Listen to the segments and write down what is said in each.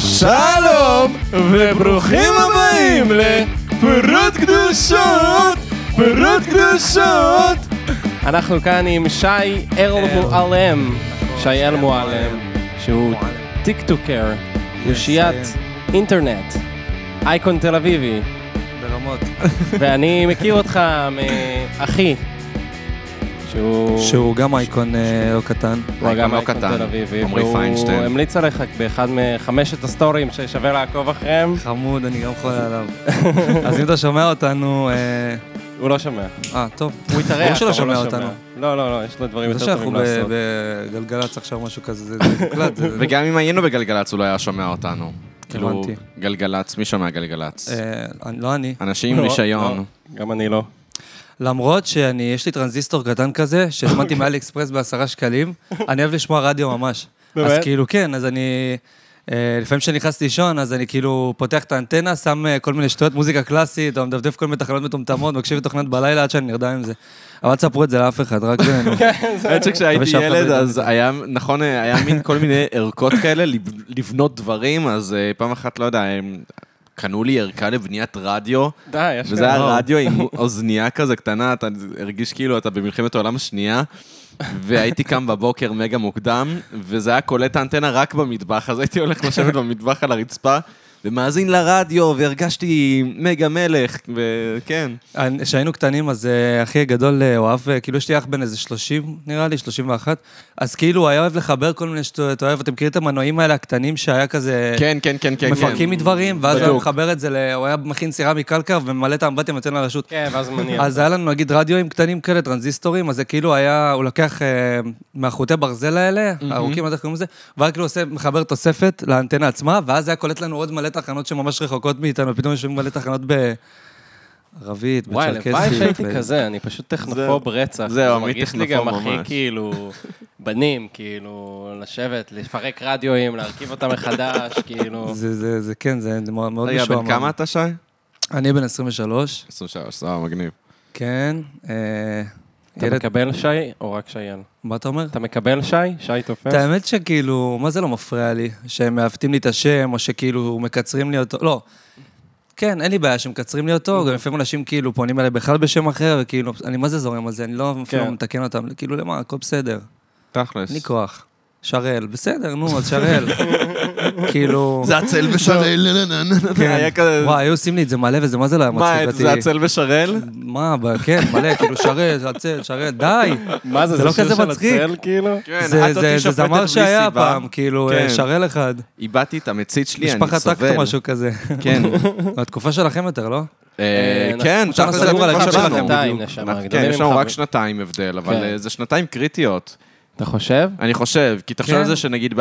שלום, וברוכים הבאים לפירות קדושות, פירות קדושות. אנחנו כאן עם שי ארל מועלם, שי אל מועלם, שהוא טיקטוקר, יושיית אינטרנט, אייקון תל אביבי, ברמות. ואני מכיר אותך מאחי, שהוא... שהוא גם אייקון אה, לא קטן. הוא אייקון גם לא אייקון קטן, תל אביבי, עמרי פיינשטיין. והוא המליץ עליך באחד מחמשת הסטורים ששווה לעקוב אחריהם, חמוד, אני גם חולה עליו. אז אם אתה שומע אותנו... אה, הוא לא שומע. אה, טוב. הוא התארח, ברור שלא אבל שומע לא אותנו. לא, לא, לא, יש לו דברים זה יותר שאנחנו טובים ב- לעשות. בגלגלצ עכשיו משהו כזה, זה זה מוקלט. זה- וגם אם היינו בגלגלצ, הוא לא היה שומע אותנו. כאילו, הבנתי. גלגלצ, מי שומע גלגלצ? אה, אני- לא אני. אנשים עם לא, רישיון. לא, גם אני לא. למרות שאני, יש לי טרנזיסטור קטן כזה, שהזמנתי מאלי אקספרס בעשרה שקלים, אני אוהב לשמוע רדיו ממש. באמת? אז כאילו, כן, אז אני... אה, לפעמים כשאני נכנס לישון, אז אני כאילו פותח את האנטנה, שם אה, כל מיני שטויות מוזיקה קלאסית, או מדפדף כל מיני תחנות מטומטמות, מקשיב לתוכניות בלילה עד שאני נרדם עם זה. אבל אל תספרו את זה לאף אחד, רק בינינו. האמת מקווה שכשהייתי שאף אחד לא ילד, יודע אז היה, נכון, היה מין כל מיני ערכות כאלה, לב- לבנות דברים, אז אה, פעם אחת, לא יודע, הם קנו לי ערכה לבניית רדיו, די, יש וזה היה כאלה. רדיו עם אוזנייה כזה קטנה, אתה הרגיש כאילו אתה במלחמת העולם השנייה, והייתי קם בבוקר מגה מוקדם, וזה היה קולט האנטנה רק במטבח, אז הייתי הולך לשבת במטבח על הרצפה. ומאזין לרדיו, והרגשתי מגה מלך, וכן. אני- כשהיינו קטנים, אז אה, אחי הגדול אה, הוא אהב, אה, כאילו יש לי אח בן איזה 30, נראה לי, 31, אז כאילו הוא היה אוהב לחבר כל מיני שטויות, אוהב, אתם מכירים את המנועים האלה הקטנים שהיה כזה... כן, כן, כן, כן. מפרקים מדברים, ואז הוא היה בדיוק. מחבר את זה, ל- הוא היה מכין סירה מקלקר וממלא את האמבטיה ונותן לרשות. כן, ואז מניע. אז היה לנו נגיד רדיואים קטנים כאלה, טרנזיסטורים, אז זה כאילו היה, הוא לקח אה, מהחוטי ברזל האלה, הארוכים, לא יודע איך קוראים לזה, והיה כאילו עושה, מחבר תוספת לאנטנה עצמה, ואז זה היה קולט לנו עוד מלא תחנות שממש רחוקות מאיתנו, פתאום יושבים מלא תחנות בערבית, וואי, בצ'רקסית. הלוואי שהייתי ו- כזה, אני פשוט טכנופוב רצח. זהו, עמית מרגיש לי גם טכנופוב הכי ממש. כאילו, בנים, כאילו, לשבת, לפרק רדיואים, להרכיב אותם מחדש, כאילו. זה, זה, זה כן, זה מאוד מאוד רגע, משועמם. בן כמה אתה, שי? אני בן 23, 23, סבבה, מגניב. כן. אה, אתה ילד, מקבל שי או רק שייל? מה אתה אומר? אתה מקבל שי? שי תופס? את האמת שכאילו, מה זה לא מפריע לי? שהם מעוותים לי את השם, או שכאילו מקצרים לי אותו, לא. כן, אין לי בעיה שמקצרים לי אותו, גם לפעמים אנשים כאילו פונים אליי בכלל בשם אחר, וכאילו, אני מה זה זורם על זה, אני לא כן. אפילו מתקן אותם, כאילו, למה, הכל בסדר, תכלס. אין לי כוח. שראל, בסדר, נו, אז שראל. כאילו, זה הצל ושרל, כן. היה כזה, וואי, היו עושים לי את זה מלא, וזה מה זה לא היה מה, מצחיק אותי. זה הצל ושרל? מה, ב- כן, מלא, כאילו, שרת, הצל, שרת, די. מה זה, זה זה לא שיר כזה של מצחיק. הצל, כאילו? כן, זה- את זה- אותי זה שופטת זמר בלי שהיה סיבה. פעם, כאילו, כן. אה, שרל אחד. איבדתי את המצית שלי, אני סובל. משפחת טקט או משהו כזה. כן. התקופה שלכם יותר, לא? אה, אה, כן, אנחנו תכלס, סגור זה על התקופה הקו שלנו. שלכם, שנתיים, בדיוק. נשמה, אנחנו- כן, גדולים יש לנו ממך. רק שנתיים הבדל, אבל כן. אה, זה שנתיים קריטיות. אתה חושב? אני חושב, כי תחשוב על כן. זה שנגיד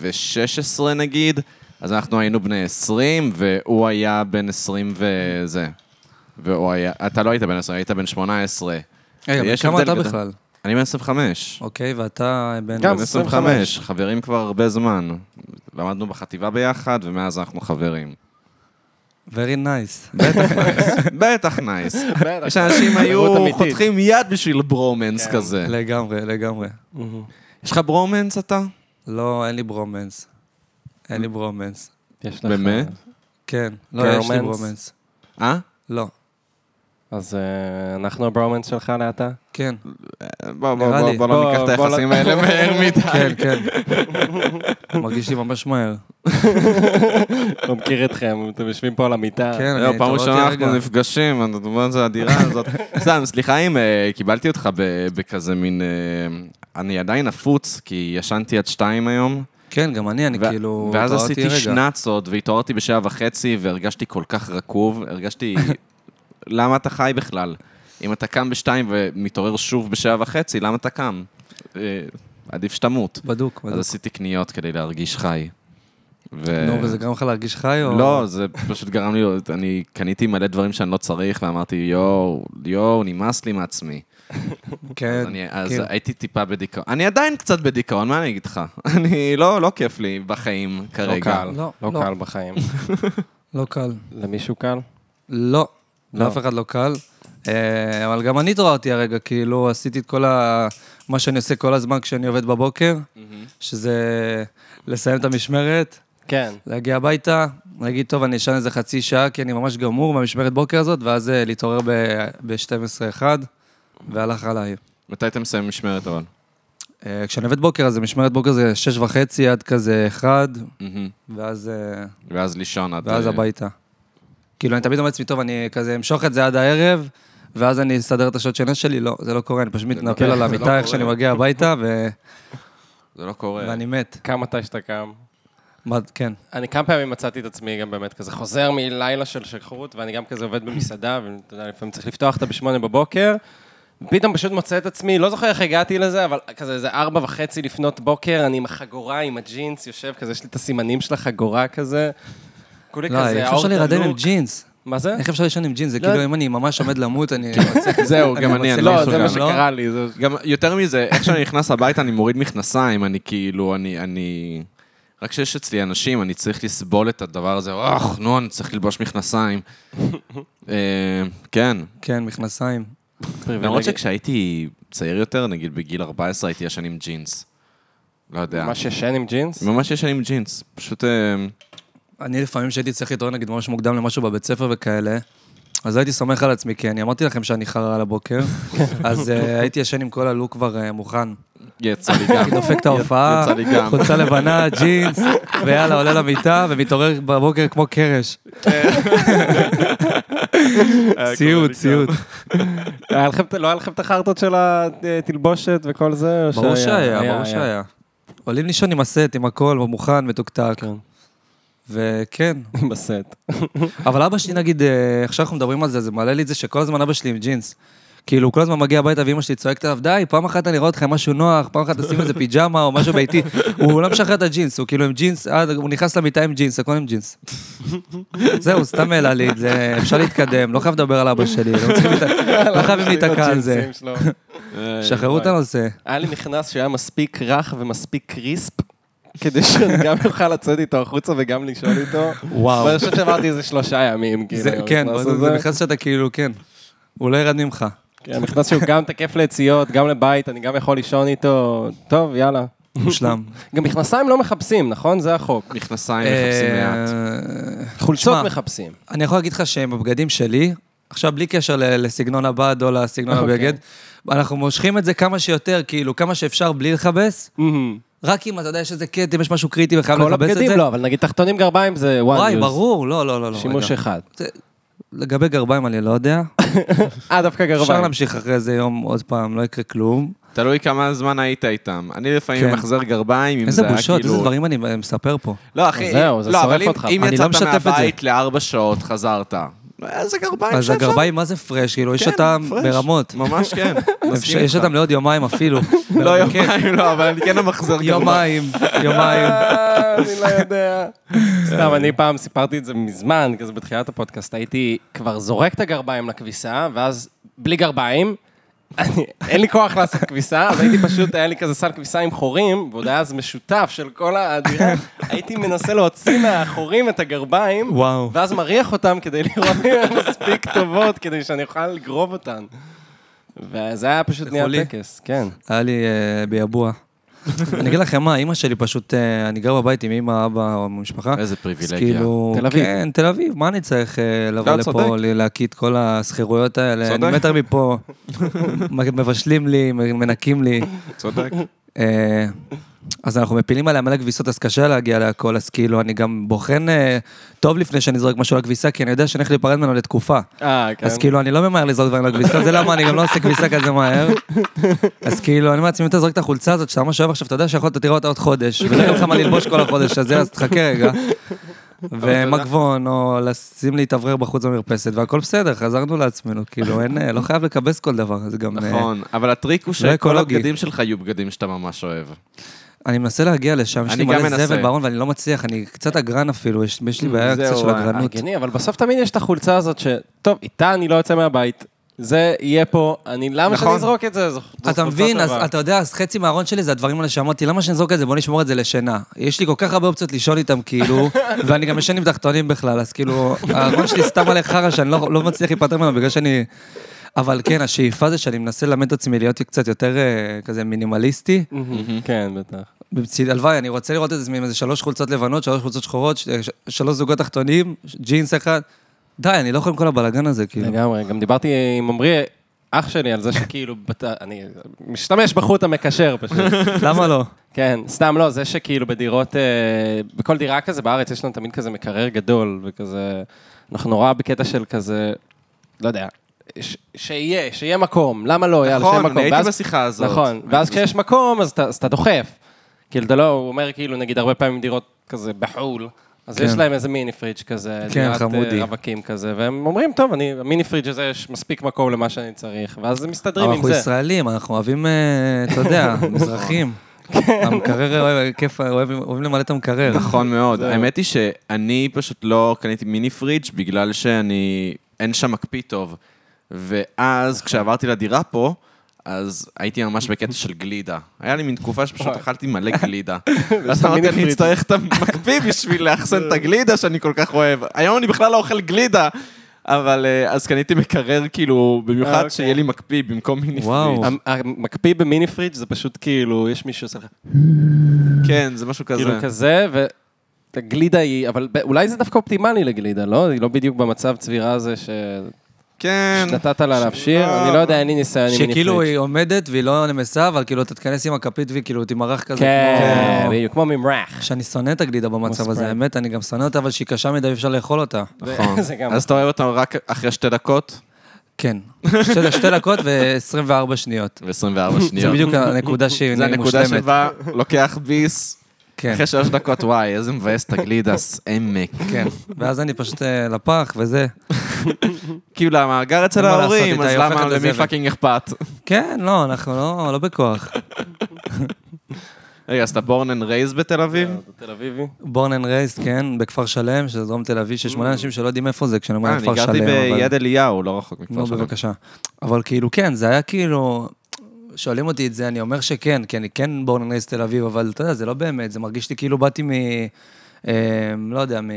ב-2016 נגיד, אז אנחנו היינו בני 20, והוא היה בן 20 וזה. והוא היה, אתה לא היית בן 20, היית בן 18. רגע, בן יש כמה הבדל אתה גדול. בכלל? אני בן 25. אוקיי, ואתה בן... גם. בן 25, חברים כבר הרבה זמן. למדנו בחטיבה ביחד, ומאז אנחנו חברים. Very nice. בטח נייס, בטח נייס. יש אנשים חברות היו אמיתית. חותכים יד בשביל ברומנס כזה. כן. לגמרי, לגמרי. יש לך ברומנס אתה? לא, אין לי ברומנס. אין לי ברומנס. יש לך- באמת? כן, לא, יש לי Girlmans? ברומנס. אה? לא, אז אה, אנחנו הברומנס שלך לאתה? כן, בוא, בוא, נראה בוא, לי. בוא בוא, לא ניקח את בוא היחסים לא- האלה מהר מדי. כן, כן. מרגיש לי ממש מהר. אה, לא מכיר אתכם, אתם יושבים פה על המיטה. כן, לא, אני... פעם אתה רואה ראשונה אותי אנחנו רגע. נפגשים, אתה מדבר על זה, הדירה הזאת. סתם, סליחה אם אה, קיבלתי אותך ב- בכזה מין... אה, אני עדיין נפוץ, כי ישנתי עד שתיים היום. כן, גם אני, אני ו- כאילו... ואז התעוררתי עשיתי רגע. שנצות, והתעוררתי בשעה וחצי, והרגשתי כל כך רקוב, הרגשתי... למה אתה חי בכלל? אם אתה קם בשתיים ומתעורר שוב בשעה וחצי, למה אתה קם? אה, עדיף שתמות. בדוק, אז בדוק. עשיתי קניות כדי להרגיש חי. ו- נו, וזה גרם לך להרגיש חי או... לא, זה פשוט גרם לי, אני קניתי מלא דברים שאני לא צריך, ואמרתי, יואו, יואו, נמאס לי מעצמי. כן, אז, אני, אז כן. הייתי טיפה בדיכאון. אני עדיין קצת בדיכאון, מה אני אגיד לך? אני, לא, לא כיף לי בחיים לא כרגע. קל, לא, לא לא. קל בחיים. לא קל. למישהו קל? לא, לא. לאף אחד לא קל. אה, אבל גם אני התעוררתי הרגע, כאילו, עשיתי את כל ה... מה שאני עושה כל הזמן כשאני עובד בבוקר, שזה לסיים את המשמרת, כן. להגיע הביתה, להגיד, טוב, אני אשן איזה חצי שעה, כי אני ממש גמור מהמשמרת בוקר הזאת, ואז אה, להתעורר ב-12-1, והלך עליי. מתי אתם מסיימים משמרת אבל? אה, כשאני עובד בוקר, אז משמרת בוקר זה שש וחצי עד כזה אחד, מהמם. ואז, אה, ואז לישון עד... ואז אה, הביתה. כאילו, אני תמיד אומר לעצמי, טוב, אני כזה אמשוך את זה עד הערב, ואז אני אסדר את השעות שינה שלי, לא, זה לא קורה, אני פשוט מתנפל לא- על זה לא המיטה איך קורה. שאני מגיע הביתה, ו- זה לא קורה. ואני מת. קם מתי שאתה קם. מה- כן. אני כמה פעמים מצאתי את עצמי גם באמת כזה חוזר מלילה של שכרות, ואני גם כזה עובד במסעדה, ואתה יודע, לפעמים צריך לפתוח אותה בשמונה בבוקר. פתאום פשוט מוצא את עצמי, לא זוכר איך הגעתי לזה, אבל כזה איזה ארבע וחצי לפנות בוקר, אני עם החגורה, עם הג'ינס, יושב כזה, יש לי את הסימנים של החגורה כזה. כולי לא, כזה, איך אפשר האור להירדם עם דלוק. ג'ינס? מה זה? איך אפשר לישון עם ג'ינס? זה לא כאילו, יודע. אם אני ממש עומד למות, אני... מצליח- כן. זהו, גם אני, אני לא, לא זה מה מסוגל. שקרה לי, זה... גם יותר מזה, איך שאני נכנס הביתה, אני מוריד מכנסיים, אני כאילו, אני... אני... רק כשיש אצלי אנשים, אני צריך לסבול את הדבר הזה, אוח, נו, אני צריך ללבוש מכנסיים. אה, כן. כן, מכנסיים. למרות שכשהייתי צעיר יותר, נגיד בגיל 14, הייתי ישן עם ג'ינס. לא יודע. ממש ישן עם ג'ינס? ממש ישן עם ג'ינס. פשוט... אה, אני לפעמים כשהייתי צריך להתעורר נגיד ממש מוקדם למשהו בבית ספר וכאלה, אז לא הייתי סומך על עצמי, כי אני אמרתי לכם שאני חרא על הבוקר, אז אה, הייתי ישן עם כל הלוק כבר אה, מוכן. יצא לי גם. הייתי דופק את ההופעה, יצא לי גם. חולצה לבנה, ג'ינס, ויאללה, עולה למיטה ומתעורר בבוקר כמו קרש. סיוט, סיוט. היה לכם- לא היה לכם את החרטות של התלבושת וכל זה? או ברור שהיה? שהיה, ברור שהיה. עולים לישון עם הסט, עם הכל, הוא מוכן, מתוקתק. כן. וכן, בסט. אבל אבא שלי, נגיד, אה, עכשיו אנחנו מדברים על זה, זה מעלה לי את זה שכל הזמן אבא שלי עם ג'ינס. כאילו, הוא כל הזמן מגיע הביתה ואימא שלי צועקת עליו, די, פעם אחת אני רואה אותך עם משהו נוח, פעם אחת תשים איזה פיג'מה או משהו ביתי. הוא לא משחרר את הג'ינס, הוא כאילו עם ג'ינס, עד- הוא נכנס למיטה עם ג'ינס, הכל עם ג'ינס. זהו, סתם העלה לי את זה, אפשר להתקדם, לא חייב לדבר על אבא שלי, לא צריכים להת- לא אה, חייבים להיתקע על זה. שחררו את הנושא. היה לי מכנס שהיה מספיק רך ומספיק קריספ, כדי שאני גם אוכל לצאת איתו החוצה וגם לישון איתו. וואו. אבל אני חושב שעברתי איזה שלושה ימים, כאילו. זה- עם כן, המכנס זה- הזה. זה נכנס שאתה כאילו, כן. הוא לא ירד ממך. כן, מכנס שהוא גם תקף ליציאות, גם לבית, אני גם יכול לישון איתו. טוב, יאללה. מושלם. גם מכנסיים לא מחפשים, נכון? זה החוק. מכנסיים מחפשים מעט. אה, חולצות שמע, מחפשים. אני יכול להגיד לך שבבגדים שלי, עכשיו בלי קשר ל- לסגנון הבד או לסגנון אוקיי. הבגד, אנחנו מושכים את זה כמה שיותר, כאילו, כמה שאפשר בלי לכבס, רק אם אתה יודע שיש איזה כתם, יש משהו קריטי וחייב כל לכבס את הבגדים זה. לא, אבל נגיד תחתונים גרביים זה one וואי, use. ברור, לא, לא, לא, לא. שימוש רגע. אחד. לגבי גרביים אני לא יודע. אה, דווקא אפשר גרביים. להמשיך אחרי זה יום עוד פעם, לא יקרה כלום. תלוי כמה זמן היית איתם. אני לפעמים כן. מחזר גרביים, אם איזה זה היה בושות, איזה כאילו... דברים אני מספר פה. לא, אחי, זהו, זה לא, שורף אבל אם- אותך. אם אני לא יצאת משתף את זה. מהבית לארבע שעות, חזרת. איזה גרביים אז שאפשר. הגרביים, מה זה פרש? כאילו, יש כן, אותם פרש. ברמות. ממש כן. אפשר- מסכים יש איתך. אותם לעוד יומיים אפילו. לא אבל כן, יומיים, לא, אבל אני כן המחזר גרביים. יומיים, יומיים. אה, אני לא יודע. סתם, אני פעם סיפרתי את זה מזמן, כזה בתחילת הפודקאסט, הייתי כבר זורק את הגרביים לכביסה, ואז בלי גרביים, אני- אין לי כוח לעשות כביסה, אז הייתי פשוט, היה לי כזה סל כביסה עם חורים, ועוד היה אז משותף של כל הדירה, הייתי מנסה להוציא מהחורים את הגרביים, וואו. ואז מריח אותם כדי לראות אם הן מספיק טובות, כדי שאני אוכל לגרוב אותן. וזה היה פשוט נהיה חולי. טקס, כן. היה לי אה, ביעבוע. אני אגיד לכם מה, אימא שלי פשוט, אה, אני גר בבית עם אימא, אבא או משפחה. איזה פריבילגיה. אז כאילו, תל אביב. כן, תל אביב, מה אני צריך אה, לבוא לא, צודק. לפה, ל- להקיא את כל הסחירויות האלה? אני צודק. מטר מפה, מ- מבשלים לי, מ- מנקים לי. צודק. אה, אז אנחנו מפילים עליה מלא כביסות, אז קשה להגיע להכל, אז כאילו, אני גם בוחן אה, טוב לפני שאני זורק משהו לכביסה, כי אני יודע שאני הולך להיפרד ממנו לתקופה. אה, כן. אז כאילו, אני לא ממהר לזרוק דברים לכביסה, זה למה אני גם לא עושה כביסה כזה מהר. אז כאילו, אני אומר לעצמי, אם אתה זורק את החולצה הזאת שאתה ממש אוהב עכשיו, אתה יודע שיכול, אתה תראה אותה עוד חודש, ולא יהיה לך מה ללבוש כל החודש הזה, אז תחכה רגע. ומגבון, או לשים להתאוורר בחוץ במרפסת, והכל בסדר, חזרנו לעצמנו, כאילו, אין, אה, לא חייב לקבס כל דבר, זה גם... אה, נכון, אבל הטריק הוא לא שכל אקולוגי. הבגדים שלך יהיו בגדים שאתה ממש אוהב. אני מנסה להגיע לשם, יש לי אני גם מלא מנסה. זבל בארון ואני לא מצליח, אני קצת אגרן אפילו, יש יש לי בעיה זהו, קצת של אה, אגרנות. הגיוני, אבל בסוף תמיד יש את החולצה הזאת ש... טוב, איתה אני לא יוצא מהבית, זה יהיה פה, אני... למה שאני נכון. אזרוק את זה? זו זו חולצה אתה מבין, אז טובה. אתה יודע, אז חצי מהארון שלי זה הדברים האלה שאמרתי, למה שנזרוק את זה, בוא נשמור את זה לשינה. יש לי כל כך הרבה אופציות לישון איתם, כאילו, ואני גם ישן עם תחתונים בכלל, אז כאילו, הארון שלי סתם מלא חרא שאני לא לא מצליח להיפטר ממנו בגלל שאני... אבל כן, השאיפה זה שאני מנסה ללמד את עצמי להיות קצת יותר אה, כזה מינימליסטי, מהמם, כן, בטח. בצד- הלוואי, אני רוצה לראות את זה עם איזה שלוש חולצות לבנות, שלוש חולצות שחורות, ש- ש- שלוש זוגות תחתונים, ש- ג'ינס אחד. די, אני לא יכול עם כל הבלאגן הזה, כאילו. לגמרי, גם דיברתי עם עמרי, אח שלי, על זה שכאילו, בת- אני משתמש בחוט המקשר פשוט. למה לא? כן, סתם לא, זה שכאילו בדירות, אה, בכל דירה כזה בארץ יש לנו תמיד כזה מקרר גדול, וכזה, אנחנו נורא בקטע של כזה, לא יודע, ש- שיהיה, שיהיה מקום, למה לא, יאללה, שיהיה נכון, מקום. אני הייתי ואז- בשיחה הזאת. נכון, ואז כשיש מקום, אז אתה- אז אתה דוחף. כאילו, אתה לא, הוא אומר כאילו, נגיד, הרבה פעמים דירות כזה בחו"ל, אז כן. יש להם איזה מיני פריג' כזה, כן, דירת, אה, חמודי. רווקים כזה, והם אומרים, טוב, אני, המיני פריג' הזה, יש מספיק מקום למה שאני צריך, ואז הם מסתדרים אבל עם אנחנו זה. נכון. ישראלים, אנחנו אוהבים, אה, אתה יודע, מזרחים. כן. המקרר, אוהב- כיף, אוהב- אוהבים למלא את המקרר. נכון מאוד. האמת היא שאני פשוט לא קניתי מיני פריג' בגלל שאני... אין שם מקפיא טוב. אוקיי. ואז כשעברתי לדירה פה, אז הייתי ממש בקטע של גלידה. היה לי מין תקופה שפשוט אכלתי מלא גלידה. ואז אמרתי, מיני אני פריג'". אצטרך את המקפיא בשביל לאחסן את הגלידה שאני כל כך אוהב. היום אני בכלל לא אוכל גלידה. אבל אה, אז קניתי מקרר, כאילו, אה, במיוחד אוקיי. שיהיה לי מקפיא במקום מיני וואו. פריג'. המ- המקפיא במיני פריג' זה פשוט כאילו, יש מישהו שעושה לך כן, זה משהו כזה. כאילו כזה, והגלידה היא, אבל ב- אולי זה דווקא אופטימלי לגלידה, לא? היא לא בדיוק במצב צבירה הזה ש- כן. שנתת לה להפשיר, אני לא יודע, אין לי ניסיון עם מיני שכאילו פריג'. היא עומדת והיא לא נמסה, אבל כאילו אתה תתכנס עם הכפית והיא כאילו תימרח כזה. כן, כמו- בדיוק, כמו ממרח. שאני שונא את הגלידה במצב כמו הזה, ספרייט. האמת, אני גם שונא אותה, אבל שהיא קשה מדי, אי אפשר לאכול אותה. נכון. זה גם- אז אתה אוהב אותם רק אחרי שתי דקות? כן. שתי- שתי דקות ו-24 שניות. ו-24 זה שניות. בדיוק הנקודה שהיא זה הנקודה מושלמת. שבה לוקח ביס, כן, אחרי שלוש דקות, וואי, איזה מבאס את הגלידס, עמק. כן. ואז אני פשוט אה, לפח וזה. כאילו, המאגר אצל אין מה לעשות, ההורים, איתי, אז היא למה, הופכת למי לזבל. פאקינג אכפת? כן, לא, אנחנו לא- לא בכוח. רגע, אז אתה בורן אנד רייז בתל אה, אביב? תל אביבי. בורן אנד רייסט, כן, בכפר שלם, שזה דרום תל אביב, שיש מלא אנשים שלא יודעים איפה זה כשאני אה, אומר אני כפר שלם. גרתי אבל- ביד אליהו, לא רחוק מכפר נו, שלם. בבקשה. אבל כאילו, כן, זה היה כאילו... שואלים אותי את זה, אני אומר שכן, כי אני כן בורן אנד רייס תל אביב, אבל אתה יודע, זה לא באמת, זה מרגיש לי כאילו באתי מ... אה, לא יודע, מ...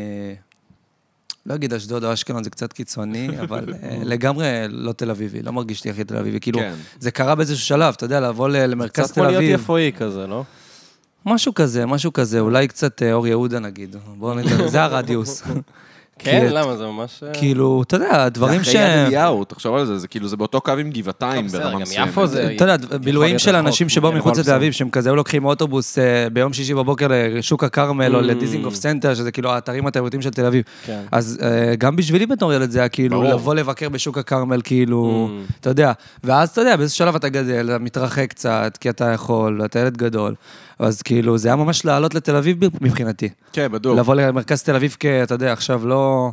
לא אגיד אשדוד או אשקלון, זה קצת קיצוני, אבל אה, לגמרי לא תל אביבי, לא מרגיש לי הכי תל אביבי. כאילו, כן. זה קרה באיזשהו שלב, אתה יודע, לבוא ל- למרכז קצת תל כמו להיות אביב. יפואי כזה, לא? משהו כזה, משהו כזה, אולי קצת אה, אור יהודה נגיד. בואו נדבר, זה הרדיוס. כן, כי- למה זה ממש... אה, כאילו, אתה יודע, דברים אחרי יד שהם... אליהו, תחשוב על זה, זה כאילו, זה באותו קו עם גבעתיים בסדר, ברמה גם מסוימת. יפו זה- אתה יודע, יכול בילויים להיות של רחוק, אנשים שבאו כן, הכל מחוץ לתל בסדר. אביב, שהם כזה היו לוקחים אוטובוס אה, ביום שישי בבוקר לשוק הכרמל או לדיזינגוף סנטר, שזה כאילו האתרים התיירותיים של תל אביב. Mm. כן. אז אה, גם בשבילי בתור ילד זה היה כאילו ברור. Mm. לבוא לבקר בשוק הכרמל, כאילו, אתה יודע. ואז אתה יודע, באיזה שלב אתה גדל, אתה מתרחק קצת, כי אתה יכול, ואתה ילד גדול. אז כאילו, זה היה ממש לעלות לתל אביב מבחינתי. כן, בדיוק. לבוא למרכז תל אביב כ... אתה יודע, עכשיו לא...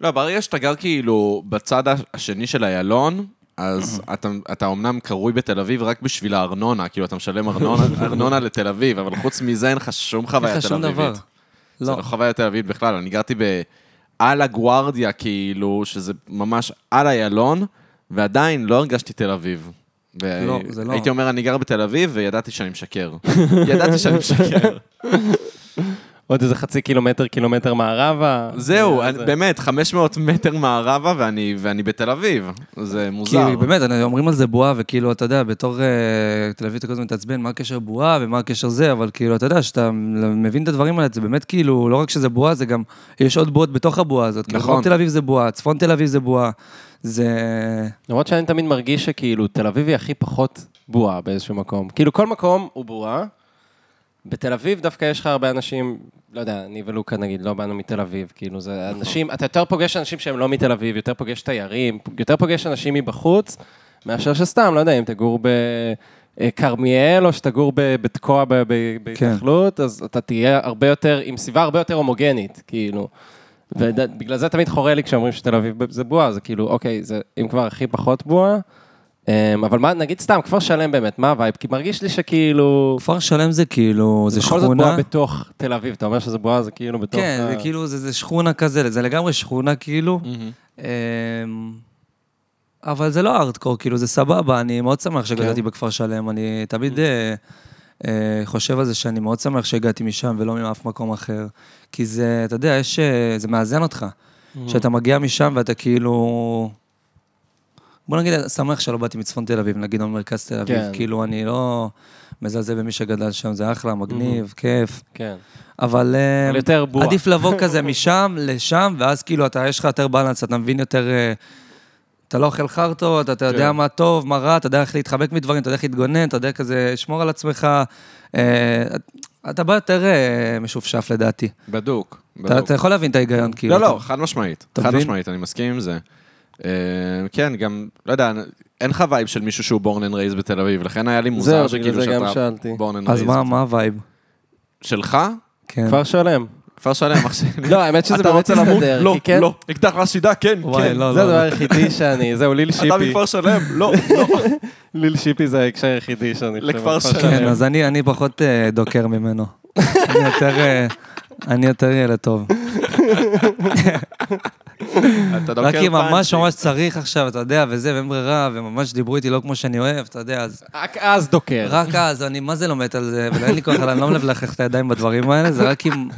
לא, ברגע שאתה גר כאילו בצד השני של איילון, אז אתה, אתה אומנם קרוי בתל אביב רק בשביל הארנונה, כאילו אתה משלם ארנונה, ארנונה לתל אביב, אבל חוץ מזה אין לך שום אין חוויה לך תל שום אביבית. דבר. זה לא. לא חוויה תל אביבית בכלל, אני גרתי בעל הגוארדיה, כאילו, שזה ממש על איילון, ועדיין לא הרגשתי תל אביב. ו- לא, זה לא. הייתי אומר, אני גר בתל אביב, וידעתי שאני משקר. ידעתי שאני משקר. עוד איזה חצי קילומטר, קילומטר מערבה. זהו, אה, אני- זה- באמת, 500 מטר מערבה, ואני ואני בתל אביב. זה מוזר. כי באמת, אני- אומרים על זה בועה, וכאילו, אתה יודע, בתור אה, תל אביב אתה כל הזמן מתעצבן, מה הקשר בועה ומה הקשר זה, אבל כאילו, אתה יודע, שאתה מבין את הדברים האלה, זה באמת כאילו, לא רק שזה בועה, זה גם, יש עוד בועות בתוך הבועה הזאת. כאילו, נכון. דרום תל אביב זה בועה, צפון תל אביב זה בועה. זה... למרות שאני תמיד מרגיש שכאילו, תל אביב היא הכי פחות בועה באיזשהו מקום. כאילו, כל מקום הוא בועה. בתל אביב דווקא יש לך הרבה אנשים, לא יודע, אני ולוקה נגיד, לא באנו מתל אביב, כאילו, זה אנשים, אתה יותר פוגש אנשים שהם לא מתל אביב, יותר פוגש תיירים, יותר פוגש אנשים מבחוץ, מאשר שסתם, לא יודע, אם תגור בכרמיאל, או שתגור ב- בתקוע ב- ב- בהתנחלות, אז אתה תהיה הרבה יותר, עם סביבה הרבה יותר הומוגנית, כאילו. ובגלל זה תמיד חורה לי כשאומרים שתל אביב זה בועה, זה כאילו, אוקיי, זה אם כבר הכי פחות בועה. אמ, אבל מה, נגיד סתם, כפר שלם באמת, מה הווייב? כי מרגיש לי שכאילו... כפר שלם זה כאילו, זה בכל זאת בועה שכונה. בתוך תל אביב, אתה אומר שזה בועה, זה כאילו בתוך... כן, ה- זה כאילו, זה זה שכונה כזה, זה לגמרי שכונה כאילו. אמ, אבל זה לא ארדקור, כאילו, זה סבבה, אני מאוד שמח כן. שגדלתי בכפר שלם, אני תמיד אה, אה, חושב על זה שאני מאוד שמח שהגעתי משם ולא מאף מקום אחר, כי זה, אתה יודע, יש, אה, זה מאזן אותך, שאתה מגיע משם ואתה כאילו... בוא נגיד, שמח שלא באתי מצפון תל אביב, נגיד, או מרכז תל אביב, כן. כאילו, אני לא... מזלזל במי שגדל שם, זה אחלה, מגניב, כיף. כן. אבל אה, אבל יותר בועה. עדיף לבוא כזה משם לשם, ואז כאילו אתה, יש לך יותר בלנס, אתה מבין יותר... אה, אתה לא אוכל חרטות, אתה כן. יודע מה טוב, מה רע, אתה יודע איך להתחבק מדברים, אתה יודע איך להתגונן, אתה יודע כזה לשמור על עצמך. אה, אתה בא יותר אה, משופשף לדעתי. בדוק. אתה בדוק. אתה יכול להבין את ההיגיון, כאילו. לא, לא, אתה- חד משמעית. אתה חד מבין? משמעית, אני מסכים עם זה. אה, כן, גם, לא יודע, אין לך וייב של מישהו שהוא בורן אנד רייז בתל אביב, לכן היה לי מוזר זהו, שכאילו בגלל זה גם שאתה שאלתי. בורן אנד אז רייז. מה, מה הווייב? שלך? כן. כפר שלם. כפר שלם, אח שלי. לא, האמת שזה אתה באמת רוצה למות? מסתדר. לא, כי כן- לא. אקדח מהשידה, כן, וואי, כן. לא, זה לא, הדבר לא. היחידי שאני, זהו, ליל אתה שיפי. מכפר שלם? לא, לא. ליל שיפי זה ההקשר היחידי שאני חושב. על לכפר שלם. כן, אז אני אני פחות אה, דוקר ממנו. אני יותר, אה, אני יותר ילד טוב. אתה דוקר רק אם ממש פאנצ'ים. ממש צריך עכשיו, אתה יודע, וזה, ואין ברירה, וממש דיברו איתי לא כמו שאני אוהב, אתה יודע, אז... רק אז כן. דוקר. רק אז, אני מה זה לא מת על זה, ואין לי כוח, אני לא מלכלך את הידיים בדברים האלה, זה רק אם...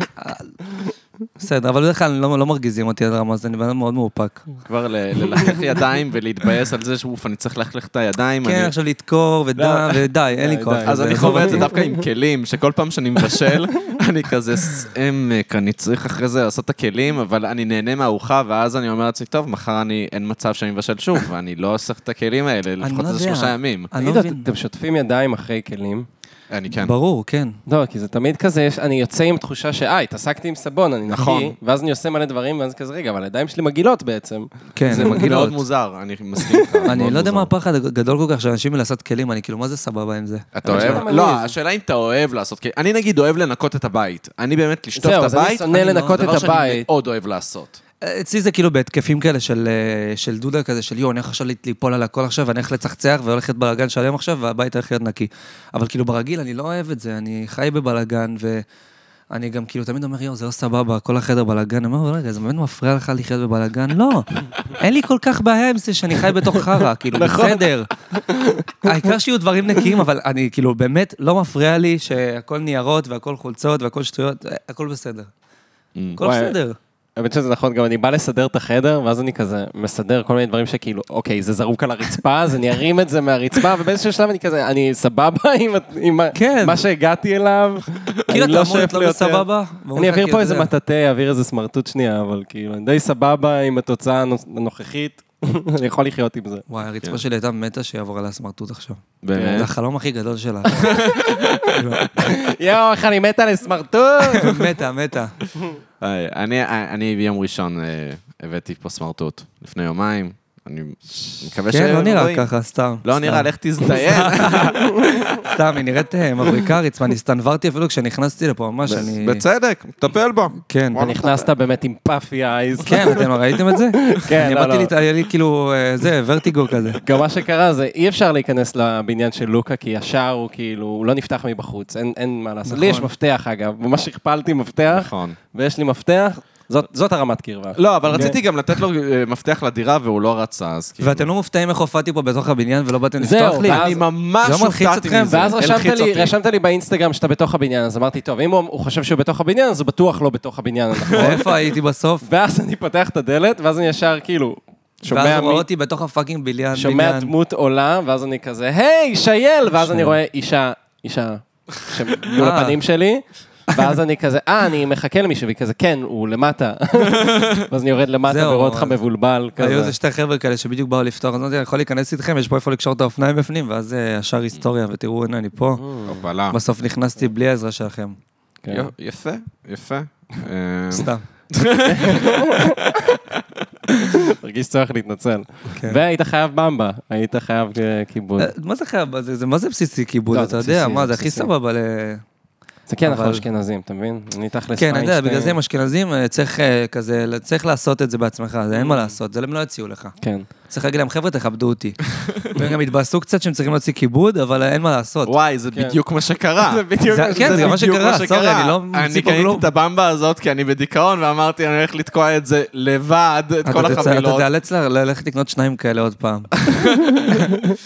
בסדר, אבל בדרך כלל לא לא מרגיזים אותי עד רמה, אז אני בן אדם מאוד מאופק. כבר ל- ללכלך ידיים ולהתבאס על זה שאוף, אני צריך ללכלך את הידיים. כן, אני- עכשיו לתקור ודם, ודי, אין לי די, כוח. די. לא. אז לזה, לא אני עזוב חווה את זה אותי. דווקא עם כלים, שכל פעם שאני מבשל, אני כזה סעמק, אני צריך אחרי זה לעשות את הכלים, אבל אני נהנה מהארוחה, ואז אני אומר לעצמי, טוב, מחר אני, אין מצב שאני מבשל שוב, ואני לא אוסף את הכלים האלה, אני לפחות לא איזה יודע. שלושה ימים. אני תגיד, לא מבין. אתם שוטפים ידיים אחרי כלים? אני כן. ברור, כן. לא, כי זה תמיד כזה, יש- אני יוצא עם תחושה שאה, התעסקתי עם סבון, אני נכון. נקי, ואז אני עושה מלא דברים, ואז כזה, רגע, אבל הידיים שלי מגעילות בעצם. כן, זה מאוד מגעילות. מוזר, אני מסכים איתך. אני מאוד לא יודע מה מוזר. הפחד הגדול כל כך של אנשים מלעשות כלים, אני כאילו, מה זה סבבה עם זה? אתה אבל אוהב? שאתה לא, מלהיב. השאלה אם אתה אוהב לעשות כלים. אני נגיד אוהב לנקות את הבית. אני באמת, לשטוף זהו, את אז אני הבית, שונא אני לא- לנקות דבר את שאני הבית. מאוד אוהב לעשות. אצלי זה כאילו בהתקפים כאלה של, אה, של דודה כזה, של יואו, אני הולך עכשיו ליפול על הכל עכשיו, ואני הולך לצחצח והולך להיות בלאגן שלם עכשיו, והבית הולך להיות נקי. אבל כאילו ברגיל, אני לא אוהב את זה, אני חי בבלאגן, ואני גם כאילו תמיד אומר, יואו, זה לא סבבה, כל החדר בלאגן. אני אומר, רגע, זה באמת מפריע לך לחיות בבלאגן? לא, אין לי כל כך בעיה עם זה שאני חי בתוך חרא, כאילו, בסדר. העיקר שיהיו דברים נקיים, אבל אני כאילו, באמת, לא מפריע לי שהכל ניירות והכל חולצות והכל שטויות, הכל בסדר. הכל וואי, בסדר. האמת שזה נכון, גם אני בא לסדר את החדר, ואז אני כזה מסדר כל מיני דברים שכאילו, אוקיי, זה זרוק על הרצפה, אז אני ארים את זה מהרצפה, ובאיזשהו שלב אני כזה, אני סבבה עם, ה- עם ה- כן. מה שהגעתי אליו, כאילו אני לא אתה אמור להיות שואף לא ליותר. בסבבה? אני אעביר פה איזה מטאטא, אעביר איזה סמרטוט שנייה, אבל כאילו, אני די סבבה עם התוצאה הנוס- הנוכחית, אני יכול לחיות עם זה. וואי, הרצפה שלי הייתה מתה שיעבור עליה סמרטוט עכשיו. באמת? זה החלום הכי גדול שלה. כאילו, יואו, איך אני מתה לסמרטוט! מתה, מתה. היי, אני, אני ביום ראשון אה, הבאתי פה סמרטוט, לפני יומיים. אני מקווה כן, לא נראה רואים. ככה, סתם. לא נראה, סתם. לך תזדיין. סתם, היא נראית אה, מבריקה הרצפה, אני הסתנוורתי אפילו כשנכנסתי לפה, ממש, אני... בצדק, מטפל בו. כן. וואלה. נכנסת באמת עם פאפי אייז. כן, אתם ראיתם את זה? כן, אני לא, כאילו. באתי לא. להתעלל, היה לי כאילו, אה, זה, ורטיגו כזה. גם מה שקרה זה, אי אפשר להיכנס לבניין של לוקה, כי השער הוא כאילו, הוא לא נפתח מבחוץ, אין, אין מה לעשות. נכון. לי יש מפתח אגב, ממש הכפלתי מפתח, נכון. ויש לי מפתח, זאת, זאת הרמת קרבה. לא, כן. אבל רציתי גם לתת לו אה, מפתח לדירה והוא לא רצה, אז כאילו. ואתם לא מופתעים איך הופעתי פה בתוך הבניין ולא באתם זהו, לפתוח לי? ואז- אני ממש זה לא מלחיץ הופתעתי אתכם? מזה. ואז רשמת הלחיץ לי, אותי. רשמת לי באינסטגרם שאתה בתוך הבניין, אז אמרתי, טוב, אם הוא, הוא חושב שהוא בתוך הבניין, אז הוא בטוח לא בתוך הבניין, נכון? איפה הייתי בסוף? ואז אני פותח את הדלת, ואז אני ישר כאילו, שומע ואז מי... רואה אותי בתוך הפאקינג בניין. שומע בניין. דמות עולה, ואז אני כזה, היי, שייל! ואז אני רואה אישה, אישה, שמול אה. הפנים שלי, ואז אני כזה, אה, אני מחכה למישהו, והיא כזה, כן, הוא למטה. ואז אני יורד למטה זהו, ורואה אותך אז- אה, מבולבל, היו איזה כזה. שתי חבר'ה כאלה שבדיוק באו לפתוח, אז אמרתי, אני יכול להיכנס איתכם, יש פה איפה לקשור את האופניים בפנים, ואז אה, ישר היסטוריה, ותראו, הנה, אני פה. הופלה. בסוף נכנסתי בלי העזרה שלכם. אה, כן. יו- יפה, יפה. אה, סתם. מרגיש צורך להתנצל. כן. והיית חייב במבה, היית חייב אה, כיבוד. אה, מה זה חייב? זה זה- מה זה בסיסי כיבוד? לא, אתה זה יודע, בסיסי, מה, זה זה הכי בסיסי. סבבה ל... זה כן, אנחנו אבל- אשכנזים, אתה מבין? אני תכלס כן, אני יודע, פיינשטיין. בגלל זה עם אשכנזים אה, צריך אה, כזה, צריך לעשות את זה בעצמך, זה אין מה לעשות, זה הם לא יציעו לך. כן. צריך להגיד להם, חבר'ה, תכבדו אותי. והם גם התבאסו קצת שהם צריכים להוציא כיבוד, אבל אה, אין מה לעשות. אה, וואי, זה כן. בדיוק מה שקרה. בדיוק זה- כן, זה גם מה בדיוק שקרה, סורי, אני לא ממציא אני פה קניתי כלום. את הבמבה הזאת כי אני בדיכאון, ואמרתי, אני הולך לתקוע את זה לבד, את אתה כל תצא- אתה החבילות. תיאלץ ל- ללכת לקנות שניים כאלה עוד פעם.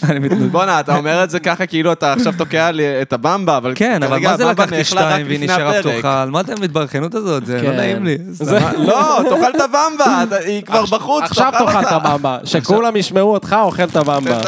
אני מתנצל. בואנה, אתה אומר את זה ככה כאילו אתה עכשיו תוקע לי את הבמבה, אבל כן, אבל כרגע מה זה הבמבה לקחתי נאכלה רק שתיים והיא לפני נשארה הפרק. פתוחה? על מה אתם בהתברכנות הזאת? זה לא כן. נעים לי. זה- סתם. לא, תאכל את הבמבה, אתה- היא כבר בחוץ, עכשיו תאכל את הבמבה, שכולם ישמעו אותך אוכל את הבמבה.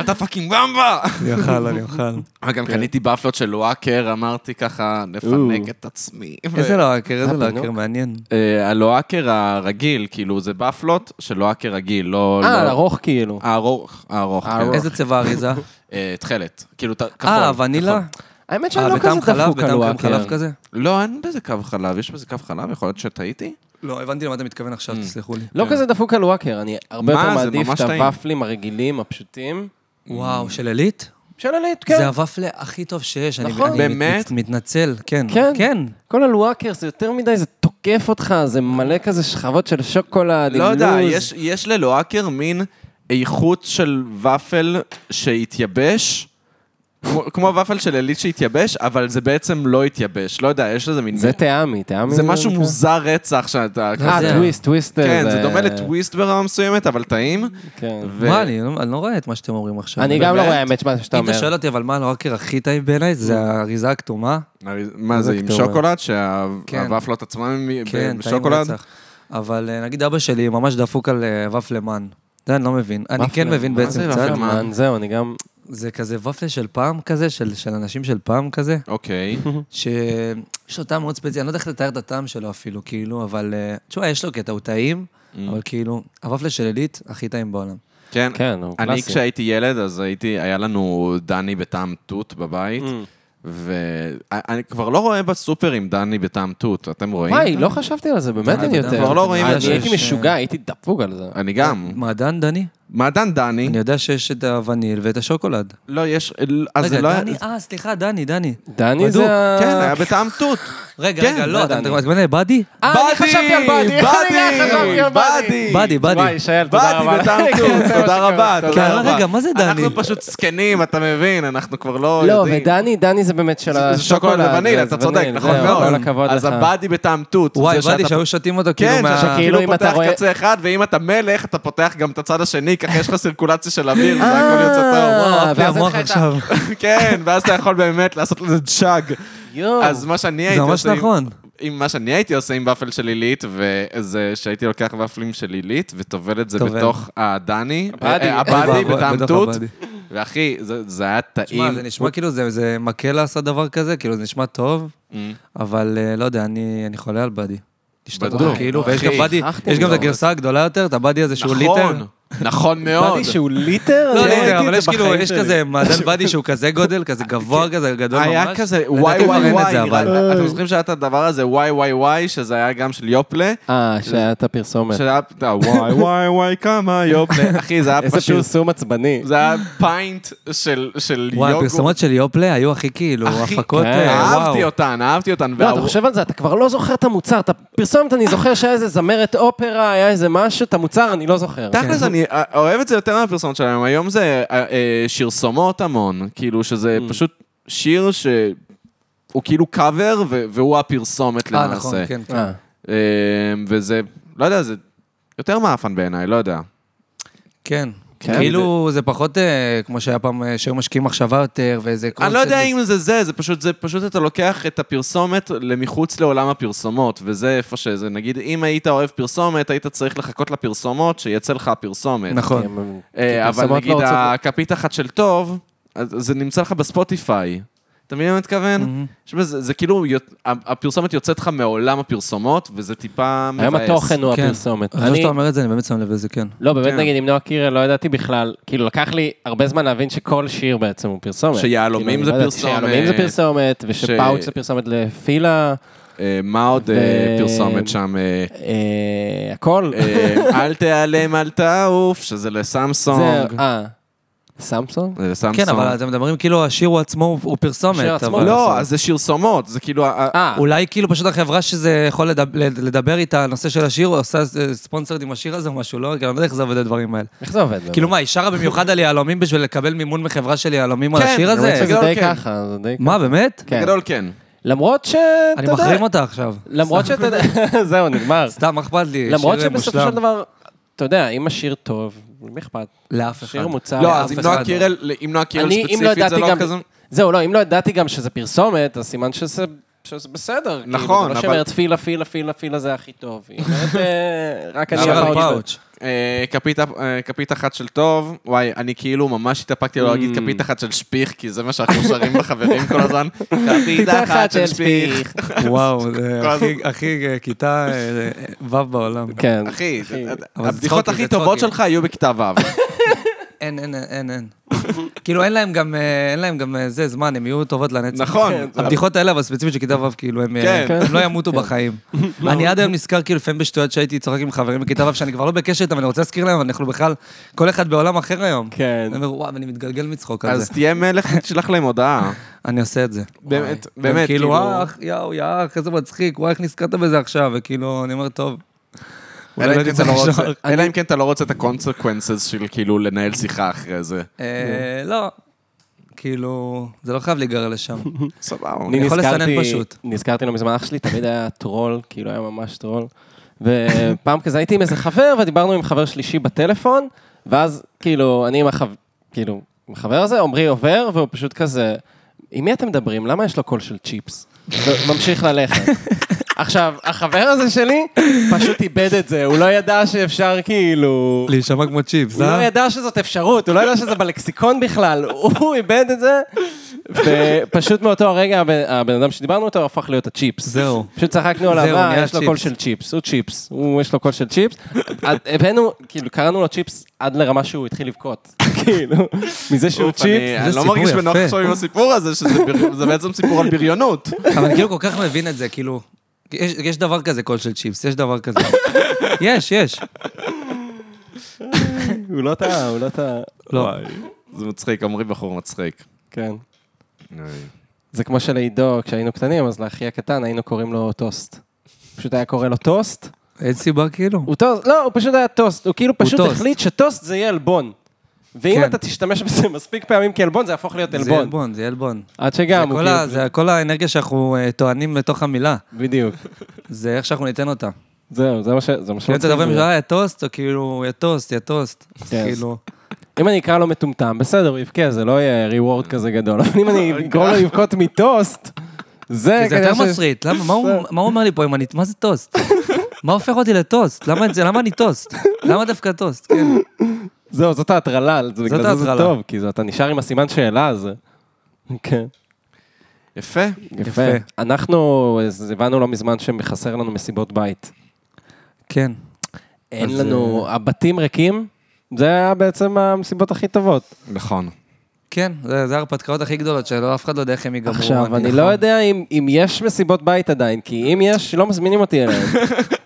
אתה פאקינג במבה! אני אוכל, אני אוכל. כן. גם קניתי באפלות של לואקר, אמרתי ככה, נפנק את עצמי. איזה לא- לואקר, איזה הפינוק? לואקר, מעניין. אה, הלואקר הרגיל, כאילו, זה באפלות של לואקר רגיל, לא... אה, לא- ארוך כאילו. הארוך, הארוך, כן. הארוך. איזה צבע אריזה? אה, תכלת, כאילו, ת- כחול. אה, כחול. ונילה? האמת שאני אה, לא בטעם כזה חלב, דפוק כן. על בטעם חלב וואקר. כזה? לא, אין בזה קו חלב, יש בזה קו חלב? יכול להיות שטעיתי? לא, הבנתי למה אתה מתכוון עכשיו, תסלחו לי. לא כזה דפוק על וואקר, אני הרבה כן. מה, יותר זה מעדיף ממש את טעים. הוואפלים הרגילים, הפשוטים. וואו, של עילית? של עילית, זה כן. הוואפלה הכי טוב שיש. אני- נכון. אני באמת? מת- מתנצל, כן. כן. כן. כל הלוואקר זה יותר מדי, זה תוקף אותך, זה מלא כזה שכבות של שוקולד, לא עם יודע, לוז. יש- יש ללואקר מין איכות של ופל שהתייבש, כמו- כמו הוואפל של עילית שהתייבש, אבל זה בעצם לא התייבש. לא יודע, יש לזה מין... זה טעמי, טעמי. זה משהו מוזר רצח שאתה... אה, זה- טוויסט, טוויסט. כן, זה דומה לטוויסט ברמה מסוימת, אבל טעים. כן. ו- מה, אני לא- אני לא רואה את מה שאתם אומרים עכשיו. אני גם לא באמת? רואה האמת מה שאתה אם אומר. אתה שואל אותי, אבל מה הלואקר הכי טעים בעיניי, Mm. זה האריזה הכתומה. הרי- מה זה, עם כתובה. שוקולד? כן. שהוואפלות עצמם הם ב- כן, טעים בשוקולד? רצח. אבל אה, נגיד אבא שלי ממש דפוק על אה, ופלמן. זה אני לא מבין. אני כן ופלמן, מבין מה בעצם זה קצת. ופלמן? מן, זהו, אני גם... זה כזה ופלה של פעם כזה, של של אנשים של פעם כזה. אוקיי. שיש לו טעם מאוד ספציפי, אני לא יודע איך לתאר את הטעם שלו אפילו, כאילו, אבל... אה, תשמע, יש לו קטע, הוא טעים, Mm. אבל כאילו, הוואפלה של עילית, הכי טעים בעולם. כן. כן, הוא אני קלאסי. כשהייתי ילד, אז הייתי, היה לנו דני בטעם תות בבית, Mm. ואני כבר לא רואה בסופרים דני בטעם תות, אתם רואים? וואי, לא חשבתי על זה, באמת אני אני יודע, יותר. כבר לא רואים אני את זה הייתי ש- משוגע, הייתי דפוק על זה. אני גם. מעדן, דני? מעדן דני, אני יודע שיש את הווניל ואת השוקולד. לא, יש, אז זה רגע, לא היה... דני, אה, סליחה, דני, דני. דני בדוק. זה ה... כן, היה בטעם תות. רגע, כן, רגע, לא, לא, אתה דני. מתכוון לבאדי? אה, אני חשבתי על באדי. באדי, רגע, חשבתי על באדי. באדי, באדי. וואי, שייל, תודה באתי רבה. בטעם כן, תות, זה מה תודה שקרה. רבה, כן, תודה רבה. רגע, מה זה דני? אנחנו פשוט זקנים, אתה מבין, אנחנו כבר לא לא, יודעים. ודני, דני זה באמת של זה שוקולד ווניל, אתה זה צודק, וניל, נכון זהו, מאוד. כל הכבוד לך. אז הבאדי בטעם תות. וואי, זה שאתה באדי, שהיו שותים אותו כאילו כן, מה... שאתה כאילו, אם כאילו אתה פותח רואה- קצה אחד, ואם אתה מלך, אתה פותח גם את הצד השני, ככה יש לך סירקולציה של אוויר, וזה הכל יוצא טוב. אה, וואו, אפי ואז אין אוקיי, המוח לך את ה- עכשיו. כן, ואז אתה יכול באמת לעשות לזה צ'אג. יואו. אז מה שאני זה הייתי ממש עושה... עם- נכון. עם מה שאני הייתי עושה עם ופל של עילית, וזה שהייתי לוקח ופלים של עילית, וטובל את זה טובל. בתוך הדני, הבאדי. אה, אוי הבאדי ואבוי, בטעם בתוך תות, הבאדי. ואחי, זה זה היה תשמע, טעים. זה נשמע כאילו, זה- זה מקל עשה דבר כזה, כאילו, זה נשמע טוב, אבל אה, לא יודע, אני אני חולה על באדי. השתגעו, בדוק. כאילו, אחי, ויש גם באדי, שכחתי יש גם את מזה. הגרסה הגדולה יותר, את הבאדי הזה שהוא ליטר. נכון, נכון מאוד. באדי שהוא ליטר? לא, אני ליטר, ראיתי את אבל זה יש כאילו, בחיים יש שלי. כזה מעדן באדי שהוא כזה גודל, כזה גבוה כזה, גדול ממש. היה כזה, לדעתי וואי כבר וואי אין את וואי, זה, נראה אבל. לי. אתם זוכרים שהיה את הדבר הזה, וואי וואי וואי, שזה היה גם של יופלה, אה, שהיה את הפרסומת. שהיה, אה, וואי וואי וואי, כמה יופלה. אחי, זה היה איזה פשוט, פרסום עצבני. זה היה פיינט של של וואי, יוגורט. הפרסומות של יופלה היו הכי כאילו, אחי, הפקות, כן. אה, וואו. אהבתי אותן, אהבתי אותן. לא, אתה והוא- חושב על זה, אתה כבר לא זוכר את המוצר. את הפרסומת, אני זוכר שהיה איזה זמרת אופרה, היה איזה משהו, את המוצר אני לא זוכר. תכלס, אני אה, אוהב את זה יותר מהפרסומות שלהם. היום זה אה, אה, שרסומות המון, כאילו שזה פשוט שיר שהוא כאילו קאבר, ו- והוא הפרסומת אה, למעשה. נכון, כן, כן. אה, אה, וזה, לא יודע, זה יותר מאפן בעיניי, לא יודע. כן. כן. כאילו, זה פחות אה, כמו שהיה פעם, אה, שהיו משקיעים מחשבה יותר, ואיזה... אני לא קונספט. יודע אם זה זה, זה פשוט, זה פשוט אתה לוקח את הפרסומת למחוץ לעולם הפרסומות, וזה איפה שזה. נגיד, אם היית אוהב פרסומת, היית צריך לחכות לפרסומות, שיצא לך הפרסומת. נכון. הם- אה, אבל פרסומות נגיד לא רוצות- הכפית אחת של טוב, אז זה נמצא לך בספוטיפיי. אתה מבין למה אני מתכוון? שמע, זה זה כאילו, יוצ- ה- הפרסומת יוצאת לך מעולם הפרסומות, וזה טיפה מבאס. היום התוכן הוא כן. הפרסומת. עכשיו אני- שאתה אומר את זה, אני באמת שם לב לזה, כן. לא, באמת כן. נגיד עם נועה קירל לא ידעתי בכלל, כאילו לקח לי הרבה זמן להבין שכל שיר בעצם הוא פרסומת. שיהלומים כאילו, אני זה לא ידעתי פרסומת. שיהלומים זה פרסומת, ושפאוץ' ש- זה פרסומת לפילה, אה, מה עוד ו- אה, פרסומת שם? אה, אה, הכל. אה, אל תיעלם, אל תעוף, שזה לסמסונג. זה- אה, סמסונג? זה לסמסונג. כן, אבל אתם מדברים כאילו, השיר הוא עצמו הוא- הוא פרסומת. השיר עצמו אבל- לא, אז זה שרסומות, זה כאילו... ה- ה- אה, אולי כאילו פשוט החברה שזה יכול לדבר, לדבר איתה, הנושא של השיר, הוא עושה אה, ספונסרד עם השיר הזה או משהו, לא? כי אני לא יודע איך זה עובד הדברים האלה. איך זה עובד? באמת? כאילו מה, היא שרה במיוחד על יהלומים בשביל לקבל מימון מחברה של יהלומים על כן, השיר האמת הזה? שזה בגדול די כן. ככה, זה די ככה. מה, באמת? כן. בגדול כן. למרות שאתה אני יודע... מחרים אותה עכשיו. למרות שאתה יודע... זהו, נגמר. סתם, מה אכפת לי? למרות שיר שבסופו מושלם. של דבר, אתה יודע, אם השיר טוב, למי אכפת? לאף אחד. שיר מוצר, לא, לאף אז עם אחד נועה לא. קירל, עם נועה קירל אני, אם לא ספציפית, זה ידעתי לא גם... כזה... זהו, לא, אם לא ידעתי גם שזה פרסומת, אז סימן שזה... שזה בסדר, נכון, כאילו, זה לא אבל- שאומרת פילה, פילה, פילה, פילה זה הכי טוב. היא אומרת, אה, רק אני שיר על הפאוץ'. פאוץ'. אה, כפית, אה, כפית אחת של טוב, וואי, אני כאילו ממש התאפקתי לא להגיד כפית אחת של שפיך, כי זה מה שאנחנו שרים לחברים כל הזמן. כפית אחת של שפיך. וואו, זה כל הכי- הכי אה, כיתה אה, ו' בעולם. כן. אחי, אבל זה הבדיחות צחוקים, הכי זה טובות צחוקים. שלך היו בכיתה ו'. אין, אין, אין, אין. כאילו, אין להם גם, אה, אין להם גם אה, זה זמן, הם יהיו טובות לנצח. כן, נכון. הבדיחות האלה, אבל ספציפית של כיתה ו', כאילו, הם אה, כן. הם לא ימותו בחיים. אני עד היום נזכר, כאילו, לפעמים בשטויות שהייתי צוחק עם חברים בכיתה ו', שאני כבר לא בקשר איתם, אני רוצה להזכיר להם, אנחנו בכלל, כל אחד בעולם אחר היום. כן. אני אומר, וואו, אני מתגלגל מצחוק על אז זה. תהיה מלך, תשלח להם הודעה. אני עושה את זה. באמת, וואי. באמת, הם כאילו, כאילו- וואו, יאו, יא אח, איזה מצחיק, וואי, איך נזכרת בזה עכשיו? וכאילו, אני אומר, טוב. אולי אלא לא אם כן אתה לא נצטרך רוצה- לשלוח." אלא אם כן אתה לא רוצה את ה-consequences של כאילו לנהל שיחה אחרי זה. אה, לא. כאילו, זה לא חייב להיגרר לשם. סבבה. אוקיי. אני יכול נזכרתי- לסנן פשוט. נזכרתי לא מזמן, אח שלי תמיד היה טרול, כאילו היה ממש טרול. ופעם כזה הייתי עם איזה חבר, ודיברנו עם חבר שלישי בטלפון, ואז כאילו, אני עם החבר, כאילו, עם החבר הזה, עמרי עובר, והוא פשוט כזה, עם מי אתם מדברים? למה יש לו קול של צ'יפס? וממשיך ללכת. עכשיו, החבר הזה שלי פשוט איבד את זה, הוא לא ידע שאפשר כאילו... להישמע כמו צ'יפס, הוא לא אה? ידע שזאת אפשרות, הוא לא ידע שזה בלקסיקון בכלל, הוא איבד את זה. ופשוט מאותו הרגע הבן, הבן אדם שדיברנו איתו הפך להיות הצ'יפס. זהו. פשוט צחקנו זהו, עליו, "אה, נהיה יש לו צ'יפס." קול של צ'יפס, הוא צ'יפס, הוא יש לו קול של צ'יפס. עד- הבאנו, כאילו, קראנו לו צ'יפס עד לרמה שהוא התחיל לבכות. כאילו, מזה שהוא אוף, אני צ'יפס. אני לא סיפור מרגיש יפה. בנוח עכשיו עם הסיפור הזה, שזה בר- זה בעצם סיפור על בריונות. אבל אני כאילו כל כך מבין את זה, כאילו... יש, יש דבר כזה קול של צ'יפס, יש דבר כזה. יש, יש. הוא לא טעה, הוא לא טעה. לא. זה מצחיק, עמרי בחור מצחיק. כן. זה כמו שלעידו, כשהיינו קטנים, אז לאחי הקטן היינו קוראים לו טוסט. פשוט היה קורא לו טוסט. אין סיבה כאילו. הוא טוסט, לא, הוא פשוט היה טוסט, הוא כאילו פשוט טוסט. החליט שטוסט זה יהיה עלבון. ואם כן. אתה תשתמש בזה מספיק פעמים כעלבון, זה יהפוך להיות זה עלבון. עלבון, זה עלבון. עד זה שגם, הוא כל, ה, כאילו... זה כל האנרגיה שאנחנו אה, טוענים לתוך המילה. בדיוק. זה איך שאנחנו ניתן אותה. זהו, זה מה ש... זה מה כאילו אתה שמצחיק מדבר עם בזה. זה, "אה, יא טוסט, או כאילו, יא טוסט, יא טוסט. אז כן. כאילו... אם אני אקרא לו מטומטם, בסדר, הוא יבכה, זה לא יהיה reward כזה גדול. אבל אם אני אגרום לו לבכות מטוסט, זה... כי זה כנראה יותר ש- מסריט, למה, מה הוא- אה. מה הוא אומר לי פה אם אני, מה זה טוסט? מה הופך אותי לטוסט? למה את זה, למה אני טוסט? למה דווקא טוסט? כן. זהו, זאת ההטרלה, זה בגלל זה זה ההטרלה. טוב, כי זה- אתה נשאר עם הסימן שאלה הזה. כן. יפה. יפה. יפה. אנחנו אז הבנו לא מזמן שחסר לנו מסיבות בית. כן. אין אז, לנו, אה, הבתים ריקים, זה היה בעצם המסיבות הכי טובות. נכון. כן. כן, זה זה ההרפתקאות הכי גדולות שלא, אף אחד לא יודע איך הם ייגמרו. עכשיו, אני נכון. לא יודע אם אם יש מסיבות בית עדיין, כי אם יש, לא מזמינים אותי אליהם.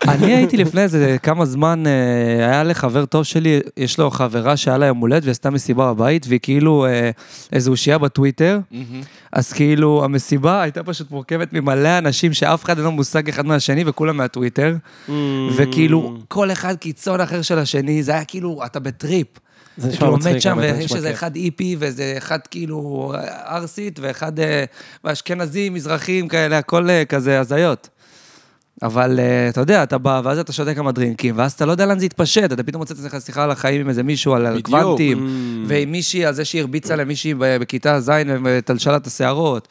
אני הייתי לפני איזה כמה זמן, אה, היה לחבר טוב שלי, יש לו חברה שהיה לה יום הולדת והיא עשתה מסיבה בבית, והיא כאילו אה, איזו אושייה בטוויטר, אז כאילו המסיבה הייתה פשוט מורכבת ממלא אנשים שאף אחד אין לו מושג אחד מהשני וכולם מהטוויטר, וכאילו כל אחד קיצון אחר של השני, זה היה כאילו, אתה בטריפ. זה נשמע כאילו מצחיק, עומד שם האמת, זה ויש נשמע איזה כיף. אחד איפי ואיזה אחד כאילו ערסית ואחד אה, אשכנזים, מזרחים כאלה, הכל אה, כזה הזיות. אבל אה, אתה יודע, אתה בא, ואז אתה שותה כמה דרינקים, ואז אתה לא יודע לאן זה יתפשט, אתה פתאום מוצא את עצמך שיחה על החיים עם איזה מישהו, על בדיוק. הקוונטים, mm. ועם מישהי, על זה שהרביצה למישהי ב- בכיתה ז' ותלשה לה את השערות,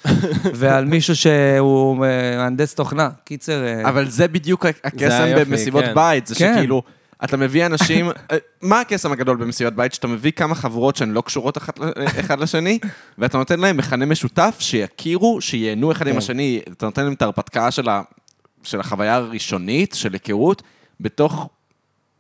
ועל מישהו שהוא אה, מהנדס תוכנה. קיצר, אה, אבל זה בדיוק ה- הקסם היופי, במסיבות כן. בית, זה כן. שכאילו, אתה מביא אנשים, אה, מה הקסם הגדול במסיבת בית? שאתה מביא כמה חברות שהן לא קשורות אחת ל- אחד לשני, ואתה נותן להם מכנה משותף, שיכירו, שייהנו אחד עם השני, אתה נותן להם את ההרפתקה של ה- של החוויה הראשונית, של היכרות, בתוך...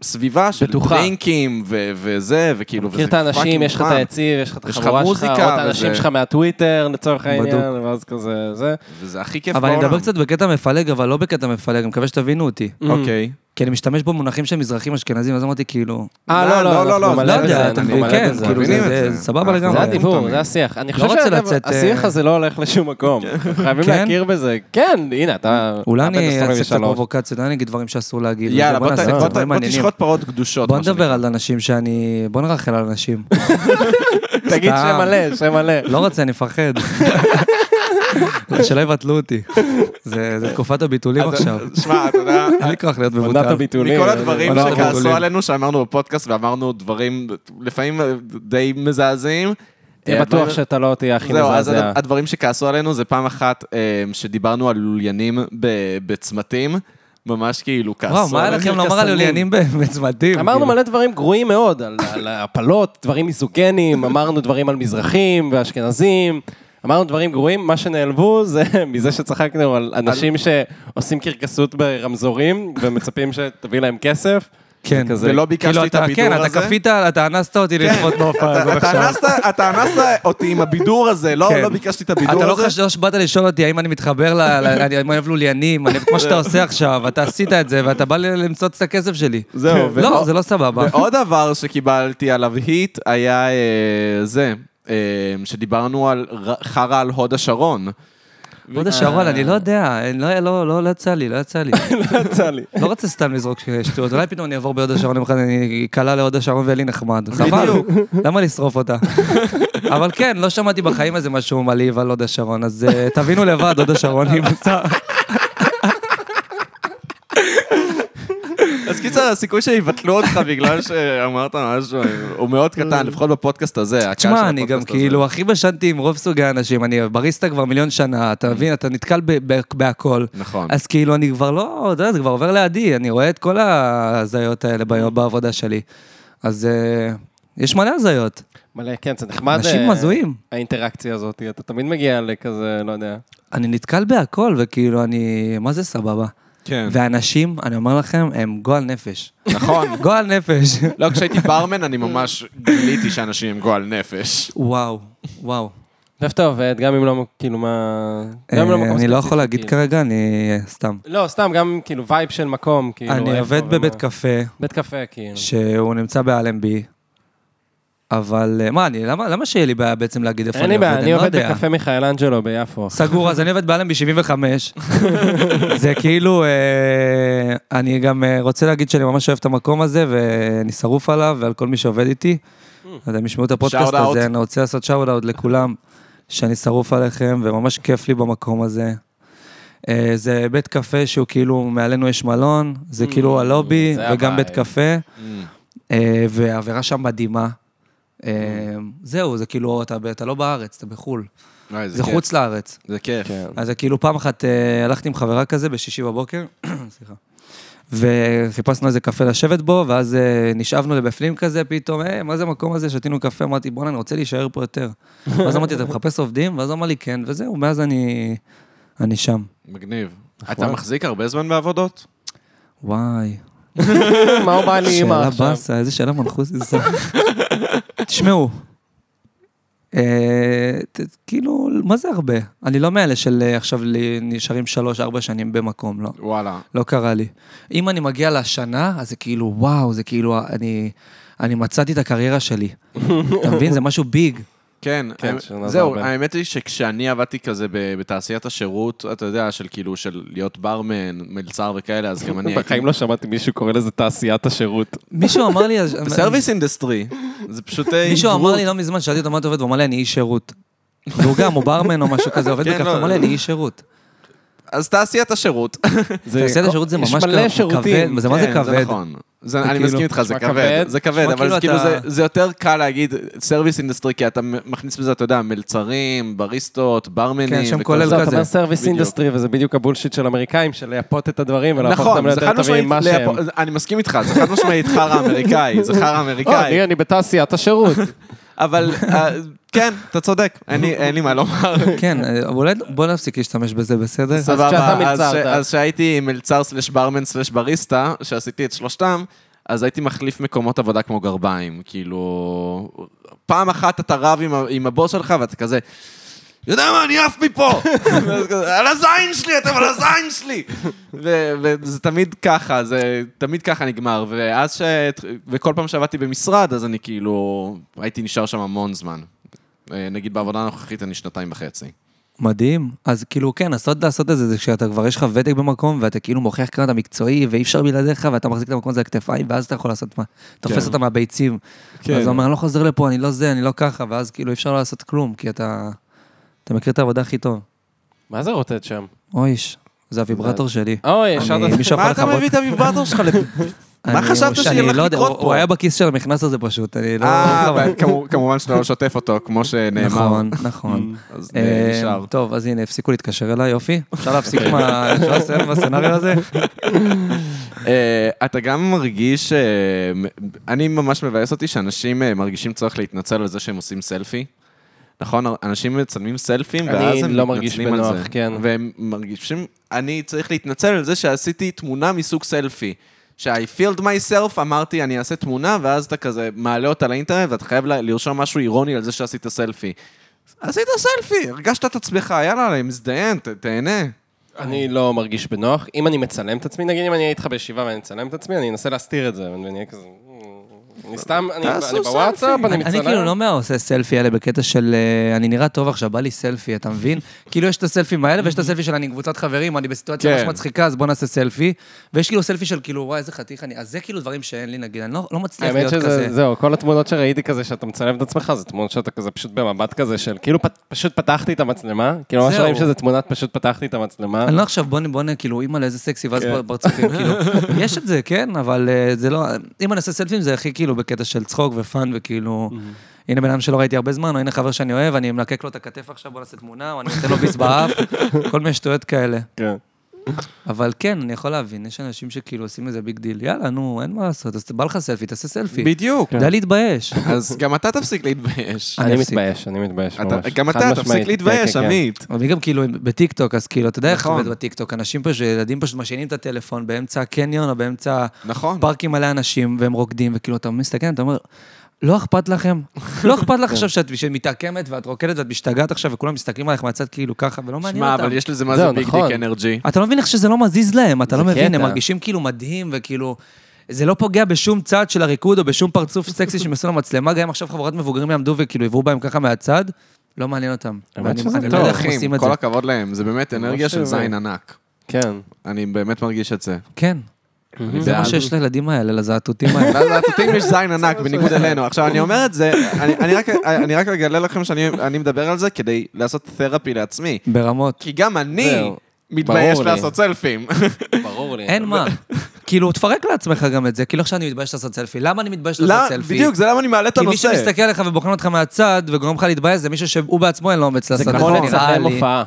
סביבה של בטוחה. דרינקים ו- וזה, וכאילו, וזה מכיר את האנשים, פאקינג יש לך את fun. היציב, יש לך את יש לך החבורה שלך, או את מוזיקה, האנשים וזה- שלך מהטוויטר, לצורך העניין, בדוק. ואז כזה, זה. וזה הכי כיף אבל בעולם. אני מדבר קצת בקטע מפלג, אבל לא בקטע מפלג, אני מקווה שתבינו אותי. אוקיי. כי אני משתמש במונחים של מזרחים אשכנזים, אז אמרתי כאילו... אה, לא, לא, לא, לא, לא, לא, אנחנו לא מלא יודע, בזה, אתה אנחנו מבין, מלא כן, בזה. כאילו מבינים זה- את זה. זה זה סבבה אנחנו זה לגמרי. מבינים. הדיבור, תמיד. זה השיח. אני חושב רוצה לצאת, שהשיח אה, הזה לא הולך לשום מקום. חייבים כן? להכיר בזה. כן, הנה, אתה... אולי אתה בן אני 23. אעשה קצת פרובוקציות, אולי אני אגיד דברים שאסור להגיד. יאללה, בוא ת- בוא נעשה קצת ת- דברים בוא מעניינים. תשחוט פרות קדושות. בוא מה שנקרא. נדבר על אנשים שאני... בוא נרחל על אנשים. תגיד שם סתם. מלא, שם מלא. לא רוצה, אני מפחד. שלא יבטלו אותי. זה זה תקופת הביטולים עכשיו. שמע, אתה יודע, אין לי כוח להיות עונת מבוטל. הביטולים. מכל אני- הדברים עונת שכעסו הבתולים. עלינו, שאמרנו בפודקאסט ואמרנו דברים לפעמים די מזעזעים. תהיה אה, בטוח הדברים- שאתה לא תהיה הכי זהו, אז מזעזע. הדברים שכעסו עלינו זה פעם אחת אה, שדיברנו על לוליינים ב- בצמתים. ממש כאילו כעסו. וואו, מה היה עליהם. לכם לומר על יוליינים בצמדים? אמרנו מלא דברים גרועים מאוד, על- על הפלות, דברים מיזוגנים, אמרנו דברים על מזרחים ואשכנזים, אמרנו דברים גרועים, מה שנעלבו זה מזה שצחקנו על אנשים שעושים קרקסות ברמזורים ומצפים שתביא להם כסף. כן. כזה, ולא כאילו, ביקשתי את אתה, הבידור כן, הזה. כן. אתה כפית, אתה אנסת אותי לצפות בהופעה הזאת אתה עכשיו. אנסת, אתה אנסת אותי עם הבידור הזה, לא, כן. לא ביקשתי את הבידור אתה לא הזה. חשב לא שבאת לשאול אותי האם אני מתחבר ל... ל- אני אני אוהב לוליינים, אני- כמו שאתה עושה עכשיו, אתה עשית את זה, ואתה בא ל- למצוץ את הכסף שלי. זהו, לא, ועוד- זה לא סבבה. ועוד דבר שקיבלתי עליו היט היה אה, זה, אה, שדיברנו על ר- חרא על הוד השרון. הוד השרון, אני לא יודע, אני לא- לא לא- לא יצא לי, לא יצא לי. לא יצא לי. לא רוצה סתם לזרוק שטויות, אולי פתאום אני אעבור בהוד השרון יום אחד, אני אקלע להוד השרון ואלי נחמד. חבל, בדיוק. למה לשרוף אותה? אבל כן, לא שמעתי בחיים איזה משהו מלהיב על הוד השרון, אז אה, תבינו לבד, הוד השרון היא מצב. אז קיצר, הסיכוי שיבטלו אותך בגלל שאמרת משהו הוא מאוד קטן, לפחות בפודקאסט הזה. הקהל של תשמע, אני גם הפודקאסט הזה. כאילו הכי בשנתי עם רוב סוגי האנשים, אני בריסטה כבר מיליון שנה, אתה מבין, אתה נתקל ב- ב- בהכל. נכון. אז כאילו, אני כבר לא, אתה יודע, זה כבר עובר לידי, אני רואה את כל ההזיות האלה ב- בעבודה שלי. אז אה, יש מלא הזיות. מלא, כן, זה נחמד. אנשים אה, הזויים. האינטראקציה הזאת, אתה תמיד מגיע לכזה, לא יודע. אני נתקל בהכל, וכאילו, אני... מה זה סבבה? כן. ואנשים, אני אומר לכם, הם גועל נפש. נכון. גועל נפש. לא, כשהייתי ברמן אני ממש גיליתי שאנשים הם גועל נפש. וואו, וואו. ואיפה אתה עובד, גם אם לא, כאילו, מה... גם אם אה, מקום אני לא ספציפי, יכול להגיד כאילו. כרגע, אני... סתם. לא, סתם, גם כאילו וייב של מקום, כאילו... אני איפה עובד ומה. בבית קפה, בית קפה, כאילו. שהוא נמצא באלנבי, אבל... אה, מה, אני... למה למה שיהיה לי בעיה בעצם להגיד איפה אין אני לי עובד? בעיה, אני לא עובד יודע. בקפה מיכאלנג'לו ביפו. סגור, אז אני עובד באלנבי 75. זה כאילו, אה, אני גם אה, רוצה להגיד שאני ממש אוהב את המקום הזה, ואני שרוף עליו ועל כל מי שעובד איתי. אז הם ישמעו את הפודקאסט Shout out. הזה, אני רוצה לעשות שאוט אאוט לכולם, שאני שרוף עליכם, וממש כיף לי במקום הזה. אה, זה בית קפה שהוא כאילו, מעלינו יש מלון, זה כאילו הלובי, זה וגם הווייב. בית קפה, אה, והאווירה שם מדהימה. אה, זהו, זה כאילו, אתה ב- אתה לא בארץ, אתה בחו"ל. זה חוץ לארץ. זה כיף. אז זה כאילו פעם אחת אה, הלכתי עם חברה כזה בשישי בבוקר, סליחה. וחיפשנו איזה קפה לשבת בו, ואז אה, נשאבנו לבפנים כזה, פתאום, היי, מה זה המקום הזה? שתינו קפה, אמרתי, בואנה, אני רוצה להישאר פה יותר. ואז אמרתי, אתה מחפש עובדים? ואז הוא אמר לי, כן, וזהו, מאז אני, אני שם. מגניב. אתה מחזיק הרבה זמן בעבודות? וואי, מה הוא בא לי אימא שאלה עכשיו? באסה, איזה שאלה מנחוס זה. תשמעו, אה, ת- כאילו, מה זה הרבה? אני לא מאלה של אה, עכשיו ל- נשארים שלוש-ארבע שנים במקום, לא. וואלה. לא קרה לי. אם אני מגיע לשנה, אז זה כאילו, וואו, זה כאילו, אני, אני מצאתי את הקריירה שלי. אתה מבין? זה משהו ביג. כן, כן, האמת- שנה זה זהו, הרבה. האמת היא שכשאני עבדתי כזה ב- בתעשיית השירות, אתה יודע, של כאילו, של להיות ברמן, מלצר וכאלה, אז גם אני הייתי... בחיים לא שמעתי מישהו קורא לזה תעשיית השירות. מישהו אמר לי... אז- סרוויס אינדסטרי, זה פשוט אה, מישהו אמר עברות. לי לא מזמן, שאלתי אותו מה אתה עובד, והוא אמר לי, אני איש שירות. והוא גם, הוא ברמן או משהו כזה, עובד כן, בקפה, לא, הוא אמר לי, אני איש שירות. אז תעשיית השירות. תעשיית השירות זה ממש יש מלא כ- שירותים. כבד, זה מה זה כן, זה כבד? נכון. זה- זה אני כאילו- מסכים איתך, זה נשמע כבד, כבד. זה כבד, נשמע אבל זה כאילו כאילו אתה- זה- זה יותר קל להגיד סרוויס אינדסטרי, כי אתה מכניס בזה, אתה יודע, מלצרים, בריסטות, ברמנים. כן, שם וכל כולל זה. זה, כזה. אתה אומר סרוויס בדיוק. אינדסטרי, וזה בדיוק הבולשיט של אמריקאים, של לייפות את הדברים ולהפוך אותם נכון, זה ליותר חד משמעית, טובים ממה שהם. להפ- אני מסכים איתך, זה חד משמעית חרא אמריקאי, זה חרא או, לא, אמריקאי. לא, אני- אני בתעשיית השירות. אבל אה, כן, אתה צודק, אין לי- אין לי מה לומר. כן, אה, אולי בוא נפסיק להשתמש בזה, בסדר? כשאתה סבבה, אז מלצר, ש- אתה- אז כשהייתי מלצר סלש ברמן סלש בריסטה, שעשיתי את שלושתם, אז הייתי מחליף מקומות עבודה כמו גרביים. כאילו, פעם אחת אתה רב עם ה- עם הבוס שלך ואתה כזה... יודע מה, אני עף מפה! ואז כזה, על הזין שלי, אתם על הזין שלי! ו- וזה תמיד ככה, זה תמיד ככה נגמר. ואז ש... וכל פעם שעבדתי במשרד, אז אני כאילו... הייתי נשאר שם המון זמן. אה, נגיד בעבודה הנוכחית אני שנתיים וחצי. מדהים. אז כאילו, כן, הסוד לעשות את זה, זה כשאתה כבר יש לך ותק במקום, ואתה כאילו מוכיח כאן אתה מקצועי, ואי אפשר בלעדיך, ואתה מחזיק את המקום הזה על הכתפיים, ואז אתה יכול לעשות מה? תופס אותה מהביצים. כן. כן. אז הוא אומר, אני לא חוזר לפה, אני לא זה, אני לא ככה, ואז כאילו אי אפשר לעשות כלום, כי אתה... אתה מכיר את העבודה הכי טוב. מה זה רוטט שם? אויש, זה הוויברטור שלי. אוי, אני- ישר... מישהו יכול מה אה, אתה לכבות? מביא את הוויברטור שלך? מה אני- חשבת שאני שיהיה לך לא יודע, לקרות הוא- פה? הוא היה בכיס של המכנס הזה פשוט, אני לא... אה, חבל. אבל כמובן- כמובן שאתה לא שוטף אותו, כמו שנאמר. נכון, נכון. אז אה, נשאר. אוקיי. טוב, אז הנה, הפסיקו להתקשר אליי, יופי. אפשר להפסיק עם ה... אפשר לסיים עם הסצנריו הזה? אה, אתה גם מרגיש, אה, מ- אני ממש מבאס אותי שאנשים אה, מרגישים צורך להתנצל על זה שהם עושים סלפי. נכון, אנשים מצלמים סלפים, אני ואז הם לא מרגיש מתנצלים על בנוח, זה. כן. והם מרגישים, אני צריך להתנצל על זה שעשיתי תמונה מסוג סלפי. ש-I filled myself, אמרתי, אני אעשה תמונה, ואז אתה כזה מעלה אותה לאינטרנט, ואתה חייב ל- לרשום משהו אירוני על זה שעשית סלפי. עשית סלפי, הרגשת את עצמך, יאללה, מזדיין, ת- תהנה. אני לא מרגיש בנוח. אם אני מצלם את עצמי, נגיד אם אני אהיה איתך בישיבה ואני מצלם את עצמי, אני אנסה להסתיר את זה, ואני אהיה כזה... "Hmm, אני סתם, אני תעשו אני בוואטסאפ, אני אני מצלם. אני כאילו לא מהעושה סלפי האלה בקטע של אה, אני נראה טוב עכשיו, בא לי סלפי, אתה מבין? כאילו יש את הסלפים האלה ויש את הסלפי של אני עם קבוצת חברים, אני בסיטואציה כן. ממש מצחיקה, אז בוא נעשה סלפי. ויש כאילו סלפי של כאילו, וואי, איזה חתיך אני... אז זה כאילו דברים שאין לי, נגיד, אני לא לא מצליח האמת להיות כזה. שזה, זהו, כל התמונות שראיתי כזה, שאתה מצלם את עצמך, זה תמונות שאתה כזה פשוט במבט כזה של, כאילו פ- פשוט פתחתי את המצלמה, כאילו ממש זהו. רואים שזה תמונת פשוט פתחתי את המצלמה. אני לא עכשיו, בוא נ- בוא נ... כאילו, אימא'לה, איזה סקסי, ואז כן. בר- ברצופים, כאילו. יש את זה, כן, אבל אה, זה לא... אם אני עושה סלפים, זה הכי כאילו בקטע של צחוק ופאן, וכאילו... הנה בן אדם שלא ראיתי הרבה זמן, או הנה חבר שאני אוהב, אני מלקק לו את הכתף עכשיו, בוא נעשה תמונה, או אני נותן לו ביס באף, כל מיני שטויות כאלה. כן. אבל כן, אני יכול להבין, יש אנשים שכאילו עושים מזה ביג דיל, יאללה, נו, אין מה לעשות, אז בא לך סלפי, תעשה סלפי. בדיוק. כן. די להתבייש. אז גם אתה תפסיק להתבייש. אני אני אפסיק. מתבייש, אני מתבייש אתה- ממש. גם חד אתה, משמעית. תפסיק כן, להתבייש, כן, כן. עמית. אבל היא גם כאילו בטיקטוק, אז כאילו, אתה יודע איך נכון. עובד בטיקטוק, אנשים פשוט, ילדים פשוט משנים את הטלפון באמצע הקניון או באמצע נכון. פארקים מלא אנשים, והם רוקדים, וכאילו, אתה מסתכל, אתה אומר, לא אכפת לכם? לא אכפת כן. לך עכשיו שאת מתעקמת ואת רוקדת ואת משתגעת עכשיו, וכולם מסתכלים עליך מהצד כאילו ככה, ולא מעניין שמע, אותם. אבל יש לזה מה זה זהו, ביג נכון. דיק אנרגי. אתה לא מבין איך שזה לא מזיז להם, אתה לא זה מבין, קטע. הם מרגישים כאילו מדהים, וכאילו... זה לא פוגע בשום צעד של הריקוד או בשום פרצוף סקסי שהם עשו למצלמה, גם אם עכשיו חבורת מבוגרים יעמדו וכאילו יבואו בהם ככה מהצד, לא מעניין אותם. האמת ואני- שזה אני לא טוב. יודע איך הם עושים אחים, את זה. כל הכבוד להם, זה באמת אנרגיה של שזה- זין ענק. כן. אני באמת מרגיש את זה. כן, אני זה מה בעד. שיש לילדים האלה, לזעתותים האלה. לא, לזאטוטים יש זין ענק, בניגוד אלינו. עכשיו, אני אומר את זה, אני- אני רק- אני רק אגלה לכם שאני אני מדבר על זה כדי לעשות תרפי לעצמי. ברמות. כי גם אני זהו. מתבייש ברור לי. לעשות סלפים. ברור לי. אין מה. כאילו, תפרק לעצמך גם את זה, כאילו עכשיו אני מתבייש לעשות סלפי. למה אני מתבייש לעשות לא, סלפי? בדיוק, זה למה אני מעלה את כי מי הנושא. שמסתכל עליך ובוחן אותך מהצד וגורם לך להתבייש, זה מישהו שהוא בעצמו אין לו אומץ לעשות זה את כמו נכון, נראה לצלם לי. הופעה.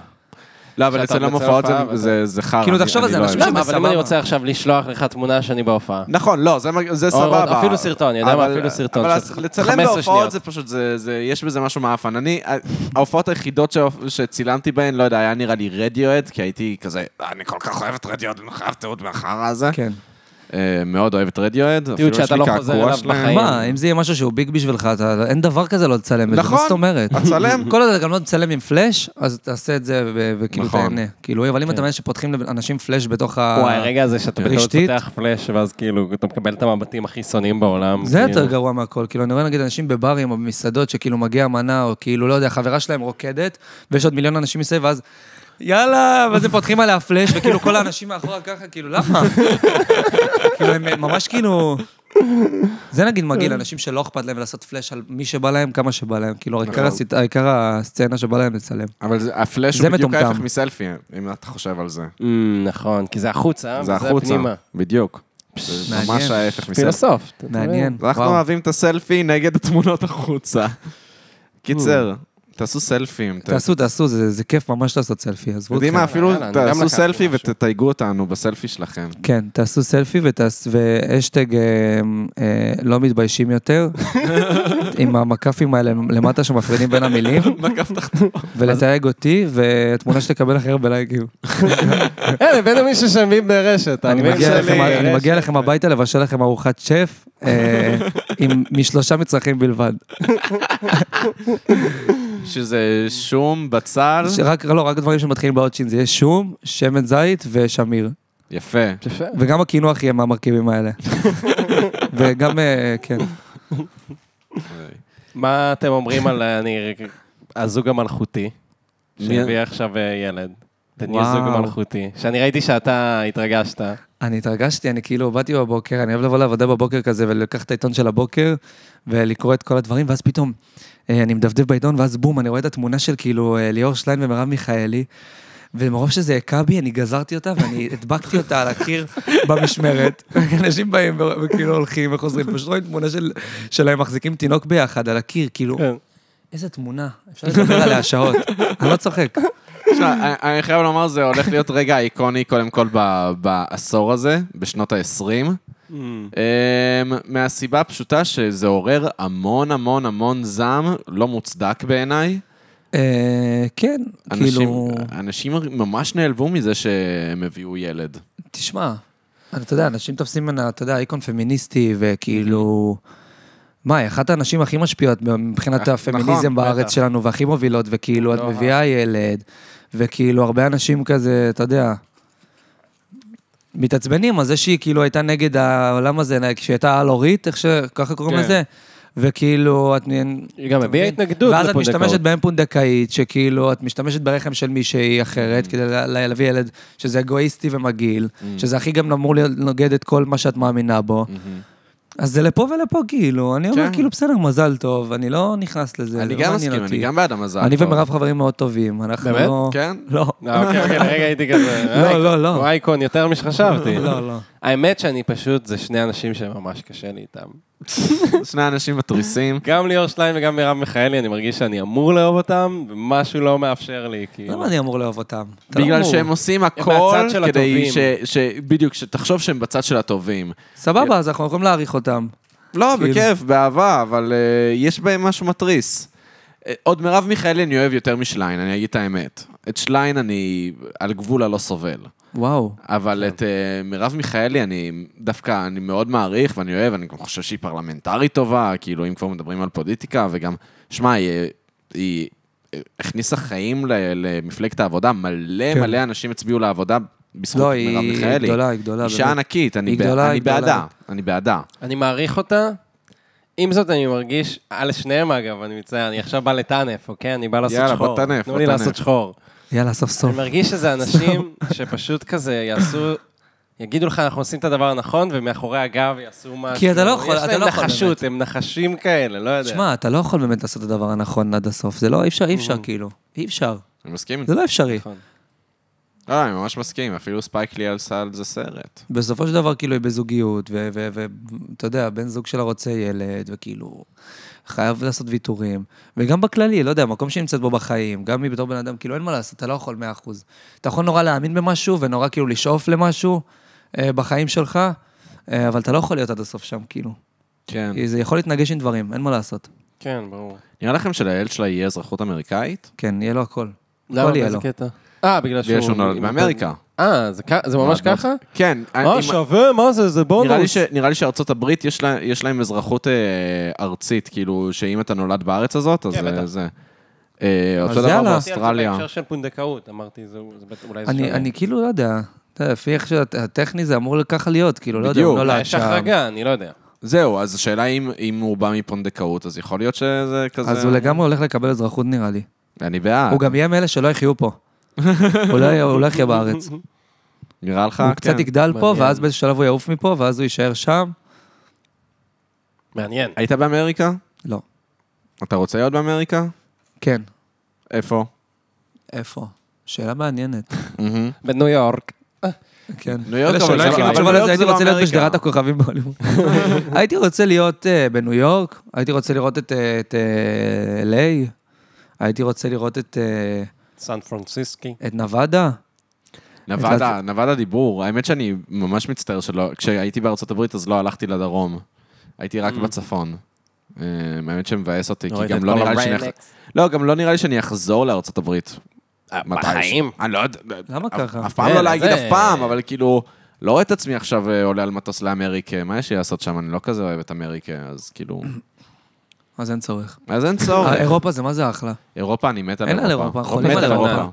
לא, אבל שאתה אצל מצלם המופעות זה- הופעה, זה- זה חרא. כאילו, אני- תחשוב על אני זה, לא אנשים אוהב את שמ- למה? אבל אם אני סבבה. רוצה עכשיו לשלוח לך תמונה שאני בהופעה. זה. נכון, לא, זה מ- זה או- או סבבה. אפילו סרטון, יודע מה? אבל- אפילו סרטון אבל של אז לצלם 15 בהופעות שניות. זה פשוט, זה, זה, יש בזה משהו מעפן. אני, ה- ההופעות היחידות שהופ- שצילמתי בהן, לא יודע, היה נראה לי רדיואט, כי הייתי כזה, אני כל כך אוהב את רדיואט, אני חייב תיעוד מהחרא הזה. כן. אה, מאוד אוהב את רדיואט, אפילו יש שאתה לי לא חוזר קעקוע אליו שלהם. בחיים. מה, אם זה יהיה משהו שהוא ביג בשבילך, אתה- אין דבר כזה לא לצלם את זה, נכון, מה זאת אומרת? הצלם. כל עוד אתה גם לא תצלם עם פלאש, אז תעשה את זה ו- וכאילו נכון. תהנה. כאילו, אבל אם אתה מבין שפותחים לאנשים פלאש בתוך ה... וואי, הרגע הזה שאתה בטעות אה, רשתית? פותח פלאש, ואז כאילו, אתה מקבל את המבטים הכי שונאים בעולם. זה כאילו. יותר גרוע מהכל, כאילו, אני רואה נגיד אנשים בברים או במסעדות שכאילו מגיע מנה, או כאילו, לא יודע, חברה שלהם רוקדת, ויש עוד מיליון אנשים מסביב, ואז... יאללה, ואז הם פותחים עליה פלאש, וכאילו כל האנשים מאחורה ככה, כאילו, למה? כאילו, הם ממש כאילו... זה נגיד מגעיל, אנשים שלא אכפת להם לעשות פלאש על מי שבא להם, כמה שבא להם. כאילו, העיקר הסצ- העיקר הסצנה שבא להם לצלם. אבל זה- הפלאש זה הוא בדיוק מטומטם. ההפך מסלפי, אם אתה חושב על זה. אמ, נכון, כי זה החוצה, זה וזה החוצה, הפנימה. בדיוק. זה מעניין. ממש ההפך מסלפי. פילוסוף. אתה מעניין. מבין? אנחנו וואו. אוהבים את הסלפי נגד התמונות החוצה. קיצר, תעשו סלפים. ת- תעשו, תעשו, זה זה כיף ממש לעשות סלפי, עזבו יודעים אתכם. מה, אפילו יאללה, אני גם תעשו לקחתי סלפי משהו. ותתייגו אותנו בסלפי שלכם. כן, תעשו סלפי ותעש... והשטג אה, אה, לא מתביישים יותר, עם המקפים האלה למטה שמפרידים בין המילים, מקף תחתון. ולתייג אותי, ותמונה שתקבל הכי הרבה לייקים. אה, הבאנו מישהו שמבין ברשת. אני העמית מגיע שלי לכם- אני ברשת. מגיע לכם הביתה לבשל לכם ארוחת שף, אה, עם משלושה מצרכים בלבד. שזה שום, בצל. ש- רק, לא, רק דברים שמתחילים באות שין, זה יהיה שום, שמן זית ושמיר. יפה. יפה. וגם הקינוח יהיה מהמרכיבים האלה. וגם, אה, כן. מה אתם אומרים על אה, אני- הזוג המלכותי, שהביא עכשיו אה, ילד? תני וואו. זוג מלכותי, שאני ראיתי שאתה התרגשת. אני התרגשתי, אני כאילו באתי בבוקר, אני אוהב לבוא לעבודה בבוקר כזה ולקח את העיתון של הבוקר ולקרוא את כל הדברים, ואז פתאום אה, אני מדפדף בעיתון, ואז בום, אני רואה את התמונה של כאילו אה, ליאור שליין ומרב מיכאלי, ומרוב שזה הכה בי, אני גזרתי אותה ואני הדבקתי אותה על הקיר במשמרת. אנשים באים ו- וכאילו הולכים וחוזרים, פשוט רואים תמונה של, שלהם מחזיקים תינוק ביחד על הקיר, כאילו, כן. איזה תמונה, אפשר לדבר עליה שעות. אני לא צוחק. תשמע, אני- אני חייב לומר, זה הולך להיות רגע איקוני קודם כל ב- בעשור הזה, בשנות ה-20. מהסיבה הפשוטה שזה עורר המון המון המון זעם, לא מוצדק בעיניי. אה, כן, אנשים, כאילו, אנשים ממש נעלבו מזה שהם הביאו ילד. תשמע, אתה יודע, אנשים תופסים ממנה, אתה יודע, איקון פמיניסטי, וכאילו... מה, היא אחת הנשים הכי משפיעות מבחינת נכון, הפמיניזם בארץ אה, בטח. שלנו, והכי מובילות, וכאילו, את לא, מביאה ילד, וכאילו, הרבה אנשים כזה, אתה יודע, מתעצבנים על זה שהיא כאילו הייתה נגד העולם הזה, נגיד, כשהיא הייתה על-הורית, איך ש... ככה קוראים כן. לזה? וכאילו, את... נהיין- היא גם אתה הביעה מבין? התנגדות ואז את לפונדקאות. משתמשת בהם פונדקאית, שכאילו, את משתמשת ברחם של מישהי אחרת Mm. כדי לה- להביא ילד, שזה אגואיסטי ומגעיל, שזה הכי גם אמור להיות נוגד את כל מה שאת מאמינה בו. אז זה לפה ולפה, כאילו. אני אומר, Mm-hmm. כן. כאילו, בסדר, מזל טוב, אני לא נכנס לזה, זה אני לא גם מעניין מסכים, אותי. אני גם בעד המזל. אני טוב. ומירב חברים מאוד טובים, אנחנו באמת? לא... כן? לא. אה, אוקיי, אוקיי, לרגע הייתי כזה. לא, אה, לא, לא. הוא אייקון יותר משחשבתי. לא, לא. האמת שאני פשוט, זה שני אנשים שממש קשה לי איתם. שני אנשים מתריסים. גם ליאור שליין וגם מרב מיכאלי, אני מרגיש שאני אמור לאהוב אותם, ומשהו לא מאפשר לי, כאילו. למה אני אמור לאהוב אותם? אתה לא בגלל אמור. שהם עושים הכל מהצד של כדי הטובים. ש... ש... בדיוק, שתחשוב שהם בצד של הטובים. סבבה, אז אנחנו יכולים להעריך אותם. לא, כאילו. בכיף, באהבה, אבל אה, יש בהם משהו מתריס. אה, עוד מרב מיכאלי אני אוהב יותר משליין, אני אגיד את האמת. את שליין אני על גבול הלא סובל. וואו. אבל כן. את אה, מרב מיכאלי אני דווקא, אני מאוד מעריך ואני אוהב, אני גם חושב שהיא פרלמנטרית טובה, כאילו, אם כבר מדברים על פוליטיקה, וגם, שמע, היא, אה, היא אה, הכניסה חיים ל- למפלגת העבודה, מלא כן. מלא אנשים הצביעו לעבודה בזכות לא, מרב היא מיכאלי. היא גדולה, היא גדולה. אישה באמת. ענקית, אני היא בע- גדולה, אני היא גדולה. בעדה, אני בעדה. אני מעריך אותה. עם זאת, אני מרגיש, על שניהם אגב, אני מצטער, אני עכשיו בא לטנף, אוקיי? אני בא לעשות יאללה, שחור. בוא תטנף, תנו בוא לי תטנף. לעשות שחור. יאללה, סוף סוף. אני מרגיש שזה אנשים שפשוט כזה יעשו, יגידו לך, אנחנו עושים את הדבר הנכון, ומאחורי הגב יעשו משהו. כי אתה לא יכול, אתה יש להם לא יכול נחשות, הם נחשים כאלה, לא יודע. תשמע, אתה לא יכול באמת לעשות את הדבר הנכון עד הסוף. זה לא, אי אפשר, אי אפשר, כאילו. אי אפשר. אני מסכים? זה לא אפשרי. נכון. לא, אני ממש מסכים, אפילו ספייק לי עשה על זה סרט. בסופו של דבר, כאילו, היא בזוגיות, ואתה יודע, בן זוג שלה רוצה ילד, וכאילו, חייב לעשות ויתורים. וגם בכללי, לא יודע, המקום שהיא נמצאת בו בחיים, גם היא בתור בן אדם, כאילו, אין מה לעשות, אתה לא יכול 100%. אתה יכול נורא להאמין במשהו, ונורא כאילו לשאוף למשהו אה, בחיים שלך, אה, אבל אתה לא יכול להיות עד הסוף שם, כאילו. כן. כי זה יכול להתנגש עם דברים, אין מה לעשות. כן, ברור. נראה לכם שלילד שלה יהיה אזרחות אמריקאית? כן, יהיה לו הכל. למה, הכל יהיה באיזה לו. קטע? אה, בגלל שהוא... בגלל שהוא נולד באמריקה. אה, זה כ- זה ממש ככה? כן. אה, אם- שווה, מה זה, זה נראה לי, בונוס. ש, נראה לי שארצות הברית יש, לה, יש להם אזרחות אה, ארצית, כאילו שאם אתה נולד בארץ הזאת, אז כן, אה, בטח. זה. אה, אותו אז דבר יאללה. באוסטרליה. כן, בהקשר של פונדקאות, אמרתי, זה- זה בטח- אולי זה אני, שונה. אני כאילו לא יודע, אתה יודע, לפי איך שהטכני זה אמור ככה להיות, כאילו, לא יודע, בדיוק, אה, הוא נולד יש שם. החרגה, אה, אני לא יודע. זהו, אז השאלה אם, אם הוא בא מפונדקאות, אז יכול להיות שזה כזה... אז הוא לגמרי הולך לקבל אזרחות נראה לי. אני בעד. הוא גם יהיה מאלה שלא יחיו פה. הוא לא יהיה- הוא לא יחיה בארץ. נראה לך? הוא קצת אה, כן. יגדל פה, מעניין. ואז באיזה שלב הוא יעוף מפה, ואז הוא יישאר שם. מעניין. היית באמריקה? לא. אתה רוצה להיות באמריקה? כן. איפה? איפה? שאלה מעניינת. בניו יורק. כן. ניו יורק, אלה אבל שלא זה- הכינו אבל תשובה ניו יורק לזה, הייתי זה לא רוצה להיות אמריקה. בשדרת הכוכבים בהוליווד. הייתי רוצה להיות אה, בניו יורק, הייתי רוצה לראות את אה, את, אה, LA, הייתי רוצה לראות את, אה, סן פרנסיסקי. את נבדה. נבדה, נבדה דיבור. האמת שאני ממש מצטער שלא, כשהייתי בארצות הברית אז לא הלכתי לדרום. הייתי רק בצפון. אה, האמת שמבאס אותי, כי גם לא נראה לי שאני... אח- לא, גם לא נראה לי שאני אחזור לארצות הברית. מתישהו. אה, בחיים. אני לא יודע. למה אף- ככה? אף פעם כן, לא להגיד זה- אף פעם, אבל כאילו, לא רואה את עצמי עכשיו אה, עולה על מטוס לאמריקה, מה יש לי לעשות שם? אני לא כזה אוהב את אמריקה, אז כאילו... אז אין צורך. אה, אז אין צורך. אירופה זה מה זה אחלה. אירופה, אני מת על אין אירופה. על אירופה, חולים מת על אירופה. אירופה.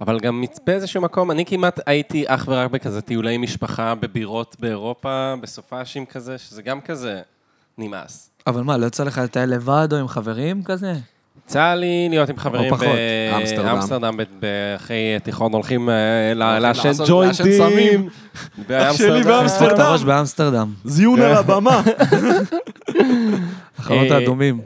אבל גם מצפה איזשהו מקום, אני כמעט הייתי אך ורק בכזה טיולי משפחה בבירות באירופה, בסופאשים כזה, שזה גם כזה נמאס. אבל מה, לא יצא לך לטייל לבד או עם חברים כזה? יצא לי להיות עם חברים פחות. אמסטרדם. באמסטרדם, ב- ב- אחרי תיכון הולכים אה, ל- לעשן לעשות- לעשן סמים. ג'וינטים. אח שלי לא, באמסטרדם. את הראש באמסטרדם. זיון על הבמה. החלונות אה, האדומים.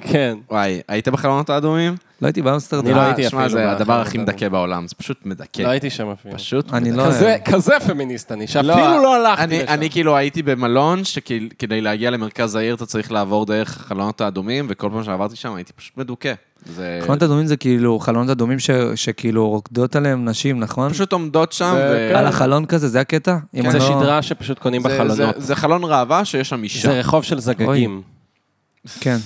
כן. וואי, היית בחלונות האדומים? אה, לא הייתי באמסטרדם. אני לא הייתי שמע, אפילו זה באחד הדבר הכי מהדברים. מדכא בעולם, זה פשוט מדכא. לא הייתי שם אפילו. כן. פשוט אני מדכא. לא... כזה- כזה פמיניסט אני, שאפילו לא הלכתי אני- לשם. אני כאילו הייתי במלון, שכדי להגיע למרכז העיר אתה צריך לעבור דרך החלונות האדומים, וכל פעם שעברתי שם הייתי פשוט מדוכא. זה... חלונות אדומים זה כאילו, חלונות אדומים ש- שכאילו רוקדות עליהם נשים, נכון? פשוט עומדות שם, זה- ו... כן. על החלון כזה, זה הקטע? אם זה אני לא- שדרה שפשוט קונים זה- זה- בחלונות. זה חלון ראווה שיש שם אישה. זה רחוב של זגגים. כן.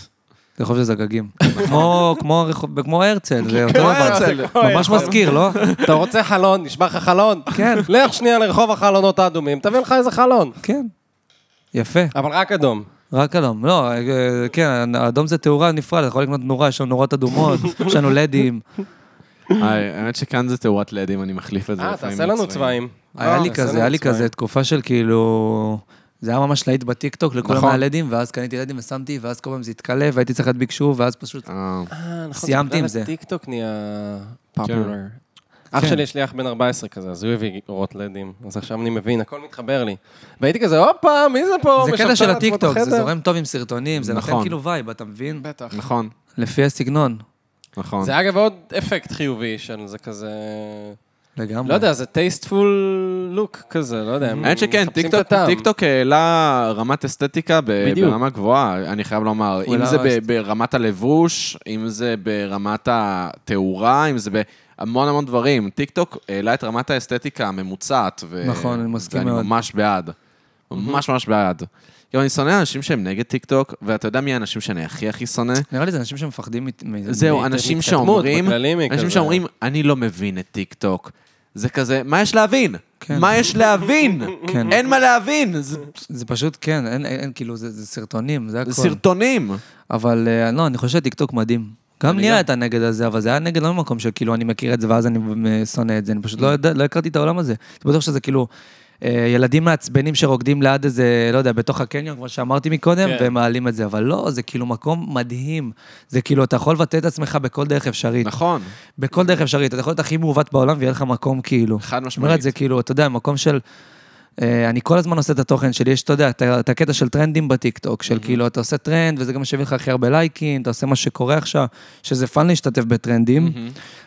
זה רחוב של זגגים. כמו- כמו הרחוב- כמו הרצל, זה אותו כמו דבר. הרצל. ממש מזכיר, לא? אתה רוצה חלון, נשבר לך חלון? כן. לך שנייה לרחוב החלונות האדומים, תביא לך איזה חלון. כן. יפה, אבל רק אדום. רק אדום. לא, אה, כן, האדום זה תאורה נפרד, אתה יכול לקנות נורה, יש לנו נורות אדומות, יש לנו לדים. היי, האמת שכאן זה תאורת לדים, אני מחליף את זה. אה, לפעמים תעשה לנו בצבעים. צבעים. היה אה, לי תעשה כזה, לנו היה לי צבעים. כזה תקופה של כאילו... זה היה ממש להיט בטיקטוק, לכולם נכון. היה לדים, ואז קניתי לדים ושמתי, ואז כל פעם זה התקלף, והייתי צריך להדביק שוב, ואז פשוט... אה, אה, נכון, סיימתי עם בגלל זה. הטיקטוק נהיה כן. פופולר. אח כן. שלי, יש לי אח בן 14 כזה, אז הוא הביא רוט לדים, אז עכשיו אני מבין, הכל מתחבר לי. והייתי כזה, הופה, מי זה פה? זה משפצר קטע של לא, לעצמו את הטיקטוק, זה החדר?" זורם טוב עם סרטונים, זה נותן נכון. כאילו וייב, אתה מבין? בטח. נכון, לפי הסגנון, נכון. זה אגב עוד אפקט חיובי של זה כזה... לגמרי. לא יודע, זה טייסטפול לוק כזה, לא יודע. הם האמת שכן, מחפשים את טיקטוק- הטעם. טיקטוק העלה רמת אסתטיקה ב- בדיוק. ברמה גבוהה, אני חייב לומר. אם העלה זה ב- אסת- ברמת הלבוש, אם זה ברמת התאורה, אם זה בהמון המון דברים. טיקטוק העלה את רמת האסתטיקה הממוצעת. ו- נכון, אני מסכים ואני מאוד. ממש בעד. ממש ממש בעד. כאילו, אני שונא אנשים שהם נגד טיקטוק, ואתה יודע מי האנשים שאני הכי הכי שונא? נראה לי זה אנשים שמפחדים מת- מזה. זהו, מהת- אנשים מהתקדמות שאומרים, בכללים היא אנשים כזה. שאומרים, אני לא מבין את טיק טוק. זה כזה, מה יש להבין? כן. מה יש להבין? כן. אין מה להבין, זה- זה פשוט, כן, אין, אין, אין כאילו, זה, זה סרטונים, זה הכול. זה סרטונים. אבל אה, לא, אני חושב שטיקטוק מדהים. גם לי היה את הנגד הזה, אבל זה היה נגד לא ממקום שכאילו אני מכיר את זה ואז אני אה, שונא את זה, אני פשוט לא, יודע, לא הכרתי את העולם הזה. אני בטוח שזה כאילו אה, ילדים מעצבנים שרוקדים ליד איזה, לא יודע, בתוך הקניון, כמו שאמרתי מקודם, כן. והם מעלים את זה, אבל לא, זה כאילו מקום מדהים. זה כאילו, אתה יכול לבטא את עצמך בכל דרך אפשרית. נכון. בכל דרך אפשרית. אתה יכול להיות הכי מעוות בעולם ויהיה לך מקום כאילו. חד זאת אומרת, משמעית. זה כאילו, אתה יודע, מקום של... אה, אני כל הזמן עושה את התוכן שלי, יש, אתה יודע, את ה- את הקטע של טרנדים בטיקטוק, Mhm. של כאילו, אתה עושה טרנד, וזה גם מביא לך הכי הרבה לייקים, אתה עושה מה שקורה עכשיו, שזה פאן להשתתף בטרנדים, Mhm.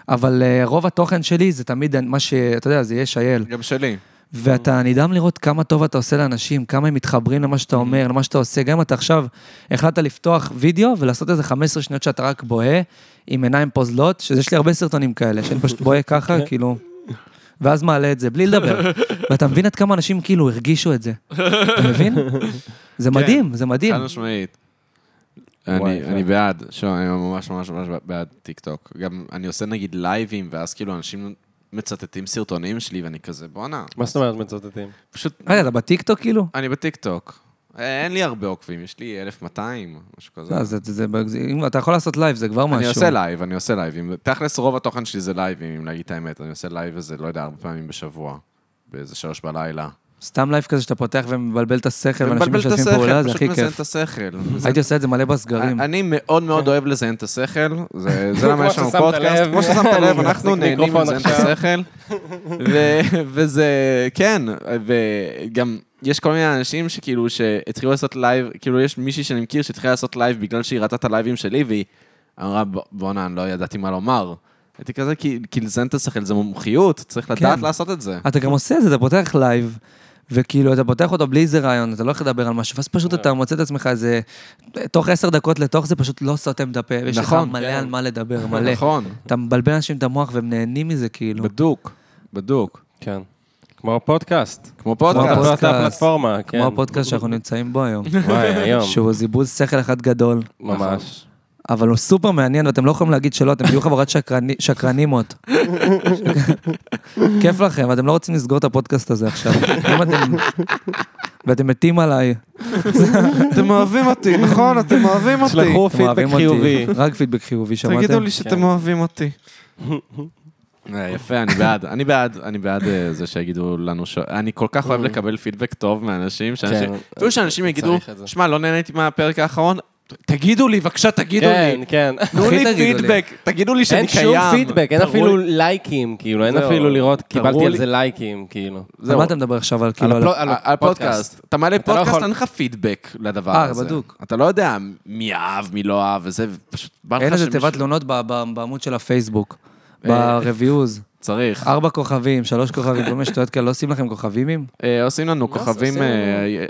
אבל אה, רוב התוכן שלי זה תמיד מה ש... אתה יודע, זה יהיה שייל. גם שלי. ואתה נדהם לראות כמה טוב אתה עושה לאנשים, כמה הם מתחברים למה שאתה אומר, למה שאתה עושה. גם אם אתה עכשיו החלטת לפתוח וידאו ולעשות איזה 15 שניות שאתה רק בוהה, עם עיניים פוזלות, שזה יש לי הרבה סרטונים כאלה, שאני פשוט בוהה כן. ככה, כאילו... ואז מעלה את זה, בלי לדבר. ואתה מבין עד כמה אנשים כאילו הרגישו את זה. אתה מבין? זה כן. מדהים, זה מדהים. חד משמעית. וואי, אני יפה. אני בעד, שוב, אני ממש ממש ממש בעד טיק טוק. גם אני עושה נגיד לייבים, ואז כאילו אנשים מצטטים סרטונים שלי, ואני כזה, בואנה, מה זאת אומרת מצוטטים? פשוט, רגע, אתה בטיקטוק כאילו? אני בטיק טוק. אה, אין לי הרבה עוקבים, יש לי 1200, משהו כזה. לא, זה, זה, זה, אם אתה יכול לעשות לייב, זה כבר משהו. אני עושה לייב, אני עושה לייבים. תכלס, רוב התוכן שלי זה לייבים, אם להגיד את האמת. אני עושה לייב איזה, לא יודע, הרבה פעמים בשבוע. באיזה שלוש בלילה. סתם לייב כזה שאתה פותח ומבלבל את השכל, ואנשים מבלבל את כן, משתפים השכל, פעולה, זה פשוט הכי מזיין כיף. את השכל. הייתי עושה את זה מלא בסגרים. אני אני מאוד מאוד אוהב לזיין את השכל, זה זה למה כן. כמו יש לנו ששמת פודקאסט. לב. כמו ששמת לב, אני אנחנו מחזיק נהנים מיקרופון לזיין את עכשיו. השכל. ו- וזה, כן, וגם... יש כל מיני אנשים שכאילו, שהתחילו לעשות לייב, כאילו יש מישהי שאני מכיר שהתחילה לעשות לייב בגלל שהיא ראתה את הלייבים שלי, והיא אמרה, "ב- בואנה, אני לא ידעתי מה לומר. הייתי כזה, כי כי לזיין את השכל זה מומחיות, כן. צריך לדעת לעשות את זה. אתה גם עושה את זה, אתה פותח לייב. וכאילו, אתה פותח אותו בלי איזה רעיון, אתה לא הולך לדבר על משהו, ואז אה. פשוט אתה מוצא את עצמך איזה... תוך עשר דקות לתוך זה פשוט לא סותם את הפה, ויש לך נכון, מלא כן. על מה לדבר, מלא. נכון, אתה מבלבל אנשים את המוח והם נהנים מזה, כאילו. בדוק, בדוק. כן. כמו הפודקאסט. כמו כמו פודקאסט. הפודקאסט. הפודקאסט. הפלטפורמה, כן. כמו הפודקאסט שאנחנו נמצאים בו כן. היום, וואי, היום. שהוא זיבוז שכל אחד גדול, ממש. אבל הוא סופר מעניין, ואתם לא יכולים להגיד שלא, אתם תהיו חברת שקרני- שקרנימות. כיף לכם, ואתם לא רוצים לסגור את הפודקאסט הזה עכשיו. אם אתם... ואתם מתים עליי. אתם אוהבים אותי, נכון? אתם אוהבים אותי. שלחו אתם אוהבים פידבק אותי. חיובי. רק פידבק חיובי, שמעתם? כן. אוהבים אותי. אה, יפה, אני בעד. אני בעד, אני בעד אה, זה שיגידו לנו ש... אני כל כך אוהב לקבל פידבק טוב מאנשים, שאנשים... Mm. כן. אפילו שאנשים יגידו, צריך את זה. שמע, לא נהניתי מהפרק האחרון, תגידו לי, בבקשה, תגידו כן, לי. כן. תנו הכי לי תגידו לי. פידבק, תגידו לי שאני אין קיים. שום פידבק, אין תראו אפילו לי- לייקים, כאילו, אין זהו. אפילו לראות, קיבלתי על לי- זה לייקים, כאילו. על מה אתה מדבר עכשיו? על כאילו... לא על על- הפלו- אה, על פודקאסט. אתה מעלה לא פודקאסט, יכול- אין לך פידבק לדבר אה, הזה. בדוק. אתה לא יודע מי אהב, מי לא אהב, וזה פשוט בא לך אין איזה שמישהו- תיבת לא- תלונות ב- ב- בעמוד של הפייסבוק. ב-reviews. צריך. ארבע כוכבים, שלוש כוכבים, כל מיני שטויות כאלה. לא עושים לכם כוכבים אם? אה, עושים לנו כוכבים, עושים לנו.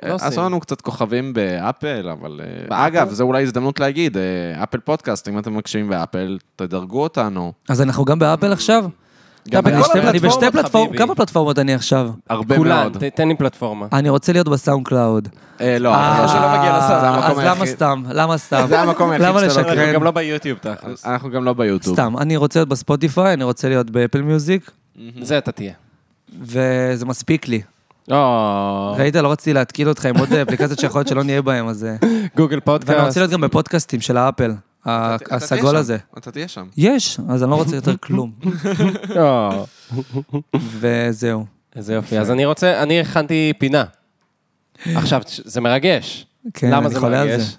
אה, לא עשו עושים. לנו קצת כוכבים באפל, אבל... אה, אגב, זו אולי הזדמנות להגיד, אה, אפל פודקאסט, אם אתם מקשיבים באפל, תדרגו אותנו. אז אנחנו גם באפל עכשיו? גם אני בכל שתי- אני הפלטפורמות, בשתי פלטפורמות, חביבי. כמה פלטפורמות אני עכשיו? הרבה כולן, מאוד. ת- תן לי פלטפורמה. אני רוצה להיות בסאונד קלאוד. אה, אה, לא, אבל לא שלא מגיע לסוף, זה המקום אז למה היחיד. סתם? למה סתם? זה המקום היחיד למה שאתה לא- לשקר? אנחנו גם לא ביוטיוב תכלס. אנחנו גם לא ביוטיוב. סתם, אני רוצה להיות בספוטיפיי, אני רוצה להיות באפל מיוזיק, זה אתה תהיה. וזה מספיק לי. או, ראית, לא רציתי להתקיל אותך עם עוד אפליקציות שיכול להיות שלא נהיה בהן, אז... אה, גוגל ואני פודקאסט. רוצה להיות גם בפודקאסטים של האפל, ה- אתה- אתה תהיה הסגול שם, הזה. אתה תהיה שם. יש, אז אני לא רוצה יותר כלום. או, וזהו. איזה יופי. אז אני רוצה, אני הכנתי פינה. עכשיו, תש- זה מרגש. כן, למה אני זה לא חולה על מרגש? זה.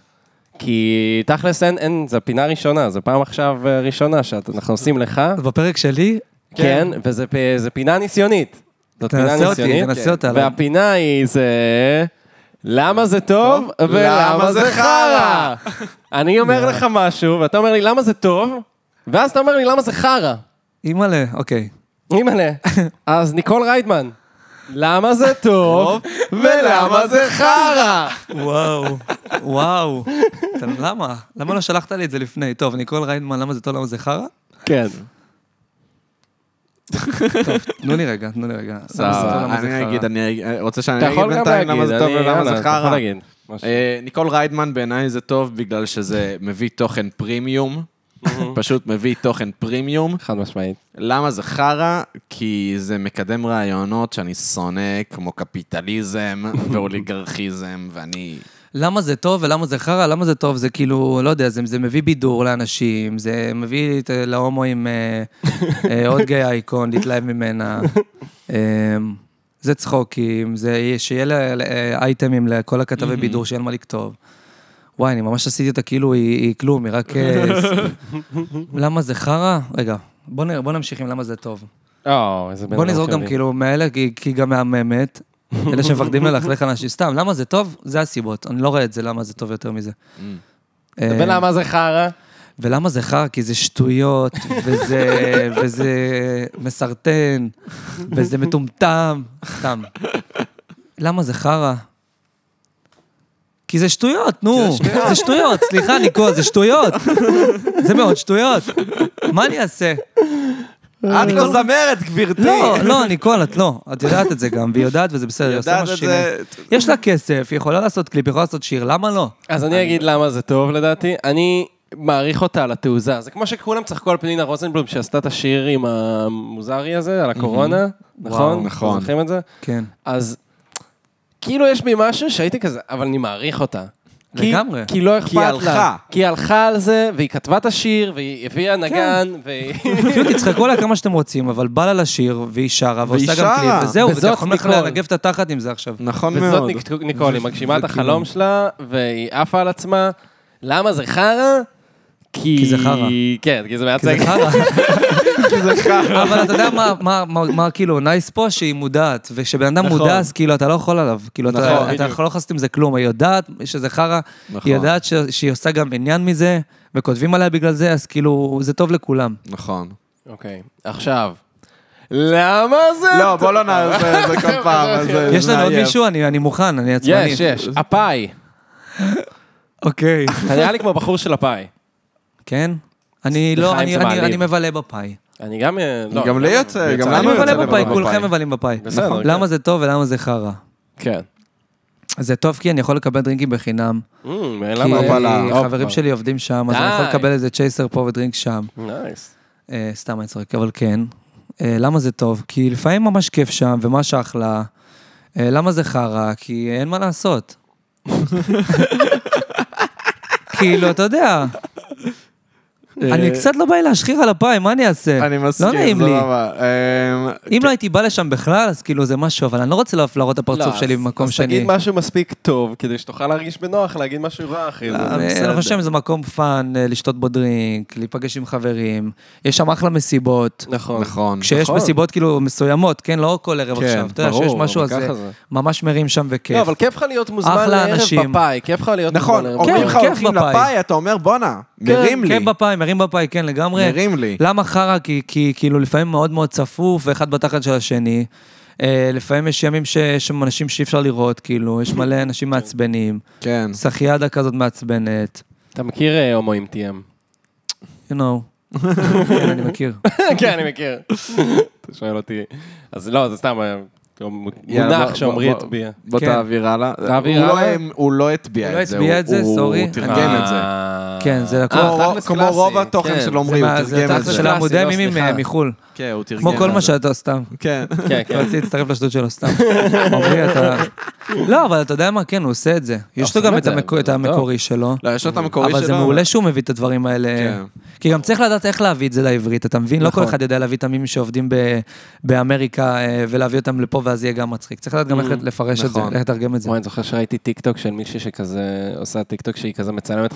כי תכלס אין, אין, זו פינה ראשונה, זו פעם עכשיו אה, ראשונה שאנחנו עושים לך, אז בפרק שלי, כן, וזו פינה ניסיונית. זאת פינה תנסה אותי, ניסיונית. כן. תנסה אותה. לא? והפינה היא זה... למה זה טוב טוב, ולמה למה זה זה חרא? אני לא. אומר לך משהו, ואתה אומר לי למה זה טוב, ואז אתה אומר לי למה זה חרא. אימא'לה, אוקיי. אימא'לה. אז ניקול ריידמן, למה זה טוב ולמה זה חרא? וואו, וואו. אתה- למה? למה לא שלחת לי את זה לפני? טוב, ניקול ריינמן, למה זה טוב, למה זה חרא? כן. תנו לי רגע, תנו לי רגע. למה זה טוב, סבבה, למה זה אני חרא? אגיד, אני אה, רוצה שאני אתה אגיד יכול גם בינתיים להגיד, למה זה טוב אני- ולמה יאללה, זה אתה יכול חרא. להגיד משהו. אה, ניקול ריידמן בעיניי זה טוב בגלל שזה מביא תוכן פרימיום. פשוט מביא תוכן פרימיום. חד משמעית. למה זה חרא? כי זה מקדם רעיונות שאני שונא, כמו קפיטליזם ואוליגרכיזם, ואני... למה זה טוב ולמה זה חרא, למה זה טוב, זה כאילו, לא יודע, זה, זה מביא בידור לאנשים, זה מביא את, להומואים אה, אה, עוד גיי אייקון, להתלהב ממנה. אה, זה צחוקים, זה שיהיה לה- לה- אייטמים לכל הכתבי בידור, שאין מה לכתוב. וואי, אני ממש עשיתי אותה כאילו היא, היא כלום, היא רק... אה, ס- למה זה חרא? רגע, בוא, נראה, בוא נמשיך עם למה זה טוב. או, איזה בן בוא אדם נזרוק גם כללי. כאילו מאלה, כי כי היא גם מהממת. אלה שמפחדים ללכלך אנשים. סתם, למה זה טוב? זה הסיבות. אני לא רואה את זה, למה זה טוב יותר מזה. אה, Mm. ולמה זה חרא? ולמה זה חרא? כי זה שטויות, וזה- וזה מסרטן, וזה מטומטם, סתם. למה זה חרא? כי זה שטויות, נו. זה שטויות, סליחה, ניקו, זה שטויות. זה מאוד שטויות. מה אני אעשה? את לא זמרת, גברתי! לא, לא, ניקול, את לא. את יודעת את זה גם, והיא יודעת וזה בסדר, היא עושה יודעת משהו את שינוי. זה... יש לה כסף, היא יכולה לעשות קליפ, היא יכולה לעשות שיר, למה לא? אז אני אגיד למה זה טוב לדעתי. אני מעריך אותה על התעוזה. זה כמו שכולם צחקו על פנינה רוזנבלום שעשתה את השיר עם המוזרי הזה, על הקורונה, נכון? נכון. זוכרים את זה? כן. אז כאילו יש בי משהו שהייתי כזה, אבל אני מעריך אותה. כי- לגמרי. כי לא אכפת כי היא לה. הלכה. כי היא הלכה על זה, והיא כתבה את השיר, והיא הביאה נגן, והיא... כאילו, תצחקו עליה כמה שאתם רוצים, אבל בא לה לשיר, והיא שרה, ועושה והיא גם שרה. קליפ, וזהו, וזה וזאת יכול לך ניקול. לנגב את התחת עם זה עכשיו. נכון וזאת מאוד. ניק- ניקול, היא מגשימה את כאילו- החלום שלה, והיא עפה על עצמה. למה זה חרא? כי זה חרא. כן, כי זה כי זה מייצג. חרא. כי זה חרא. אבל אתה יודע מה- מה- מה מה כאילו נייס פה שהיא מודעת, וכשבן אדם נכון. מודע אז כאילו אתה לא יכול עליו, כאילו אתה- נכון, אתה בדיוק. יכול לא לעשות עם זה כלום, היא יודעת שזה חרא, נכון. היא יודעת ש- שהיא עושה גם עניין מזה, וכותבים עליה בגלל זה, אז כאילו זה טוב לכולם. נכון. אוקיי, עכשיו. למה זה... לא, בוא לא נעשה את זה כל פעם. זה- לא יש זה לנו עוד מעייף. מישהו? אני אני מוכן, אני עצמני. יש, יש, הפאי. אוקיי. אתה נראה לי כמו בחור של הפאי. כן? אני סליחה לא, אם אני- זה אני מעליב. אני מבלה בפאי. אני גם... אה, לא, גם לי יוצא, גם אני לנו יוצא מבלה לבלה בפאי, כולכם מבלים בפאי. בסדר, נכון. כן. למה זה טוב ולמה זה חרא? כן. זה טוב כי אני יכול לקבל דרינקים בחינם. Mm, כי למה? הופה. חברים שלי עובדים שם, אז אני יכול די. לקבל איזה צ'ייסר פה ודרינק שם. נייס. אה, סתם אני צוחק, אבל כן. אה, למה זה טוב? כי לפעמים ממש כיף שם, וממש אחלה. אה, למה זה חרא? כי אין מה לעשות. כאילו, אתה יודע. אני קצת לא בא לי להשחיר על הפריים, מה אני אעשה? אני מסכים, לא נעים לי. סבבה. אמ, אם לא הייתי בא לשם בכלל, אז כאילו זה משהו, אבל אני לא רוצה להראות את הפרצוף לא, שלי אז- במקום אז שני. תגיד משהו מספיק טוב, כדי שתוכל להרגיש בנוח להגיד משהו רע אחרי זה. אה, אני חושב שזה מקום פאן, אה, לשתות בו דרינק, להיפגש עם חברים. יש שם אחלה מסיבות. נכון. נכון. כשיש נכון. מסיבות כאילו מסוימות, כן? לא כל ערב כן, עכשיו. אתה יודע, ברור, שיש משהו, אבל אז זה ככה זה. ממש מרים שם וכיף. לא, אבל כיף לך להיות מוזמן אחלה לערב אנשים. בפאי, כיף לך להיות נכון, מוזמן לערב אומרים לך בפאי. כיף הולכים בפאי. לפאי, אתה אומר בואנה, כן, מרים לי. כיף בפאי, מרים בפאי, כן, לגמרי. מרים לי. למה חרא? כי, כי כאילו לפעמים מאוד מאוד צפוף, ואחד בתחת של השני. אה, לפעמים יש ימים ש- יש שם אנשים שאי אפשר לראות, כאילו, יש מלא אנשים מעצבנים. כן. סחיאדה כזאת מעצבנת. אתה מכיר אה, הומואים TM? You know. כן, אני מכיר. כן, אני מכיר. אתה שואל אותי. אז לא, זה סתם אה, יאללה, מונח בוא- שעמרי בוא- הטביע. בוא כן. תעביר הלאה. תעביר הוא לא- הלאה? הוא לא הטביע הוא לא את זה. אה. הטביע את זה, סורי. הוא תרגם את זה. כן, זה לקוח. כמו אה, רוב- תכלס כמו קלאסי, רוב התוכן כן. של עמרי, זה הוא מה- זה תרגם את התכלס זה. של קלאסי, העמודי לא, ימים סליחה. עם- מחו"ל. כן, הוא תרגם כמו כל את מה זה. שאתה סתם. כן. כן, כן. רציתי להצטרף לשטות שלו סתם. עמרי, אתה... לא, אבל אתה יודע מה, כן, הוא עושה את זה. יש לו עושים גם את את זה, המקו- את זה טוב. המקורי שלו. לא, יש לו את המקורי שלו. אבל זה מעולה שהוא מביא את הדברים האלה. כן. כי גם צריך לדעת איך להביא את זה לעברית, אתה מבין? לא כל נכון. אחד יודע להביא את המימים שעובדים ב- באמריקה אה, ולהביא אותם לפה, ואז יהיה גם מצחיק. צריך לדעת גם איך לפרש את זה, נכון. איך לתרגם את זה. וואי, אני זוכר שראיתי טיקטוק של מישהי שכזה עושה טיקטוק שהיא כזה מצלמת,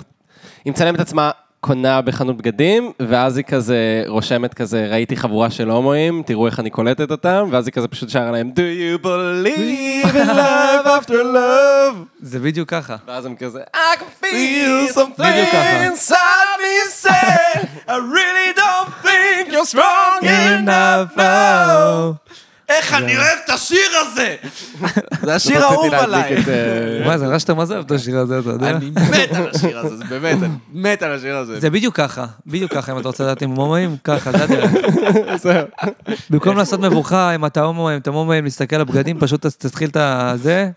היא מצלמת עצמה, קונה בחנות בגדים, ואז היא כזה רושמת כזה, ראיתי חבורה של הומואים, תראו איך אני קולטת אותם, ואז היא כזה פשוט שרה להם, Do you believe in love after love? זה בדיוק ככה. ואז הם כזה, "אה, I can feel בדיוק ככה. something inside me say, I really don't think you're strong enough now. איך אני אוהב את השיר הזה! זה השיר רציתי האהוב להדליק עליי. את, אה, וואי, זה נראה שאתה מה זה אוהב את השיר הזה, אתה יודע? אני מת על השיר הזה, זה באמת, אני מת על השיר הזה. זה בדיוק ככה, בדיוק ככה, אם אתה רוצה לדעת אם הם הומואים, ככה, זה הדרך. במקום לעשות מבוכה, אם אתה הומואים, אם אתה הומואים, להסתכל על הבגדים, פשוט ת- תתחיל את הזה,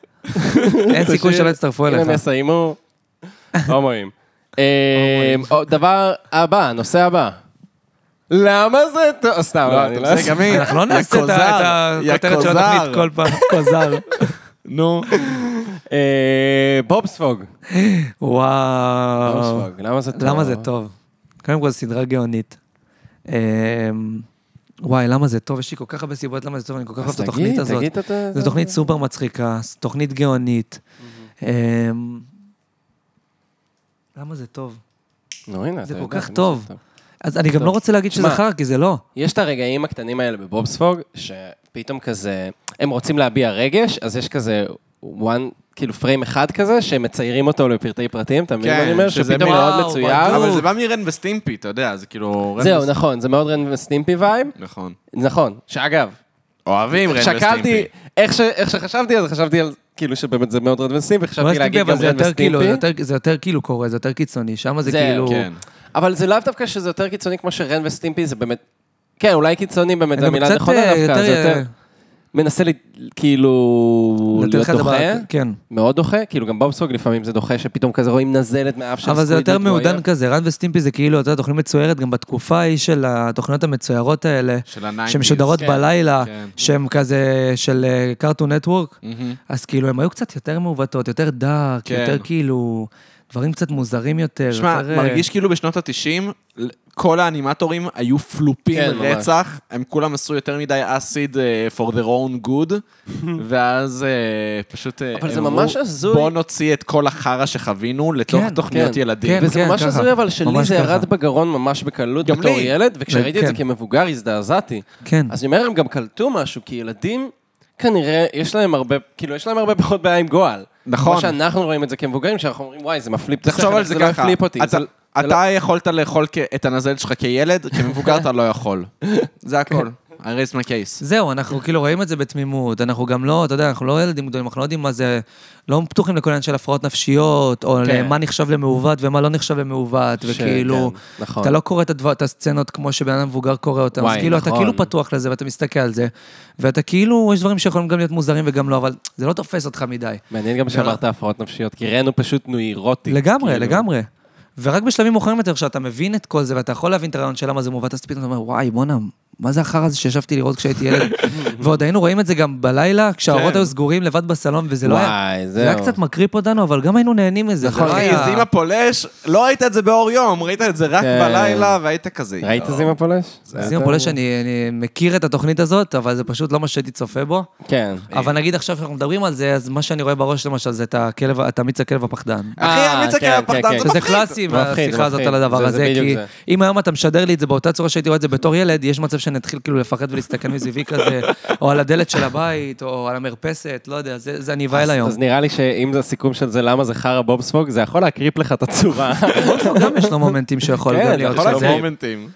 אין סיכוי שלא יצטרפו אם הם אליך. יסיימו, הומואים. אה, עוד דבר הבא, הנושא הבא. למה זה טוב? סתם, לא, אני אתה לא עושה אעשה. גם היא. אנחנו לא נעשה את יא ה- את כוזר, הכותרת של יא התוכנית כוזר. כל פעם, כוזר. נו. אה, בובספוג. לא. וואו. בובספוג, למה זה טוב? אה, למה זה טוב? קודם כל, סדרה גאונית. אמ, וואי, למה זה טוב? יש לי כל כך הרבה סיבות למה זה טוב, אני כל כך אוהב אז את התוכנית תגיד, הזאת. תגיד את ה... זו תוכנית סופר מצחיקה, זו תוכנית גאונית. אמ, למה זה טוב? נו, הנה, זה אתה כל יודע, כך מה טוב. אז אני גם לא רוצה להגיד שזה שמע, חרא, כי זה לא. יש את הרגעים הקטנים האלה בבובספוג, שפתאום כזה, הם רוצים להביע רגש, אז יש כזה one, כאילו פריים אחד כזה, שמציירים אותו לפרטי פרטים, אתה כן, מבין מה אני אומר? שזה שפתאום הוא מין- מאוד וואו, מצויר. בדיוק. אבל זה בא מרן וסטימפי, אתה יודע, זה כאילו... רן זהו, וס- נכון, זה מאוד רן וסטימפי וייב. נכון. נכון, שאגב, אוהבים רן וסטימפי. שקלתי, איך ש- איך שחשבתי על זה, חשבתי על, כאילו שבאמת זה מאוד רן וסטימפי, אבל חשבתי זה אוקיי, להגיד גם יותר רן כאילו, זה וסטימפי. יותר- זה יותר כאילו קורה, זה יותר קיצוני, שם זה זהו, כאילו... כן. אבל זה לאו דווקא שזה יותר קיצוני כמו שרן וסטימפי, זה באמת, כן, אולי קיצוני באמת, אני זו גם מילה קצת, נכונה אה, דווקא, זה יותר... מנסה לי, כאילו, לתת להיות לך את דוחה, הבעיה, כן. מאוד דוחה, כאילו גם בובסוג לפעמים זה דוחה, שפתאום כזה רואים נזלת מאף של אבל זה סקוויד יותר מתרועע. מעודן כזה, רן וסטימפי זה כאילו, אתה יודע, תוכנית מצוירת, גם בתקופה ההיא של התוכניות המצוירות האלה, של הניינטיז. שמשודרות כן, בלילה, כן. שהן כזה של קארטון נטוורק, אז כאילו, הן היו קצת יותר מעוותות, יותר דארק, כן. יותר כאילו, דברים קצת מוזרים יותר. שמע, יותר, אה, מרגיש כאילו בשנות ה-90, כל האנימטורים היו פלופים כן, ממש. רצח, הם כולם עשו יותר מדי אסיד אה, for their own good, ואז אה, פשוט... אה, אבל הם זה אמרו, ממש הזוי. בוא נוציא את כל החרא שחווינו לתוך כן, תוכניות כן, ילדים. כן. וזה ממש ככה. הזוי, אבל שלי ממש זה ירד ככה. בגרון ממש בקלות גם בתור לי. ילד, וכשראיתי את זה כן. כמבוגר הזדעזעתי. כן. אז אני אומר, הם גם קלטו משהו, כי ילדים, כנראה, יש להם הרבה, כאילו, יש להם הרבה פחות בעיה עם גועל. נכון. כמו שאנחנו רואים את זה כמבוגרים, שאנחנו אומרים, וואי, זה מפליפ את תחשוב על אבל זה לא ככה, הפליפ אותי. אתה- זה- זה לא- אתה יכולת לאכול כ- את הנזלת שלך כילד, כמבוגר אתה לא יכול. זה הכל. I raised my case. זהו, כן. אנחנו כאילו רואים את זה בתמימות, אנחנו גם לא, אתה יודע, אנחנו לא ילדים גדולים, אנחנו לא יודעים מה זה, לא פתוחים לכל עניין של הפרעות נפשיות, או כן. למה נחשב למעוות ומה לא נחשב למעוות, ש- וכאילו, כן, נכון. אתה לא קורא את הדבר- את הסצנות כמו שבן אדם מבוגר קורא אותן, אז וואי, כאילו, אתה נכון. כאילו פתוח לזה ואתה מסתכל על זה, ואתה כאילו, יש דברים שיכולים גם להיות מוזרים וגם לא, אבל זה לא תופס אותך מדי. מעניין גם שאמרת הפרעות נפשיות, כי ראינו פשוט נוירוטי. לא. לגמרי, כאילו. לגמרי. ורק בשלבים מאוחרים יותר, כשאתה מבין את כל זה, ואתה יכול להבין את הרעיון של למה זה מעוות, אז פתאום אתה אומר, וואי, בואנה, מה זה החרא הזה שישבתי לראות כשהייתי ילד? ועוד היינו רואים את זה גם בלילה, כשהאורות כן. היו סגורים לבד בסלון, וזה לא היה... וואי, זהו. נכון, זה היה קצת מקריפ אותנו, אבל גם היינו נהנים מזה. זה לא אחי, היה- זימה פולש, לא ראית את זה באור יום, ראית את זה רק כן. בלילה, והיית כזה. ראית זימה פולש? זימה פולש, אני אני מכיר את התוכנית הזאת, אבל זה פשוט לא מה שהייתי צופה בו. כן. אבל נגיד עכשיו שאנחנו מדברים על זה, אז מה שאני רואה בראש למשל זה את הכלב, את המיץ הכלב הפחדן. אחי, אה, אמיץ כן, הכלב כן, הפחדן, כן. זה שזה מפחיד. קלאסי, מפחיד, והשיחה הזאת מפחיד. על זה- הדבר זה הזה, בדיוק כי זה. אם היום אתה משדר לי את זה באותה צורה שהייתי רואה את זה בתור ילד, יש מצב שנתחיל כאילו לפחד ולהסתכל מסביבי כזה, או על הדלת של הבית, או על המרפסת, לא יודע, זה זה אני אבהל היום. אז נראה לי שאם זה הסיכום של זה, למה זה חרא בובספוג, זה יכול להקריפ לך את הצורה. גם יש לו מומנטים שיכול לא. כן, גם זה להיות יכול כל להיות כזה. המומנטים.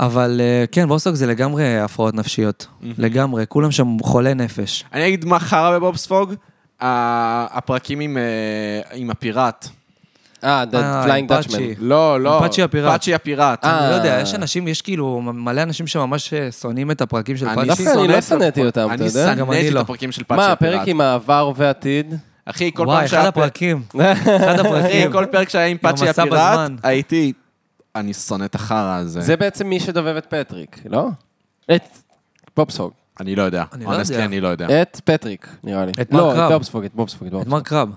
אבל אה, כן, ווסטוק זה לגמרי הפרעות נפשיות. לגמרי, כולם שם חולי נפש. אני אגיד מה חרא בבובספוג, ה- הפרקים עם, אה, עם הפיראט. אה, The אה, Flying פאצ'י. Dutchman. לא, לא. פאצ'י הפיראט. פאצ'י הפיראט. אה, אני לא יודע, יש אנשים, יש כאילו מלא אנשים שממש אה, שונאים את הפרקים של אני פאצ'י. דווקא אני שונא לא את שנאתי הפרק- אותם, אתה יודע? אני גם אני שנאתי את לא. הפרקים של כן. פאצ'י מה, הפיראט. הפרק עם העבר ועתיד? אחי, כל פעם וואי, אחד שהיה... הפרקים. אחד אחי, הפרקים. כל פרק שהיה עם פאצ'י המסע הפיראט, בזמן. הייתי... אני שונא את החרא הזה. זה בעצם מי שדובב את פטריק, לא? את בובספוג. אני לא יודע. אני לא אונסטלי, יודע. אני לא יודע. את פטריק, נראה לי. את מר לא, קרב. את בובספוג, את בובספוג. את את בובספוג. מר קרב.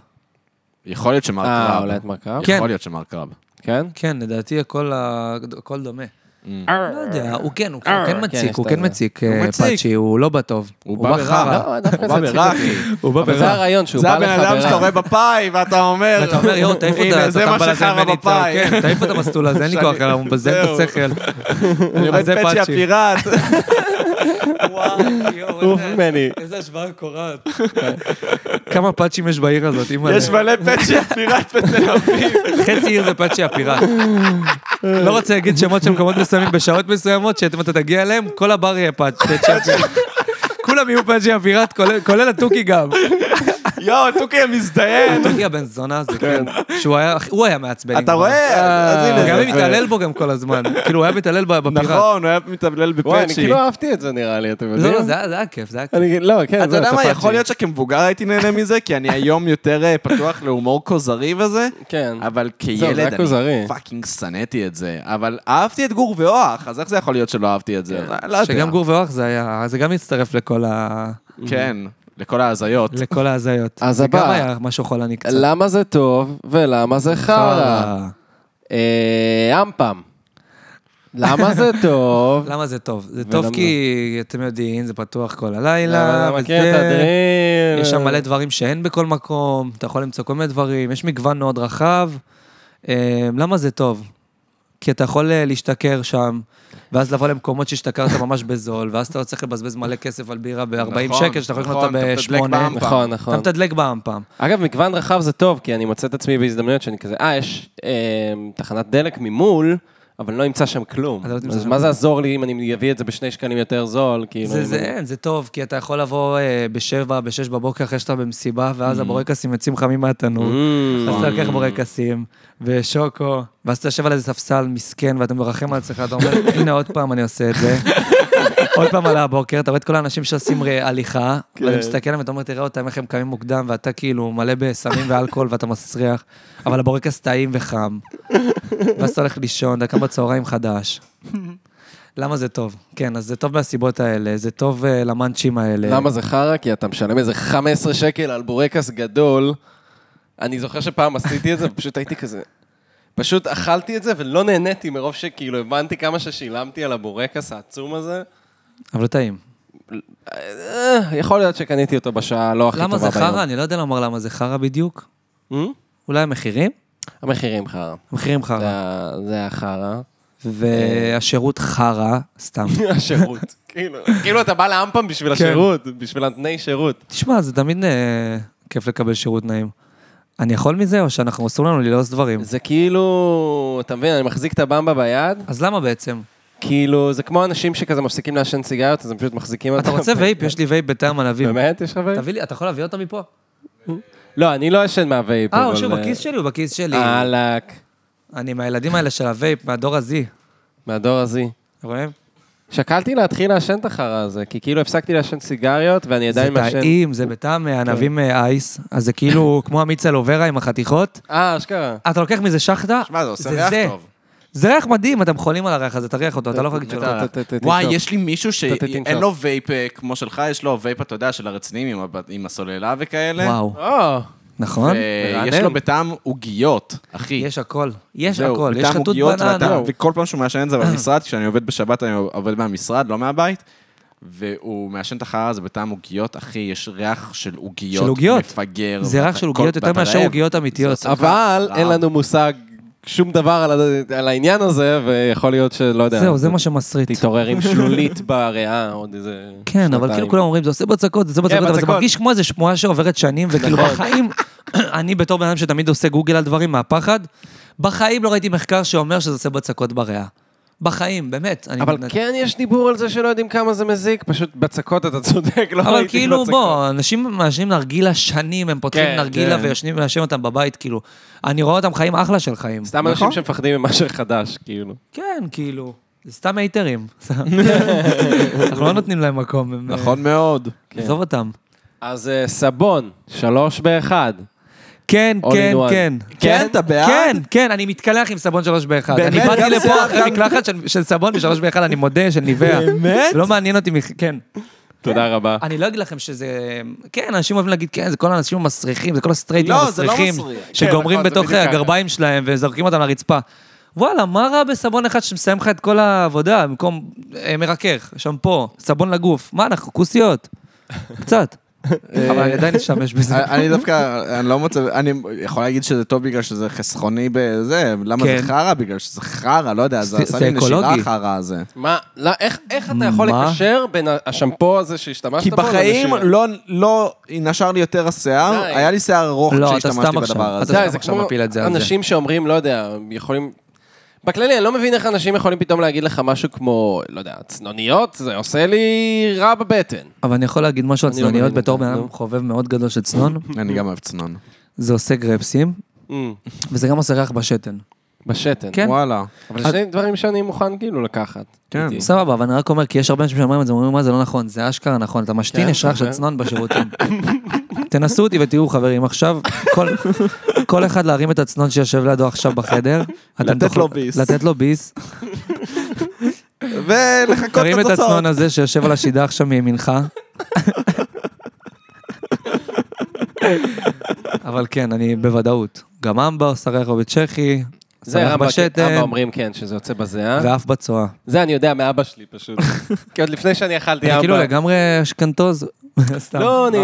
יכול להיות שמר אה, אולי קרב. את מר קרב? כן. יכול להיות שמר קרב. כן? כן, לדעתי הכל, ה- הכל דומה. לא יודע, הוא כן, הוא כן- הוא אה, כן כן, מציק, יש הוא את כן זה. מציק, הוא אה, מציק. פאצ'י, הוא לא בטוב. הוא בא חרא. לא, דווקא הוא זה בא הצחיק ברע, אותי. אחי. הוא בא אבל זה ברע. הרעיון, שהוא זה בא לך הבן אדם שאתה רואה בפאי, ואתה אומר... ואתה אומר, יואו, תעיף הנה, אותה, זה מה אתה שחרא בפאי. כן, תעיף את המסלול הזה, אין לי שאני- כוח אליו, הוא מבזל את זהו. השכל. אני רואה את אז זה פאצ'י פאצ'י. הפיראט. וואו, עוף ממני. איזה השוואה קורעת. כמה פאצ'ים יש בעיר הזאת, אימא'לה. יש מלא פאצ'י הפיראט בתל אביב. חצי עיר זה פאצ'י הפיראט. לא רוצה להגיד שמות של מקומות מסוימים בשעות מסוימות, שאם אתה תגיע אליהם, כל הבר יהיה פאצ'י הפיראט. כולם יהיו פאצ'י הפיראט, כולל- כולל התוכי גם. יואו, תוכי המזדיין. התוכי הבן זונה הזה, כן. שהוא היה, הוא היה מעצבן. אתה עם רואה? אז הוא אה, הנה. גם זה יפה. מתעלל בו גם כל הזמן. כאילו, הוא היה מתעלל ב- בפיראט. נכון, הוא היה מתאבלל וואי, אני בפאצ'י. כאילו אהבתי את זה, נראה לי, אתם לא, יודעים? לא, זה היה זה היה כיף, זה היה כיף. אני- לא, כן, אתה יודע את מה, הפאצ'י. יכול להיות שכמבוגר הייתי נהנה מזה, כי אני היום יותר אה, פתוח להומור כוזרי וזה, כן. אבל זה היה כילד כוזרי. אני פאקינג שנאתי את זה. אבל אהבתי את גור ואוח, אז איך זה יכול להיות שלא אהבתי את זה? לא יודע. כן. שגם גור ואוח זה היה, זה גם הצטרף לכל ה... כן, לכל ההזיות. לכל ההזיות. אז זה גם הבא. היה משהו חולני קצת. לא, למה זה טוב ולמה זה חרא? אה, אמפם. למה זה טוב? למה זה טוב? זה ולמה? טוב כי אתם יודעים, זה פתוח כל למה כן, הלילה, אתה מכיר את וזה... הדריל? יש אה, שם מלא דברים שאין בכל מקום, אתה יכול למצוא כל מיני דברים, יש מגוון מאוד רחב. אה, למה זה טוב? כי אתה יכול אה, להשתכר שם, ואז לבוא למקומות שהשתכרת ממש בזול, ואז אתה לא צריך לבזבז מלא כסף על בירה ב-40 נכון, שקל, שאתה יכול לקנות נכון, אתה אותה מתדלק בשמונה. באמפם. נכון, אתה נכון. מתדלק באמפם. אגב, מגוון רחב זה טוב, כי אני מוצא את עצמי בהזדמנויות שאני כזה, אה, יש אה, תחנת דלק ממול, אבל לא אמצא שם כלום. אתה לא תמצא אז שם מה זה כלום. יעזור לי אם אני אביא את זה בשני שקלים יותר זול? כאילו, זה, אם זה אני- אין, זה טוב, כי אתה יכול לבוא אה, בשבע, בשש בבוקר אחרי שאתה במסיבה, ואז הבורקסים יוצאים חמים מהתנור. Mm. אז אתה לוקח בורקסים ושוקו, ואז אתה יושב על איזה ספסל מסכן ואתה מרחם על עצמך, אתה אומר, הנה עוד פעם אני עושה את זה. עוד פעם עלה הבוקר, אתה רואה את כל האנשים שעושים ר- הליכה, כן. ואתה מסתכל עליהם ואתה אומר, תראה אותם איך הם קמים מוקדם, ואתה כאילו מלא בסמים ואלכוהול ואתה מסריח, אבל הבורקס טעים וחם. ואז אתה הולך לישון, אתה קם בצהריים חדש. למה זה טוב? כן, אז זה טוב מהסיבות האלה, זה טוב אה, למאנצ'ים האלה. למה זה חרא? כי אתה משלם איזה 15 שקל על בורקס גדול. אני זוכר שפעם עשיתי את זה, ופשוט הייתי כזה... פשוט אכלתי את זה ולא נהניתי מרוב שכאילו הבנתי כמה ששילמתי על הבורקס העצום הזה. אבל לא טעים. אה, יכול להיות שקניתי אותו בשעה הלא הכי טובה למה זה ביום. חרא? אני לא יודע לומר למה זה חרא בדיוק. Hmm? אולי המחירים? המחירים חרא. המחירים זה חרא. ה- זה החרא. והשירות חרא, סתם. השירות. כאילו, כאילו אתה בא לאמפם בשביל השירות, בשביל התנאי שירות. תשמע, זה תמיד אה, כיף לקבל שירות נעים. אני יכול מזה, או שאנחנו אסור לנו ללעוס דברים? זה כאילו, אתה מבין, אני מחזיק את הבמבה ביד, אז למה בעצם? כאילו, זה כמו אנשים שכזה מפסיקים לעשן סיגריות, אז הם פשוט מחזיקים אותם. אתה רוצה וייפ? יש לי וייפ בטעם ענבים. באמת? יש לך וייפ? תביא לי, אתה יכול להביא אותה מפה? לא, אני לא ישן מהווייפ. אה, אבל, הוא שהוא אה, בכיס שלי, הוא בכיס שלי. אהלק, אני מהילדים האלה של הווייפ, מהדור הזי. מהדור הזי. רואים? שקלתי להתחיל לעשן את החרא הזה, כי כאילו הפסקתי לעשן סיגריות, ואני זה עדיין מעשן... טעים, זה בטעם אה, ענבים כן. אה, אייס, אז זה כאילו כמו המיץ אלוברה עם החתיכות. אה, אשכרה. אתה לוקח מזה שחטה, שמע, זה עושה ריח זה. טוב. זה ריח מדהים, אתם חולים על הריח הזה, תריח אותו, אתה לא יכול להגיד שלא. ת- ת- ת- תנשום. וואי, יש לי מישהו תנשום. שאין לו וייפ אה, כמו שלך, יש לו וייפ, אתה יודע, של הרציניים עם הב- עם הסוללה וכאלה. וואו, או, נכון? ויש מרענן. לו בטעם עוגיות, אחי. יש הכל, יש זהו, הכל, יש בטעם חטוט עוגיות בננה. והטעם- וכל פעם שהוא מעשן את זה במשרד, כשאני עובד בשבת, אני עובד מהמשרד, לא מהבית, והוא מעשן את החרא הזה בטעם עוגיות, אחי, יש ריח של עוגיות. של עוגיות. מפגר. זה ריח ואתה- של עוגיות כל- יותר ואתה מאשר רעב. עוגיות אמיתיות. זה עושה לך אבל אין רעב. לנו מושג שום דבר על ה- על העניין הזה, ויכול להיות שלא יודע. זהו, זה מה שמסריט. תתעורר עם שלולית בריאה, עוד איזה... כן, אבל שנתיים. כן, כאילו כולם אומרים, זה עושה בצקות, זה עושה בצקות, אבל זה בצקות. נכון. מרגיש כמו איזה שמועה שעוברת שנים, וכאילו בחיים, אני בתור בן אדם שתמיד עושה גוגל על דברים מהפחד, בחיים לא ראיתי מחקר שאומר שזה עושה בצקות בריאה. בחיים, באמת. אני- אבל כן יש דיבור על זה שלא יודעים כמה זה מזיק, פשוט בצקות אתה צודק, לא אבל ראיתי כאילו, בצקות. בוא, אנשים מעשנים נרגילה שנים, הם פותחים כן, נרגילה כן. ויושנים ומעשנים אותם בבית, כאילו. אני רואה אותם חיים אחלה של חיים. סתם נכון. אנשים שמפחדים ממה שחדש, כאילו. כן, כאילו. זה סתם הייטרים. אנחנו לא נותנים להם מקום. הם, אה, נכון מאוד. כן. עזוב אותם. אז אה, סבון, שלוש באחד. כן, All כן, in one. כן. כן, אתה בעד? כן, כן, אני מתקלח עם סבון שלוש באחד. אני באמת? באתי גם לפה שיער, אחרי גם- מקלחת של- של סבון בשלוש באחד, אני מודה, של ניביה. באמת? לא מעניין אותי, מח- כן. תודה רבה. אני לא אגיד לכם שזה... כן, אנשים אוהבים להגיד, כן, זה כל האנשים המסריחים, זה כל הסטרייטים לא, זה לא המסריחים. מסריח. כן, שגומרים נכון, זה בתוך בדיוק הגרביים שלהם וזורקים אותם לרצפה. וואלה, מה רע בסבון אחד שמסיים לך את כל העבודה, במקום אה, מרכך, שמפו, סבון לגוף? מה אנחנו, כוסיות? קצת. אה, אבל אני עדיין אשתמש בזה. אני דווקא, אני לא מוצא, אני יכול להגיד שזה טוב בגלל שזה חסכוני בזה, למה זה כן. חרא? בגלל שזה חרא, לא יודע, זה זה- עשה זה לי נשירה אקולוגי. החרא הזה. מה, לא, איך, איך אתה יכול מה? לקשר בין ה- השמפו הזה שהשתמשת כי בו? בחיים לנשירה? לא, לא נשר לי יותר השיער, די. היה לי שיער ארוך לא, אתה כשהשתמשתי סתם עכשיו. בדבר אתה הזה. די, סתם זה עכשיו כמו מפיל את זה על זה. אנשים שאומרים, לא יודע, יכולים... בכללי, אני לא מבין איך אנשים יכולים פתאום להגיד לך משהו כמו, לא יודע, צנוניות, זה עושה לי רע בבטן. אבל אני יכול להגיד משהו על אני לא צנוניות מבין את בתור זה, בן אדם נו. חובב מאוד גדול של צנון, אני גם אוהב צנון. זה עושה גרפסים, וזה גם עושה ריח בשתן. בשתן. Mm. כן. וואלה. אבל זה שני דברים שאני מוכן כאילו לקחת. כן. איתי. סבבה, אבל אני רק אומר, כי יש הרבה אנשים שאומרים את זה, אומרים, מה זה לא נכון, זה אשכרה נכון, אתה משתין, כן, יש ריח של כן. צנון בשירותים. תנסו אותי ותראו, חברים, עכשיו, כל- כל אחד להרים את הצנון שיושב לידו עכשיו בחדר. אתם לתת תוכלו- לו ביס. לתת לו ביס. ולחכות תרים את הצנון הזה שיושב על השידה עכשיו מימינך. אבל כן, אני בוודאות. גם אמבה עושה ריח לו בצ'כי, זה סרח אבא, בשתן, אבא אומרים כן, שזה יוצא בזיעה. ואף בצואה. זה אני יודע מאבא שלי פשוט. כי עוד לפני שאני אכלתי אני אמבה. כאילו לגמרי אשכנתוז, סתם. לא, אני...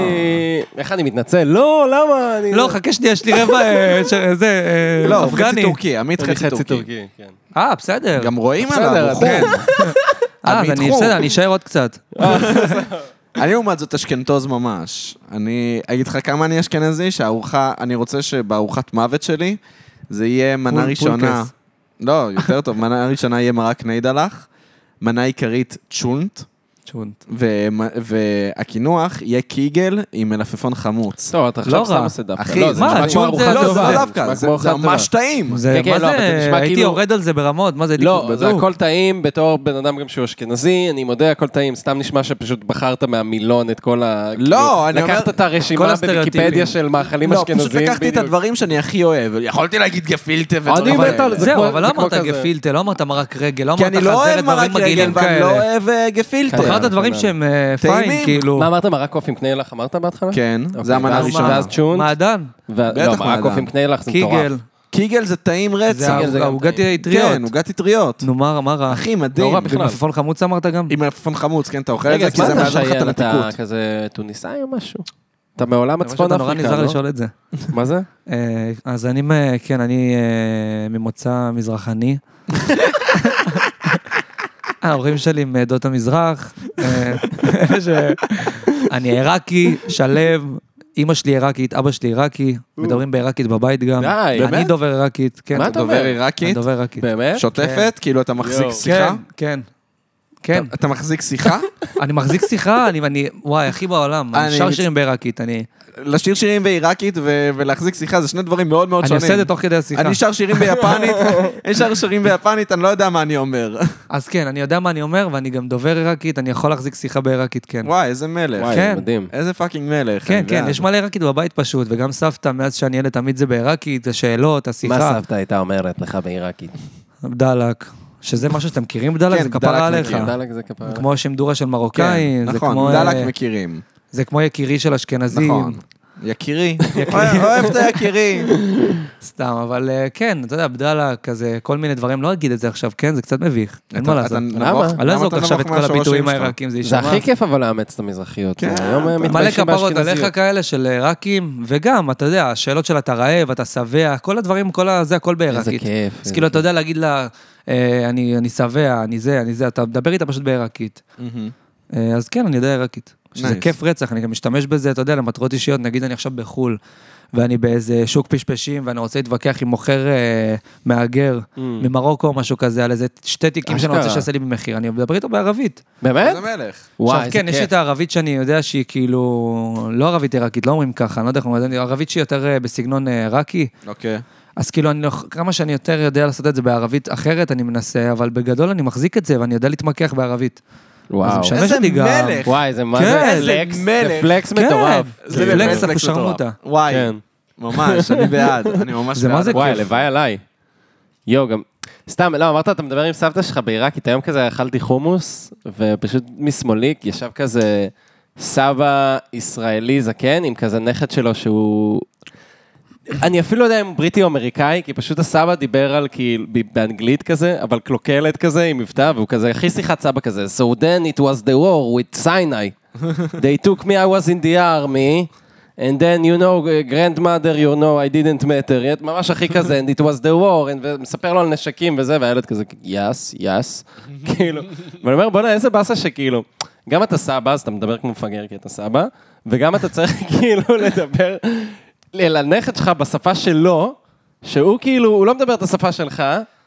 איך אני מתנצל? לא, למה? אני... לא, חכה שנייה, יש לי רבע, אה, ש- זה, אה, לא, הוא חצי אפגני. טורקי, עמית אני חצי טורקי. כן. אה, בסדר. גם רואים בסדר, עליו, הוא כן. חום. אה, אז עמית אני חום. בסדר, אני אשאר עוד קצת. אני לעומת זאת אשכנתוז ממש. אני אגיד לך כמה אני אשכנזי, שהארוחה, אני רוצה שבארוחת מוות שלי, זה יהיה מנה פול- ראשונה. פולקס. לא, יותר טוב, מנה ראשונה יהיה מרק ניידלח, מנה עיקרית צ'ונט, צ'ונט. ומ- והקינוח יהיה קיגל עם מלפפון חמוץ. טוב, אתה עכשיו לא סתם רע. עושה דווקא. אחי, לא, זה מה, נשמע כמו צ'ון זה לא, ארוחת זה צבא. לא זה דווקא, נשמע זה כמו זה ארוחת ממש צבא. טעים. זה, כן, מה לא, אבל זה זה, נשמע הייתי כאילו- יורד על זה ברמות, מה זה לא, דיקור זה בדוק. הכל טעים, בתור בן אדם גם שהוא אשכנזי, אני מודה, הכל טעים, סתם נשמע שפשוט בחרת מהמילון את כל ה... כאילו, לא, אני אומר- לקחת את כל הרשימה הסטריאוטיפים. בוויקיפדיה של מאכלים לא, אשכנזיים, פשוט לקחתי את בדיוק. הדברים שאני הכי אוהב. יכולתי להגיד גפילטה ודברים מת כאלה. על זה זהו, כמו- אבל לא זה כמו אמרת כזה. גפילטה, לא אמרת מרק רגל, לא כי אמרת אני לא אוהב חזרת, מרק דברים רגל מגעילים ואני לא כאלה. אוהב אה, גפילטה. כן. אמרת דברים כן. שהם אה, פיין, טעימים. כאילו. מה אמרת, מרק קוף עם קניילח אמרת בהתחלה? נכון? כן, אוקיי, זה המנה ואז- הראשונה. ואז צ'ונט? מעדן, ו- לא, בטח, מרק קוף עם מעדן. קניילח זה מטורף. קיגל, קיגל זה טעים זה רצח. קיגל זה גם העוגת טעים. כן, האטריות. עוגת אטריות. נו, מה רע, מה רע? אחי, לא מדהים. רע בכלל. מלפפון חמוץ אמרת גם? עם מלפפון חמוץ, כן, אתה אוכל את רגע, זה, אז כי מה זה אתה מעזר לך את שייל? אתה המתיקות. כזה טוניסאי או משהו? אתה מעולם אני רואה הצפון שאתה נורא אפריקה, נזהר לא? לשאול את זה. מה זה? כן. אה, אז אני, מ- כן, אני אה, ממוצא מזרחני. אה, ההורים שלי מעדות המזרח, אה, ש- אני עיראקי, שלו, אימא שלי עיראקית, אבא שלי עיראקי, מדברים בעיראקית בבית גם. די, אני באמת? דובר עיראקית, כן. מה אתה דובר אני עיראקית, דובר עיראקית. באמת? שוטפת, כאילו אתה מחזיק יואו. שיחה. כן, כן. אתה- אתה מחזיק שיחה? אני מחזיק שיחה, אני, אני, וואי, הכי בעולם, אני אני שר מצ- שירים בעיראקית, אני לשיר שירים בעיראקית ו- ולהחזיק שיחה זה שני דברים מאוד מאוד אני שונים. עושה את זה תוך כדי השיחה. אני שר שירים ביפנית, אני שר שירים ביפנית, אני לא יודע מה אני אומר. אז כן, אני יודע מה אני אומר, ואני גם דובר עיראקית, אני יכול להחזיק שיחה בעיראקית, כן. וואי, איזה מלך. וואי, כן. מדהים. איזה פאקינג מלך. כן, אני כן, בעד. יש מלא עיראקית בבית פשוט, וגם סבתא, מאז שאני ילד, תמיד זה בעיראקית, השאלות, השיחה. הייתה אומרת לך בעיראקית? בדלק, שזה משהו שאתם מכירים בדלק? כן, זה בדלק כפרה עליך. מכיר, דלק זה כפרה. כמו שימדורה של מרוקאי, זה נכון, כמו, דלק אה, מכירים. זה כמו יקירי של אשכנזים. נכון. יקירי. אוהב את היקירי. סתם, אבל אה, כן, אתה יודע, בדלק, כזה, כל מיני דברים, לא אגיד את זה עכשיו, כן, זה קצת מביך, אין מה לעשות. למה? אני לא אזרוק עכשיו את כל הביטויים העיראקים, זה זה יישמע. הכי כיף אבל לאמץ את המזרחיות. כן. היום הם מלא מתביישים כפרות עליך באשכנזיות. כאלה של עיראקים, וגם, אתה יודע, השאלות של אתה רעב, אתה שבע, כל הדברים, כל ה- זה הכל בעיראקית. איזה כיף. אז כאילו, אתה יודע להגיד לה, אה, אני אני שבע, אני זה, אני זה, אתה מדבר איתה פשוט בעיראקית. אה, אז כן, אני יודע עיראקית. שזה Nice. כיף רצח, אני גם משתמש בזה, אתה יודע, למטרות אישיות, נגיד אני עכשיו בחו"ל, ואני באיזה שוק פשפשים, ואני רוצה להתווכח עם מוכר אה, מהגר ממרוקו או משהו כזה, על איזה שתי תיקים שאני רוצה Mm. אשכרה. שיעשה לי במחיר, אני מדבר איתו בערבית. באמת? איזה מלך. וואי, עכשיו, איזה כן, יש לי כיף. את הערבית שאני יודע שהיא כאילו, לא ערבית עיראקית, לא אומרים ככה, אני לא יודע איך אומרים, ערבית שהיא יותר אה, בסגנון אה, עיראקי, אוקיי. אז כאילו, אני לא, כמה שאני יותר יודע לעשות את זה בערבית אחרת, אני מנסה, אבל בגדול אני מחזיק את זה ואני יודע להתמקח בערבית. וואו. משנה. איזה מלך. וואי, זה מה כן, זה איזה פלקס? זה מלך. פלקס כן, מטורף. זה זה פלקס מטורף. אחושרמוטה. וואי, כן. ממש, אני בעד. אני ממש בעד. זה מה זה וואי, כיף. הלוואי עליי. יואו, גם... סתם, לא, אמרת, אתה מדבר עם סבתא שלך בעיראקית, היום כזה אכלתי חומוס, ופשוט משמאלי ישב כזה סבא ישראלי זקן, עם כזה נכד שלו שהוא... אני אפילו לא יודע אם הוא בריטי או אמריקאי, כי פשוט הסבא דיבר על כאילו ב- באנגלית כזה, אבל קלוקלת כזה עם מבטא, והוא כזה הכי שיחת סבא כזה. So then it was the war with Sinai. They took me, I was in the army, and then you know, grandmother, you know, I didn't matter yet, ממש הכי כזה, and it was the war, and- ומספר לו על נשקים וזה, והילד כזה, יס, יס, כאילו. ואני אומר, בוא'נה, איזה באסה שכאילו, גם אתה סבא, אז אתה מדבר כמו מפגר כי אתה סבא, וגם אתה צריך כאילו לדבר אל הנכד שלך בשפה שלו, שהוא כאילו, הוא לא מדבר את השפה שלך.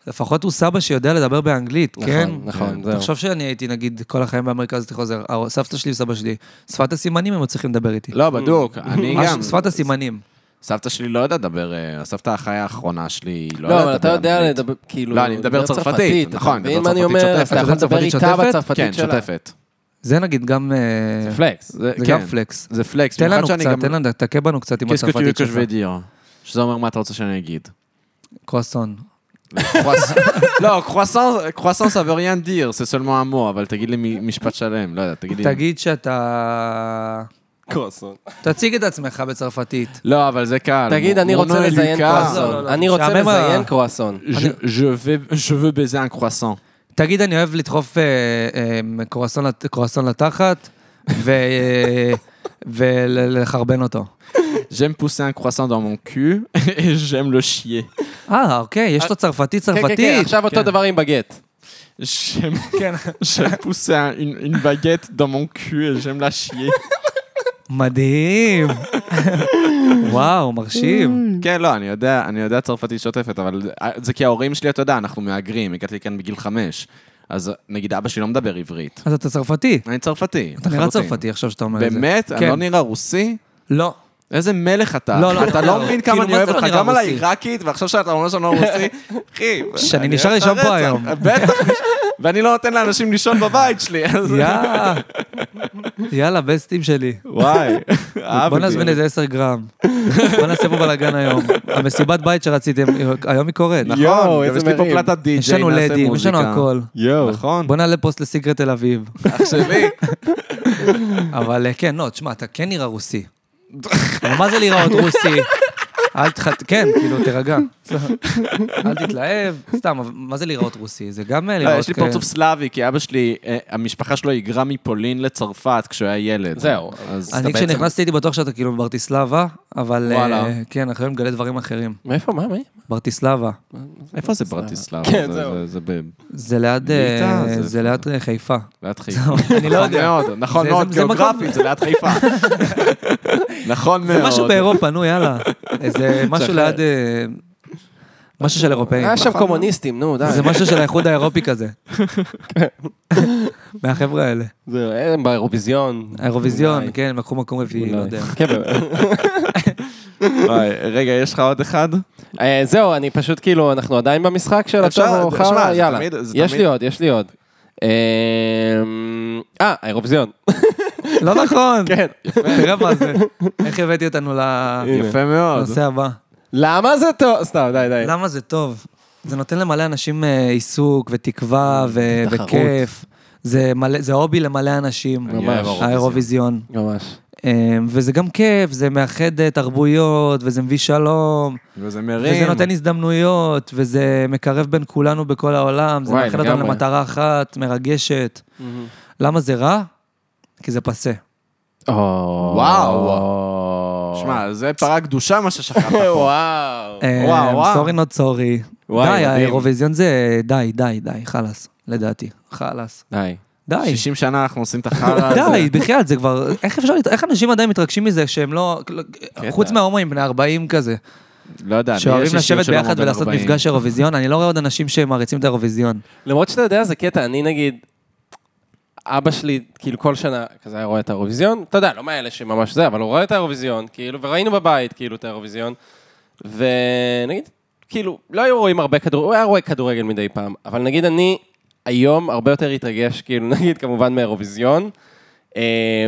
לפחות הוא סבא שיודע לדבר באנגלית, כן? נכון, זהו. תחשוב שאני הייתי, נגיד, כל החיים במרכז הייתי חוזר, אה, סבתא שלי וסבא שלי, שפת הסימנים הם היו צריכים לדבר איתי. לא, בדוק, אני ממש, גם. שפת הסימנים. סבתא שלי לא יודעת לדבר, אה, הסבתא החיה האחרונה שלי, היא לא לא, אבל יודעת אתה לדבר יודע אנגלית. לדבר, כאילו... לא, אני מדבר צרפתית, נכון, אתה מבין מדבר מה אני צרפתית אומר? שוטפת. אתה יכול לדבר אתה מדבר איתה צרפתית? בצרפתית כן, שלה. שוטפת. זה נגיד גם... אה, זה פלקס. זה כן. גם פלקס. זה פלקס. תן במיוחד לנו שאני קצת, גם- תן לנו, תכה בנו קצת עם Qu'est-ce que tu veux הצרפתית que je vais שלך. dire? שזה אומר מה אתה רוצה שאני אגיד. קרואסון. קרואס- לא, קרואסון- קרואסון זה וריאן דיר, זה סולמו אמור, אבל תגיד לי מ- משפט שלם, לא יודע, תגיד לי... תגיד שאתה... קרוסון. תציג את עצמך בצרפתית. לא, אבל זה קל. תגיד, אני רוצה מונו לזיין אלוקה. לא, לא, קרואסון. לא, אני רוצה משעמם ה- לזיין קרואסון. Je- je vais- Je veux baiser un croissant. תגיד, אני אוהב לדחוף אה, אה, קרואסון לת- קרואסון לתחת אה, ולחרבן אותו. J'aime pousser un croissant dans mon cul et j'aime le chier. אה, אוקיי, יש לו צרפתית כן, כן, כן, צרפתית. עכשיו אותו דבר עם בגט. J'aime כן. j'aime pousser un- une, une baguette dans mon cul et j'aime la chier. מדהים. וואו, מרשים. כן, לא, אני יודע, אני יודע צרפתית שוטפת, אבל אה, זה כי ההורים שלי, אתה יודע, אנחנו מהגרים, הגעתי לכאן בגיל חמש. אז נגיד אבא שלי לא מדבר עברית. אז אתה צרפתי. אני צרפתי. אתה נראה לחלוטין. צרפתי עכשיו שאתה אומר את זה. באמת? אני כן. לא נראה רוסי? לא. איזה מלך אתה. לא, לא, אתה לא, לא לא. מבין כאילו, כמה אני מה אוהב זה לא אותך, נראה גם על רוסי? העיראקית, ועכשיו שאתה אומר שאני לא רוסי, אחי. שאני אני נשאר אוהב את לישון פה הרצח. היום. בטח, ואני לא נותן לאנשים לישון בבית שלי. אז- יאה. יאללה, בסטים שלי. וואי, אהבתי. בוא נזמין איזה 10 גרם. בוא נעשה פה בלאגן היום. המסיבת בית שרציתם, היום היא קורית. נכון, יואו, נכון, גם איזה יש לי פה מרים. פלטת די-ג'יי, יש לנו לדים, יש לנו הכל. יואו. נכון, בוא נעלה פוסט לסיקרט תל אביב. תחשבי. אבל אה, כן, לא, תשמע, אתה כן נראה רוסי. אבל מה זה להיראות רוסי? אל תחת... כן, כאילו, תירגע. אל תתלהב, סתם, אבל מה זה להיראות רוסי? זה גם אה, לא, להיראות... יש לי כ- פרצוף סלאבי, כי אבא שלי, אה, המשפחה שלו היגרה מפולין לצרפת כשהוא היה ילד. זהו. אז אני אתה בעצם- כשנכנסתי הייתי בטוח שאתה כאילו בברטיסלבה, אבל אה, וואלה. כן, אנחנו היום נגלה דברים אחרים. מאיפה, מה, מי? ברטיסלבה. איפה זה ברטיסלבה? כן, זה- זהו. זה- זה ב- זה ליד אה, ליטא, זה- זה ליד אה, חיפה. ליד חיפה. זהו, אני לא נכון יודע. מאוד, נכון זה- מאוד, זה- זה מקום- גיאוגרפית, זה ליד חיפה. נכון מאוד. זה משהו באירופה, נו יאללה. איזה משהו ליד... אה, משהו של אירופאים. היה שם קומוניסטים, נו, די. אה, זה משהו של האיחוד האירופי כזה. כן. מהחבר'ה האלה. זהו, הם אה, באירוויזיון. האירוויזיון, אולי. כן, הם לקחו מקום רביעי, לא אולי. יודע. כן, באמת. וואי, רגע, יש לך עוד אחד? אה, זהו, אני פשוט כאילו, אנחנו עדיין במשחק של אפשר, הטוב תשמע, המאוחר, זה יאללה. תמיד- זה יש תמיד- לי עוד, יש לי עוד. אה, אה, האירוויזיון. לא נכון. כן. תראה מה זה. איך הבאתי אותנו יפה מאוד. אוקיי. לנושא הבא. למה זה טוב? סתם, די, די. למה זה טוב? זה נותן למלא אנשים אה, עיסוק ותקווה ו- אה, תחרות. וכיף. זה, מלא, זה הובי למלא אנשים, אה, אני אוהב האירוויזיון. האירוויזיון. ממש. אה, וזה גם כיף, זה מאחד אה, תרבויות, וזה מביא שלום, וזה מרים. וזה נותן הזדמנויות, וזה מקרב בין כולנו בכל העולם, זה וואי, מאחד אותנו לגמרי. למטרה אחת, מרגשת. Mm-hmm. למה זה רע? כי זה פסה. וואו. שמע, זה פרה קדושה מה ששכחת פה. וואו. אה, וואו, וואו. סורי נוט סורי. די, וואי, מדהים. האירוויזיון זה די, די, די, חלאס, לדעתי. חלאס. די. די. 60 שנה אנחנו עושים את החרא הזה. די, בחייאת, זה כבר... איך אפשר... לת- איך אנשים עדיין מתרגשים מזה שהם לא... חוץ מההומואים בני 40 כזה, לא יודע, אני יש שאוהבים לי שיר לשבת של ביחד עומר בן ולעשות 40. מפגש אירוויזיון, אני לא רואה עוד אנשים שמעריצים את האירוויזיון. למרות שאתה יודע, זה קטע, אני נגיד, אבא שלי, כאילו כל שנה, כזה היה רואה את האירוויזיון, אתה יודע, לא מאלה שממש זה, אבל הוא רואה את האירוויזיון, כאילו, וראינו בבית, כאילו, את האירוויזיון, ונגיד, כאילו, לא היו רואים הרבה כדורגל, הוא היה רואה כדורגל מדי פעם, אבל נגיד אני היום הרבה יותר התרגש, כאילו, נגיד, כמובן מהאירוויזיון. אה,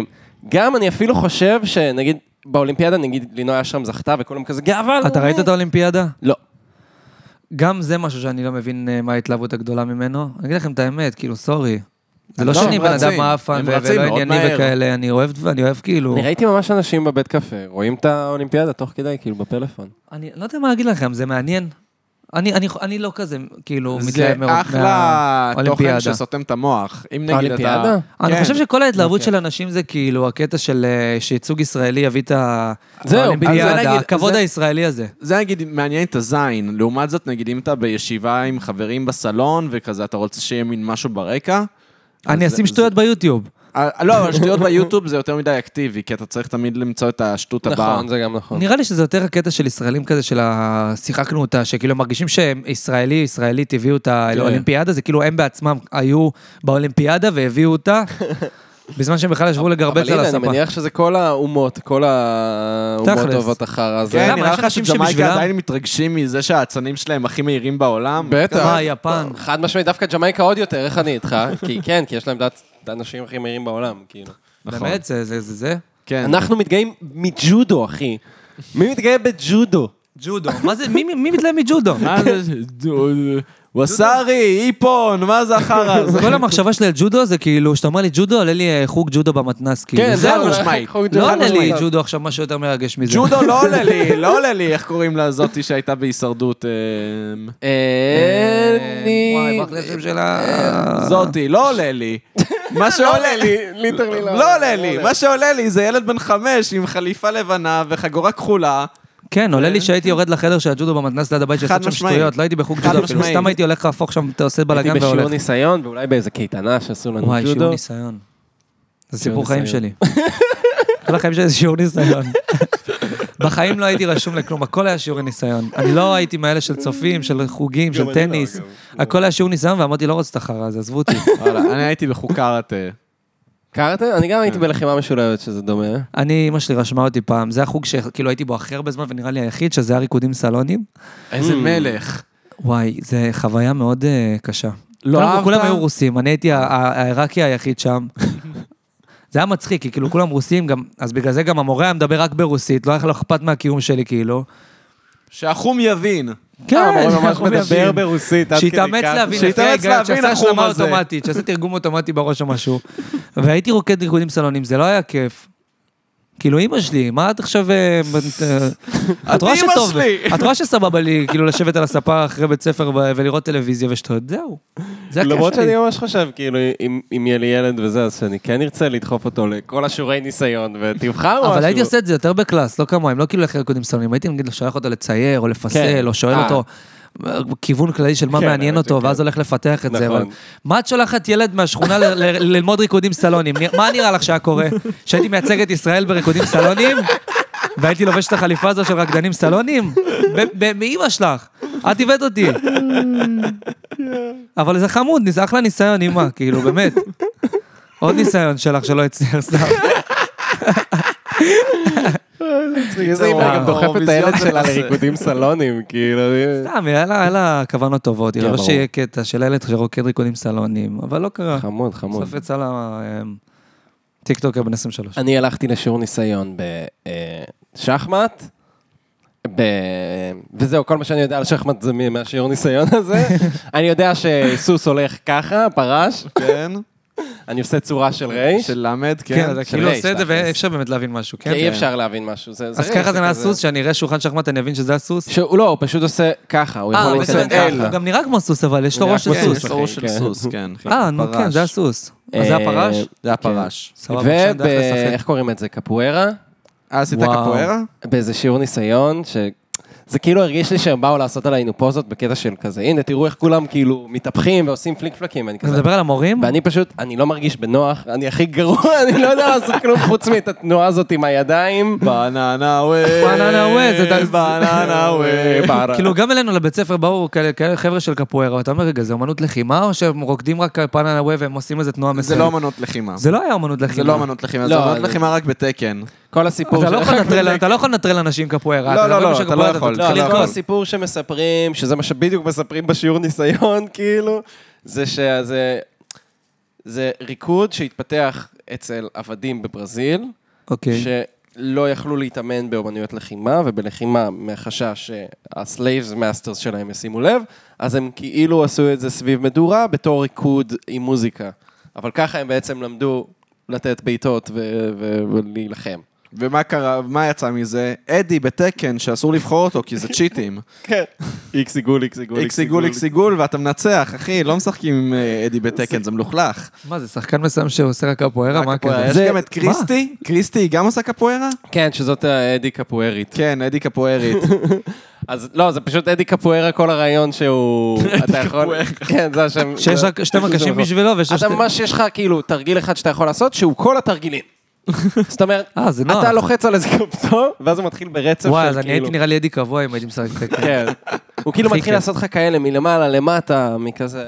גם אני אפילו חושב שנגיד, באולימפיאדה, נגיד, לינוי אשרם זכתה, וכולם כזה גאווה. אתה ראית את האולימפיאדה? לא. גם זה משהו שאני לא מבין אה, מה ההתלהבות הגדולה ממנו. אני אגיד לכם את האמת, כאילו, סורי. זה לא לא, שאני הם בן רצים. אדם הם מאפן ו- רצים ולא מאוד ענייני מהר. וכאלה, אני אוהב, אני אוהב כאילו... אני ראיתי ממש אנשים בבית קפה, רואים את האולימפיאדה תוך כדי, כאילו, בפלאפון. אני לא יודע מה להגיד לכם, זה מעניין. אני, אני, אני לא כזה, כאילו, זה מתלהב מאוד אחלה תוכן מהאולימפיאדה. שסותם את המוח. אם נגיד אתה... האולימפיאדה? אני כן. חושב שכל ההתלהבות של אנשים זה כאילו הקטע של אה, שייצוג ישראלי יביא את ה- זהו, אז זה האולימפיאדה, נגיד- הכבוד זה- הישראלי הזה. זה נגיד מעניין את הזין. לעומת זאת, נגיד אם אתה בישיבה עם חברים בסלון, וכזה, אתה רוצה שיהיה מין משהו ברקע, אני זה- אשים שטויות ביוטיוב. אה, לא, אבל שטויות ביוטיוב זה יותר מדי אקטיבי, כי אתה צריך תמיד למצוא את השטות הבאה. נכון, זה גם נכון. נראה לי שזה יותר הקטע של ישראלים כזה, של השיחקנו אותה, שכאילו הם מרגישים שישראלי, ישראלית הביאו אותה כן. לאולימפיאדה, זה כאילו הם בעצמם היו באולימפיאדה והביאו אותה, בזמן שהם בכלל ישבו לגרבץ על אבל הנה, אני הספה. מניח שזה כל האומות, כל האומות תכלס. אוהבות אחר הזה. כן, למה? נראה יש לך אנשים שג'מייקה שבשבילם- עדיין מתרגשים מזה שהאצנים שלהם הכי מהירים בעולם? בטח. מה, יפן? חד משמעית, דווקא ג'מייקה עוד יותר, איך אני איתך? כי כן, כי יש להם דעת את האנשים הכי מהירים בעולם, כאילו. באמת, זה זה זה זה? כן. אנחנו מתגאים מג'ודו, אחי. מי מתגאה בג'ודו? ג'ודו. מה זה, מי- מי מי מתלהב מג'ודו? מה זה? וסארי, איפון, מה זה החרא הזה? כל המחשבה שלי על ג'ודו זה כאילו, כשאתה אומר לי גודו, עולה לי אה, חוג ג'ודו במתנס, כאילו. כן, זה זהו, מה- משמעית. חוק ג'ודו, לא חד עולה לי משמעית. ג'ודו עכשיו משהו יותר מרגש מזה. ג'ודו לא עולה לי, לא עולה לי, איך קוראים לזאתי שהייתה בהישרדות? אמ, אני... אה, וואי, ברח לי השם אה, שלה. זאתי, לא עולה לי. מה שעולה לי, לא ליטרלי לא עולה לי. מה שעולה לי זה ילד בן חמש עם חליפה לבנה וחגורה כחולה. כן, עולה לי שהייתי יורד לחדר של הג'ודו במתנס ליד הבית חד שעשית שם משמעית. שטויות, לא הייתי בחוג חד ג'ודו אפילו, משמעית. סתם הייתי הולך להפוך שם, אתה עושה בלאגן הייתי בשיעור והולך. ניסיון, ואולי באיזה קייטנה שעשו לנו וואי, שיעור ג'ודו. ניסיון. זה שיעור סיפור חיים ניסיון. שלי. כל החיים שלי זה שיעור ניסיון. בחיים לא הייתי רשום לכלום, הכל היה שיעור ניסיון. אני לא הייתי מאלה של צופים, של חוגים, של טניס. הכל היה שיעור ניסיון, ואמרתי, לא רוצה את החרא הזה, עזבו אותי. וואלה, אני הייתי בחוקרת. אה, קראתם? אני גם הייתי בלחימה משולבת, שזה דומה. אני, אמא שלי רשמה אותי פעם, זה החוג שכאילו הייתי בו הכי הרבה זמן, ונראה לי היחיד, שזה היה ריקודים סלונים. איזה מלך. וואי, זו חוויה מאוד אה, קשה. לא כולם- אהבת? כולם היו רוסים, אני הייתי ה- ה- העיראקי היחיד שם. זה היה מצחיק, כי כאילו כולם רוסים, גם, אז בגלל זה גם המורה היה מדבר רק ברוסית, לא היה לו אכפת מהקיום שלי, כאילו. אה, שהחום יבין. המורה ממש הוא מדבר כן, יבין. ברוסית, כן, עד כדי כך. שיתאמץ להבין, לפי שיתאמץ ההיגיון, להבין שיעשה החום השלמה הזה. אוטומטית, שיעשה תרגום אוטומטי בראש או משהו. והייתי רוקד ריקודים סלונים, זה לא היה כיף. כאילו, אימא שלי, מה את עכשיו... אה, בת- אה, את רואה אימא שטוב, שלי. את רואה שסבבה לי, כאילו, לשבת על הספה אחרי בית ספר ו- ולראות טלוויזיה ושטויות, זהו. זה למרות הכיף שאני שלי. ממש חושב, כאילו, אם- אם יהיה לי ילד וזה, אז שאני כן ארצה לדחוף אותו לכל השיעורי ניסיון, ותבחר משהו. אבל הייתי עושה את זה יותר בקלאס, לא כמוהם, לא כאילו ללכת ריקודים סלונים, הייתי נגיד שולח אותו לצייר או כן. לפסל, או שואל אה. אותו אה, כיוון כללי של מה כן, מעניין האמת אותו, שכן. ואז הולך לפתח את זה. נכון. אבל מה את שולחת ילד מהשכונה ל- ל- ללמוד ריקודים סלונים? נראה- מה נראה לך שהיה קורה? שהייתי מייצג את ישראל בריקודים סלונים? והייתי לובש את החליפה הזו של רקדנים סלונים? ב- ב- מאימא שלך, את הבאת אותי. אבל זה חמוד, ניס- אחלה ניסיון, אימא, כאילו, באמת. עוד ניסיון שלך שלא הצליח סתם. איזה אימא וואו, גם דוחפת את הילד האירוויזיון שלה הזה. לריקודים סלונים, כאילו... סתם, היה לה- היה לה כוונות טובות, היא כן, לא ברור. שיהיה קטע של ילד שרוקד ריקודים סלונים, אבל לא קרה. חמוד, חמוד. בסוף יצא לה אמ, טיקטוקר בן 23. אני הלכתי לשיעור ניסיון בשחמט, אה, ב... וזהו, כל מה שאני יודע על שחמט זה מהשיעור ניסיון הזה. אני יודע שסוס הולך ככה, פרש, כן. אני עושה צורה של רייש. של למד, כן, כן. אתה של כאילו רייש, עושה את זה תכלס. ואי אפשר באמת להבין משהו, כי אי כן? אפשר להבין משהו. זה- זה אז רייש, ככה זה כזה- מהסוס, שאני אראה שולחן שחמט, אני אבין שזה הסוס. שהוא, לא, הוא פשוט עושה ככה, הוא אה, יכול הוא להתקדם בסדר, ככה. הוא גם נראה כמו סוס, אבל יש לו נראה ראש של כמו כן, סוס. יש סוס, לו ראש אחי, של סוס, כן. אה, נו כן, זה הסוס. אז זה אה, הפרש? כן. זה הפרש. סבבה, עכשיו וב... נדע איך לשחק. איך קוראים את זה? קפוארה? אה, עשית וואו. קפוארה? באיזה שיעור ניסיון, ש... זה כאילו הרגיש לי שהם באו לעשות עלינו פוזות בקטע של כזה, הנה, תראו איך כולם כאילו מתהפכים ועושים פליק פלקים, ואני אתה כזה... מדבר על המורים? ואני פשוט, אני לא מרגיש בנוח, אני הכי גרוע, אני לא יודע לעשות כלום חוץ מאת התנועה הזאת עם הידיים. בננה ווי. בננה ווי, זה ד- בננה ווי. כאילו, גם אלינו לבית ספר באו כאלה- כאלה חבר'ה של קפוארה, ואתה אומר, רגע, זה אומנות לחימה, או שהם רוקדים רק על פאננה ווי והם עושים איזה תנועה זה מסוימת? לא אמנות לחימה. זה לא היה אומנות לחימה. זה לא אמנות לחימה, זה לא, אמנות זה- לחימה רק בתקן. כל הסיפור אתה לא של- יכול לנטרל- אתה לא יכול לנטרל אנשים קפוארה. לא, אתה לא, מדבר לא, בשביל אתה לא קפוארה, יכול, תתחיל לא, אבל יכול. כל לקרוס. הסיפור שמספרים, שזה מה שבדיוק מספרים בשיעור ניסיון, כאילו, זה שזה... זה ריקוד שהתפתח אצל עבדים בברזיל, אוקיי. כן. שלא יכלו להתאמן באומנויות לחימה, ובלחימה מהחשש שהסלייבס מאסטרס שלהם ישימו לב, אז הם כאילו עשו את זה סביב מדורה בתור ריקוד עם מוזיקה. אבל ככה הם בעצם למדו לתת בעיטות ו- ו- ולהילחם. ומה קרה, מה יצא מזה? אדי בתקן שאסור לבחור אותו כי זה צ'יטים. כן. איקס עיגול, איקס עיגול, איקס עיגול, איקס עיגול, ואתה מנצח, אחי, לא משחקים עם אה, אדי בתקן, זה מלוכלך. מה, זה שחקן מסוים שעושה רק קפוארה? מה הקפוארה, כזה? כן, יש זה- גם את קריסטי, קריסטי היא גם עושה קפוארה? כן, שזאת אה, אדי קפוארית. כן, אדי קפוארית. אז לא, זה פשוט אדי קפוארה כל הרעיון שהוא... אתה יכול... כן, זה השם. שיש רק שתי מקשים לא. בשבילו ויש לו אתה שתי... ממש, יש לך כאילו תרגיל אחד שאתה יכול לעשות, שהוא כל התרגילים. זאת אומרת, אה, זה נוח. אתה לוחץ על איזה כפתור, ואז הוא מתחיל ברצף של כאילו... וואי, אז אני הייתי נראה לי אדי קבוע אם הייתי משחק את זה. כן. הוא כאילו הכי מתחיל כיף. לעשות לך כאלה מלמעלה, למטה, מכזה...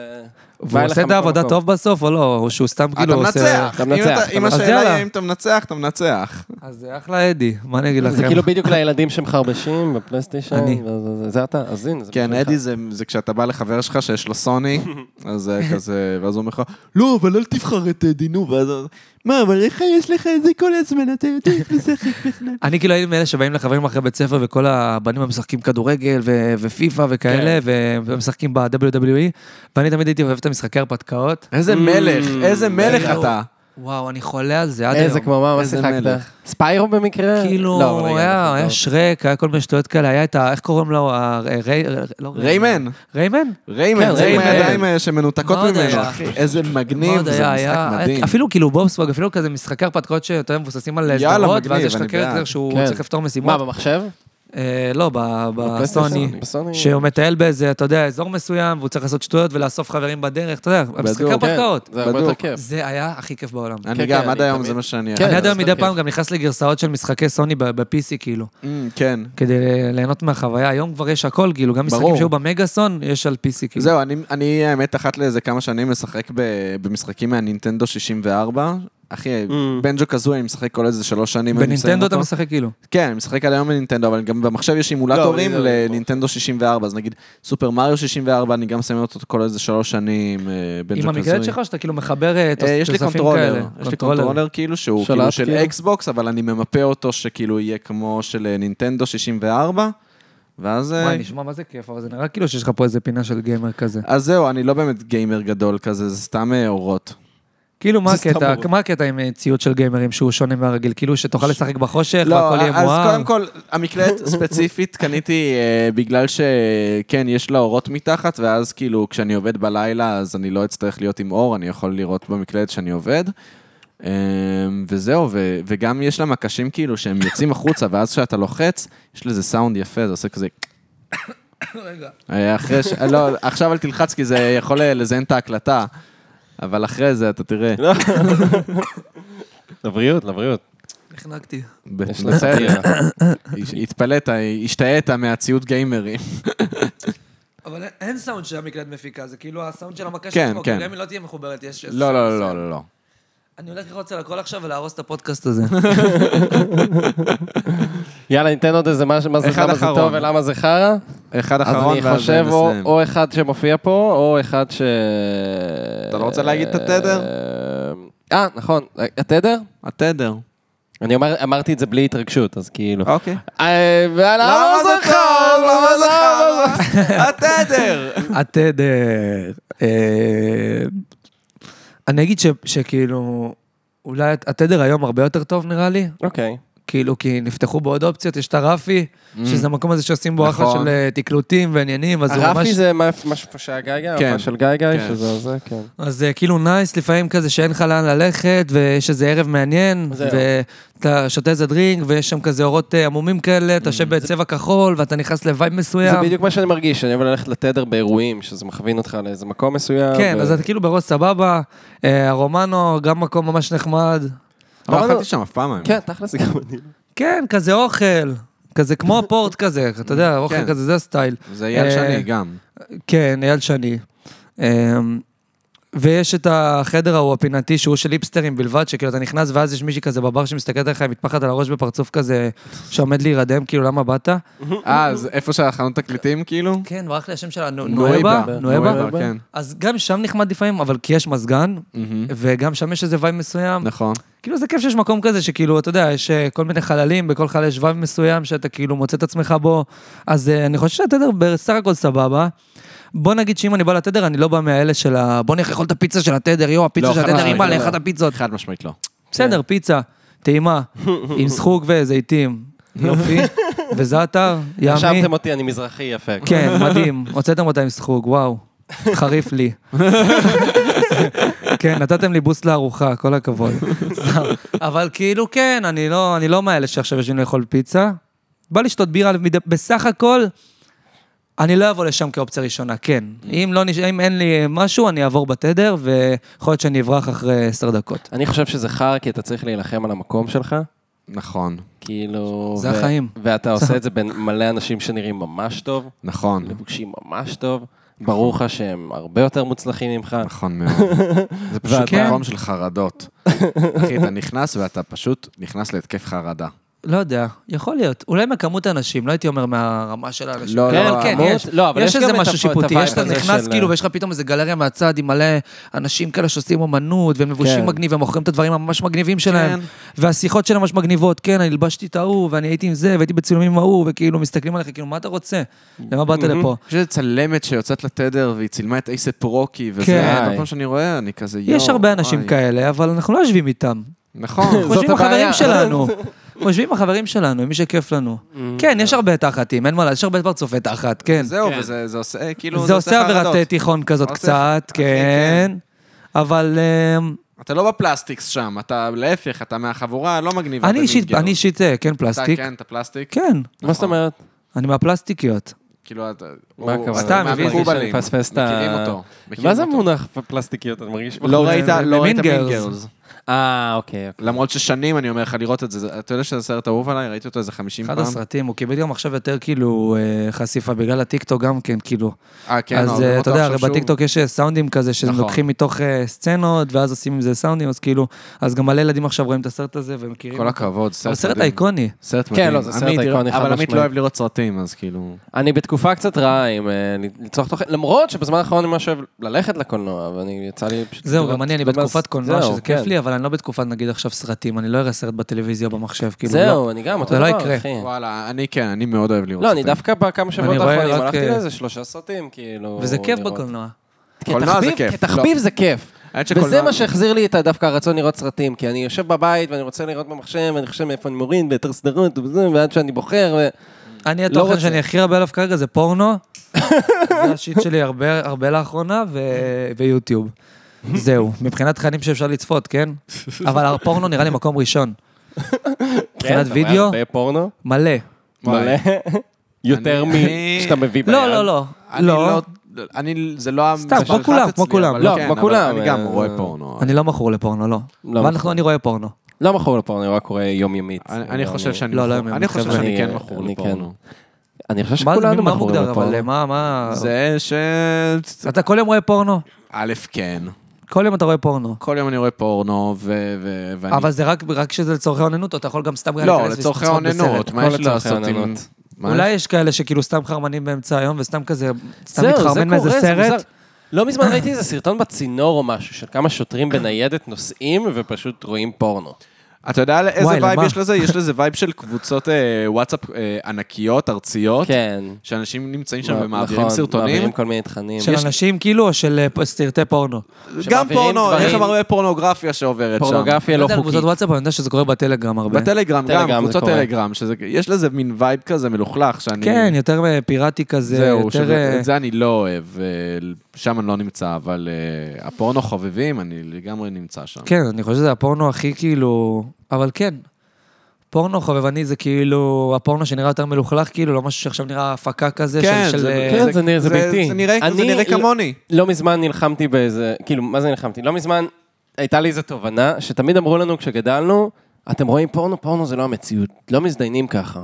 והוא בא לך עושה את מכל העבודה מקום. טוב בסוף או לא? או שהוא סתם כאילו אתה עושה... מנצח. אתה אם מנצח, אתה- אתה אם מנצח. אז השאלה יאללה. היא אם אתה מנצח, אתה מנצח. אז זה אחלה אדי, מה אני אגיד לכם? זה כאילו בדיוק לילדים שמחרבשים בפלייסטיישן, אני. וזה- זה- זה אתה, אז הנה, זה כן, בשבילך. אדי זה זה כשאתה בא לחבר שלך שיש לו סוני, אז זה כזה, ואז הוא אומר לך, לא, אבל אל תבחר את אדי, נו, ואז... הוא- מה, אבל איך יש לך את זה כל הזמן, אתה יודע איך לשחק בכלל. אני כאילו הייתי מאלה שבאים לחברים אחרי בית ספר וכל הבנים המשחקים כדורגל ו- ופיפא כן. וכאלה, ו- ומשחקים ב-WWE, E, ואני תמיד הייתי אוהב את המשחקי הרפתקאות. איזה מלך, Mm, איזה מלך וואו, אתה. וואו, אני חולה על זה עד היום. איזה כממה, מה איזה שיחקת? מלך. ספיירו במקרה? לא, כאילו, רגע, היה אנחנו היה לא. שרק, היה כל מיני שטויות כאלה, היה את ה... איך קוראים לו? ה- ריי- לא ריי- ריימן. ריימן? כן, ריימן, זה עם ריימן. הידיים אה, שמנותקות מאוד ממנו, היה. אחי. איזה מגניב, מאוד זה היה, משחק היה, מדהים. אפילו כאילו בובסוואג, אפילו כזה משחקי הרפתקאות שיותר מבוססים על אה, יאללה, סדרות, ואז מגניב, יש לך אני קרקטר בעד. שהוא כן. צריך לפתור מה, משימות. במחשב? אה, לא, ב- בסוני. בסוני. בסוני. שהוא מטייל באיזה, אתה יודע, אזור מסוים, והוא צריך לעשות שטויות ולאסוף חברים בדרך, אתה יודע, משחקי כן, הרפתקאות. זה הרבה בדוק. יותר כיף. זה היה הכי כיף בעולם. כן, אני גם, כן, עד אני היום תמיד- זה מה שאני... כן. אני עד זה היום סתם מדי כיף. פעם גם נכנס לגרסאות של משחקי סוני ב-PC, כאילו, אמ, כן. כדי ליהנות מהחוויה. היום כבר יש הכל, כאילו, גם משחקים ברור. שהיו במגאסון, יש על PC, כאילו. זהו, אני, אני האמת אחת לאיזה כמה שנים משחק ב, במשחקים מהנינטנדו 64. אחי, Mm. בנג'ו כזו אני משחק כל איזה שלוש שנים. אני מסיים בנינטנדו אתה אותו. משחק, כאילו. כן, אני משחק עד היום בנינטנדו, אבל גם במחשב יש אימולטורים לא, אבל זה- לנינטנדו 64, אז נגיד סופר מריו 64, אני גם מסיים אותו כל איזה שלוש שנים, אה, עם בנג'ו המקלדת כזו. שלך, או שאתה כאילו מחבר אה, אה, יש לי תוספים כאלה. קונטרולר, יש לי קונטרולר כאילו שהוא שלט, כאילו של כאילו? אקסבוקס, אבל אני ממפה אותו שכאילו יהיה כמו של אה, נינטנדו 64, ואז... אה, וואי, נשמע מה זה כיף, אבל זה נראה כאילו שיש לך פה איזה פינה של גיימר כזה. אז זהו, אני לא באמת גיימר גדול כזה, זה סתם אה, אורות. כאילו, מה זה סתם הקטע, מורות. מה הקטע עם אה, ציוד של גיימרים שהוא שונה מהרגיל? כאילו, שתוכל לשחק בחושך והכל יהיה לא, אז מואר? קודם כל, המקלדת ספציפית קניתי אה, בגלל שכן, יש לה אורות מתחת, ואז כאילו כשאני עובד בלילה, אז אני לא אצטרך להיות עם אור, אני יכול לראות במקלדת שאני עובד. אה, וזהו, ו- וגם יש לה מקשים כאילו שהם יוצאים החוצה, ואז כשאתה לוחץ, יש לזה סאונד יפה, זה עושה כזה... רגע. אחרי ש... לא, עכשיו אל תלחץ, כי זה יכול אה, לזיין את ההקלטה, אבל אחרי זה אתה תראה. לבריאות, לבריאות. נחנקתי. יש בסדר. לצייר. התפלאת, השתהית מהציוד גיימרים. אבל אין סאונד שהמקלדת מפיקה, זה כאילו הסאונד של המכה כן, כן. לא תהיה מחוברת, יש... לא, לא, לא, לא, לא. אני הולך ללחוץ על הכל עכשיו ולהרוס את הפודקאסט הזה. יאללה, ניתן עוד איזה משהו, מה זה, אחד למה זה אחרון. טוב ולמה זה חרא. אחד אז אחרון, אני ואז חושב או- נסיים. או אחד שמופיע פה, או אחד ש... אתה לא רוצה להגיד את התדר? אה, נכון. אה, התדר? התדר. אני אומר- אמרתי את זה בלי התרגשות, אז כאילו. אוקיי. אה, ולמה למה זה זה חם? חם? למה זה למה זה- חם? לא, התדר! התדר. אה, אני אגיד ש- שכאילו, אולי הת- התדר היום הרבה יותר טוב נראה לי, אוקיי. כאילו, כי נפתחו בו עוד אופציות, יש את הרפי, Mm. שזה המקום הזה שעושים בו אחלה נכון. של אה, תקלוטים ועניינים, אז הוא ממש... הרפי זה מה- משהו שהיה גיא גיא, כן. הופעה של גיא גיא, כן. שזה זה, כן. אז אה, כאילו נייס לפעמים כזה שאין לך לאן ללכת, ויש איזה ערב מעניין, זהו. ואתה שותה איזה דרינק, ויש שם כזה אורות אה, עמומים כאלה, אתה יושב בצבע כחול, ואתה נכנס לווייב מסוים. Mm, זה בדיוק מה שאני מרגיש, אני אוהב ללכת לתדר באירועים, שזה מכווין אותך לאיזה מקום מסוים. כן, ו- אז אתה כאילו בראש סבבה, אה, הרומנו, גם מקום ממש נחמד. לא אבל- אכלתי שם אף פעם. האמת. כן, תכלס גם אני. כן, כזה אוכל, כזה כמו הפורט כזה, אתה יודע, אוכל כן. כזה, זה הסטייל. זה אייל אה, שני גם. כן, אייל שני. אמ, ויש את החדר ההוא הפינתי שהוא של היפסטרים בלבד, שכאילו אתה נכנס ואז יש מישהי כזה בבר שמסתכלת עליך עם מטפחת על הראש בפרצוף כזה שעומד להירדם, כאילו למה באת? אה, אז איפה שהחנות תקליטים כאילו? כן, ברח לי השם שלה, נו- נואיבה. נואבה? נואבה? נואיבה, כן. אז גם שם נחמד לפעמים, אבל כי יש מזגן, מהמם. וגם שם יש איזה וייב מסוים. נכון. כאילו זה כיף שיש מקום כזה שכאילו, אתה יודע, יש אה, כל מיני חללים, בכל חלל יש וייב מסוים שאתה כאילו מוצא את עצמך בו. אז אה, אני חושב שהתדר בסך הכל סבבה. בוא נגיד שאם אני בא לתדר, אני לא בא מהאלה של ה... בוא נלך לאכול את הפיצה של התדר, יו, הפיצה לא, של חד התדר, משמעית, אימא, לא, לאחד לא. הפיצות. חד משמעית לא. בסדר, פיצה, טעימה, עם זחוק וזיתים. יופי. וזעתר, ימי. רשמתם אותי, אני מזרחי יפה. כן, מדהים. הוצאתם אותה עם זחוק, וואו. חריף לי. כן, נתתם לי בוסט לארוחה, כל הכבוד. סתם. אבל כאילו, כן, אני לא, אני לא מאלה שעכשיו יושבים לאכול פיצה. בא לשתות בירה, מדי- בסך הכל, אני לא אבוא לשם כאופציה ראשונה, כן. אם, לא, נש- אם אין לי משהו, אני אעבור בתדר, ויכול להיות שאני אברח אחרי עשר דקות. אני חושב שזה חר, כי אתה צריך להילחם על המקום שלך. נכון. כאילו... זה החיים. ואתה עושה את זה בין מלא אנשים שנראים ממש טוב, נכון. לבושים ממש טוב, ברור לך שהם הרבה יותר מוצלחים ממך. נכון מאוד. זה פשוט ואתה- מקום של חרדות. אחי, אתה נכנס ואתה פשוט נכנס להתקף חרדה. לא יודע, יכול להיות. אולי מכמות האנשים, לא הייתי אומר מהרמה של האנשים. לא, כן, לא, כן, אמור- יש. לא, אבל יש יש גם איזה את משהו הפ- שיפוטי, את יש אתה הווייב הזה נכנס של- אה, כאילו, ויש לך פתאום איזה גלריה מהצד עם מלא אנשים כאלה שעושים אומנות, והם לבושים כן. מגניב, הם מוכרים את הדברים הממש מגניבים שלהם, כן. והשיחות שלהם ממש מגניבות, כן, אני הלבשתי את ההוא, ואני הייתי עם זה, והייתי בצילומים עם ההוא, וכאילו מסתכלים עליך, כאילו, מה אתה רוצה? למה באת לפה? יש איזו צלמת שיוצאת לתדר והיא צילמה את אייסט רוקי, וזה, כן. כל פעם שאני רואה, אני כזה יואו. יש הרבה אנשים וואי." כאלה, אבל אנחנו לא יושבים איתם. נכון. אנחנו יושבים עם הבעיה. החברים שלנו. אנחנו יושבים עם החברים שלנו, עם מי שכיף לנו. כן, יש הרבה תחתים, אין מה, לעשות, יש הרבה פרצופי תחת, כן. זהו, וזה זה עושה, כאילו, זה עושה עבירת אה, חרדות. תיכון כזאת עושה- קצת, אחי, כן. אבל אמ, אתה לא בפלסטיקס שם, אתה להפך, אתה מהחבורה הלא מגניבה. אני אישית, במידגר. אני אישית, אה, כן, אתה פלסטיק. כן, אתה פלסטיק. כן, מה זאת אומרת? אני מהפלסטיקיות. כאילו, אתה... מה הוא- הכוונה? סתם, הבנתי מהמקובלים. שאני מפספס את ה- מכירים אותו. מכירים מה זה אותו. המונח פלסטיקיות? אני מרגיש... לא בחוץ. ראית, לא ראית במין מין גרלס. גרלס. אה, אוקיי. אוקיי. למרות ששנים אני אומר לך לראות את זה, זה, אתה יודע שזה סרט אהוב עליי, ראיתי אותו איזה 50 פעם. אחד הסרטים, הוא קיבל גם עכשיו יותר כאילו אה, חשיפה בגלל הטיקטוק גם כן, כאילו. אה, כן, אז אבל אה, אותו אתה יודע, עכשיו הרי שוב. בטיקטוק יש אה, סאונדים כזה נכון. שלוקחים מתוך אה, סצנות, ואז עושים עם זה סאונדים, אז כאילו, אז גם מלא ילדים עכשיו רואים את הסרט הזה ומכירים. כל אותו. הכבוד, סרט אבל מדהים. סרט אייקוני. סרט כן, מדהים. לא, זה סרט עמית, אייקוני, חד אבל עמית משמעית. כן. לא אוהב לראות סרטים, אז כאילו... אני בתקופה קצת רעה עם אה, לצרוך תוכן, למרות שבזמן האחרון אני ממש אוהב ללכת לקולנוע, אבל אני- יצא לי פשוט... לא- זהו, לראות- גם אני, אני לראות- בתקופת קולנוע, זהו, שזה כיף כן. לי, אבל אני לא בתקופת, נגיד עכשיו סרטים, אני לא אראה סרט בטלוויזיה או במחשב, כאילו. לא. זהו, אני גם, אותו זה לא דבר, יקרה. אחי. וואלה, אני כן, אני מאוד אוהב לראות לא, סרטים. אני דווקא בכמה שבועות אני רואה האחרונים רק, הלכתי אה, לאיזה שלושה סרטים, כאילו... וזה כיף לראות. בקולנוע. קולנוע זה כתחביב- כיף. לא. כתחביב זה כיף. האמת שקולנוע- וזה מה שהחזיר לי את ה- דווקא הרצון לראות סרטים, כי אני יושב בבית ואני רוצה לראות במחשב, ואני חושב מאיפה אני מוריד, ביותר סדרות, וזה, ועד שאני בוחר, ו... אני, לא רוצה. התוכן שאני הכי הרבה עליו כרגע זה פורנו. זה השיט שלי הרבה הרבה לאחרונה, ו- ויוטיוב. זהו, מבחינת תכנים שאפשר לצפות, כן? אבל הפורנו נראה לי מקום ראשון. כן, מבחינת אתה רואה וידאו, הרבה פורנו? מלא. מלא. יותר אני- משאתה מביא ביד. לא, לא, לא. אני לא, לא... אני, זה לא... המספר סתם, כמו שלחץ כולם, אצלי, כמו כולם. אבל לא, כן, כמו אבל כולם, אני גם אה, רואה פורנו. אני לא מכור לפורנו, לא. לא אבל מכור. אנחנו- אני רואה פורנו. לא מכור לפורנו, אני רק קורא יומיומית. אני אני חושב שאני לא, לא, מכור- הם אני חושב מתכוונים. שאני אני- כן מכור אני לפורנו. אני חושב מה שכולנו מה מכורים מוגדר, אבל לפורנו. מה, מה... זה ש... אתה כל יום רואה פורנו? א', כן. כל יום אתה רואה פורנו. כל יום אני רואה פורנו, ו- ו- ואני... אבל זה רק- רק שזה לצורכי אוננות, או אתה יכול גם סתם לא, להיכנס לצורכי ולצפות בסרט? אוננות, מה הכל יש לי לצורכי לעשות עם... אוננות. מה? אולי יש כאלה שכאילו סתם חרמנים באמצע היום, וסתם כזה, סתם זהו, זה מתחרמן מאיזה קורה, זה מוזר. סרט. לא מזמן ראיתי אוקיי. איזה סרטון בצינור או משהו, של כמה שוטרים בניידת נוסעים ופשוט רואים פורנו. אתה יודע על איזה וואי, וייב למה? יש לזה? יש לזה וייב של קבוצות אה, וואטסאפ אה, ענקיות, ארציות, כן. שאנשים נמצאים שם נכון, ומעבירים סרטונים. מעבירים כל מיני תכנים. של אנשים כאילו, או של אה, פ- סרטי פורנו? גם שמעבירים פורנו, דברים- יש שם הרבה פורנוגרפיה שעוברת שם. פורנוגרפיה לא לא יודע, חוקית. קבוצות וואטסאפ, אני יודע שזה קורה בטלגרם הרבה. בטלגרם, גם, טלגרם זה קבוצות קורה. טלגרם, שזה- יש לזה מין וייב כזה מלוכלך, שאני... כן, יותר אה, פיראטי כזה, זהו, יותר... שזה- אה, את זה אני לא אוהב, אה, שם אני לא נמצא, אבל אה, הפורנו חובבים, אני לגמרי נמצא שם. כן, אני חושב שזה הפורנו הכי כאילו... אבל כן, פורנו חובבני זה כאילו, הפורנו שנראה יותר מלוכלך, כאילו, לא משהו שעכשיו נראה הפקה כזה, של- כן, של... זה- אה, כן, זה נראה- זה ביתי. זה נראה זה אני נראה לא- כמוני. לא מזמן נלחמתי באיזה, כאילו, מה זה נלחמתי? לא מזמן הייתה לי איזו תובנה, שתמיד אמרו לנו כשגדלנו, אתם רואים פורנו, פורנו זה לא המציאות, לא מזדיינים ככה.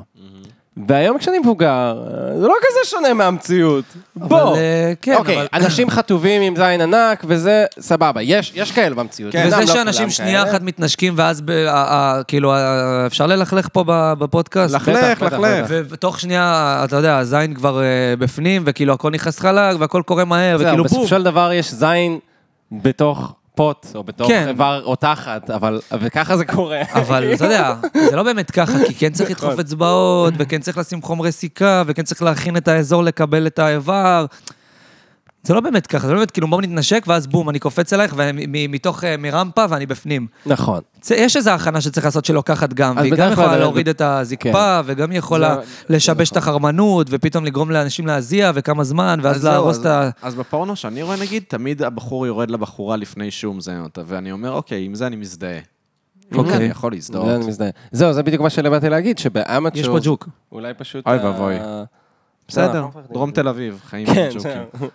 והיום כשאני מבוגר, אה, זה לא כזה שונה מהמציאות. בוא. אה, כן, אוקיי, אבל- אנשים חטובים עם זין ענק וזה, סבבה, יש יש כאלה במציאות. כן. אמנם וזה לא שאנשים כולם שנייה כאלה. אחת מתנשקים ואז, ב- ה- ה- כאילו, ה- אפשר ללכלך פה ב- בפודקאסט? לחלך, בטח, בטח, לחלך. ותוך שנייה, אתה יודע, הזין כבר אה, בפנים, וכאילו הכל נכנס חלק, והכל קורה מהר, זהו, וכאילו כאילו, בום. בסופו של דבר יש זין בתוך פוט, או בתוך כן. איבר או תחת, אבל, וככה זה קורה. אבל אתה יודע, זה לא באמת ככה, כי כן צריך נכון. לדחוף אצבעות, וכן צריך לשים חומרי סיכה, וכן צריך להכין את האזור לקבל את האיבר. זה לא באמת ככה, זה לא באמת, כאילו בואו נתנשק, ואז בום, אני קופץ אלייך, ומתוך, אה, מרמפה, ואני בפנים. נכון. צ- יש איזו הכנה שצריך לעשות שלא כחת גם, אז והיא בדרך גם יכולה כלל- להוריד את הזקפה, כן. וגם יכולה לשבש את החרמנות, ופתאום לגרום לאנשים להזיע, וכמה זמן, ואז זהו, להרוס את ה... נכון. אז בפורנו שאני רואה, נגיד, תמיד הבחור יורד לבחורה לפני שהוא מזיין אותה, ואני אומר, אוקיי, עם זה אני מזדהה. אוקיי. כן. אני יכול זה להזדהות. לא, אני מזדהה. זהו, זה בדיוק מה שבאתי להגיד, שבאמצ'ור... יש פה ג'וק. אולי פשוט... אה, אוי ה- ואבוי. בסדר, דרום תל אביב, חיים כן, עם ג'וקים.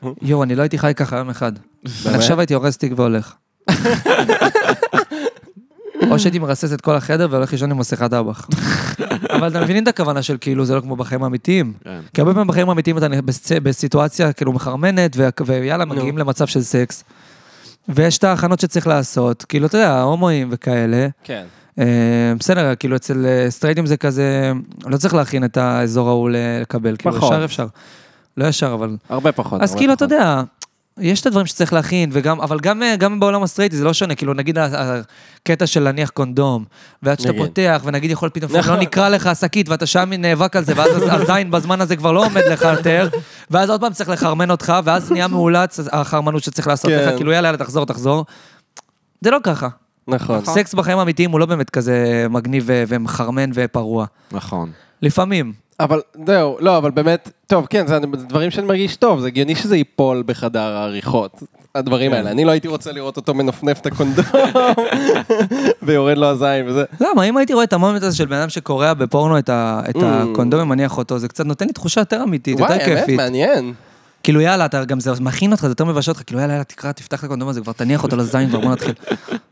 זהו. יואו, אני לא הייתי חי ככה יום אחד. אני עכשיו הייתי הורס תיק והולך. או שהייתי מרסס את כל החדר והולך לישון עם מסכת אבח. אבל אתם מבינים את הכוונה של כאילו, זה לא כמו בחיים האמיתיים. כן. כי הרבה פעמים בחיים האמיתיים אתה בס- בסיטואציה כאילו מחרמנת, וה- ויאללה, מגיעים למצב של סקס. ויש את ההכנות שצריך לעשות, כאילו, אתה יודע, הומואים וכאלה. כן. אה, בסדר, כאילו אצל אה, סטרייטים זה כזה, לא צריך להכין את האזור ההוא ל- לקבל, כאילו פחות. ישר אפשר. לא ישר, אבל... הרבה פחות. אז הרבה כאילו, אתה פחות. יודע, יש את הדברים שצריך להכין, וגם, אבל גם, אה, גם בעולם הסטרייטי זה לא שונה, כאילו, נגיד ה- הקטע של להניח קונדום, ועד שאתה נגיד. פותח, ונגיד יכול פתאום, נכון. לא נקרע לך השקית, ואתה שם נאבק על זה, ואז הז- הזין בזמן הזה כבר לא עומד לך יותר, ואז עוד פעם צריך לחרמן אותך, ואז נהיה מאולץ החרמנות שצריך לעשות כן. לך, כאילו, יאללה, יאללה, תחזור, תחזור. זה לא ככה. נכון. סקס בחיים האמיתיים הוא לא באמת כזה מגניב ו- ומחרמן ופרוע. נכון. לפעמים. אבל זהו, לא, אבל באמת, טוב, כן, זה זה דברים שאני מרגיש טוב, זה הגיוני שזה ייפול בחדר העריכות, הדברים כן. האלה. אני לא הייתי רוצה לראות אותו מנפנף את הקונדום, ויורד לו הזין וזה. למה? לא, אם הייתי רואה את המומנט הזה של בן אדם שקורע בפורנו את, ה- את הקונדום ומניח אותו, זה קצת נותן לי תחושה יותר אמיתית, Mm. וואי, יותר האמת, כיפית. מעניין. כאילו יאללה, אתה גם זה מכין אותך, זה יותר מבשל אותך, כאילו יאללה, יאללה, תקרא, תפתח את הקונדום הזה, כבר תניח אותו לזין, כבר בוא נתחיל.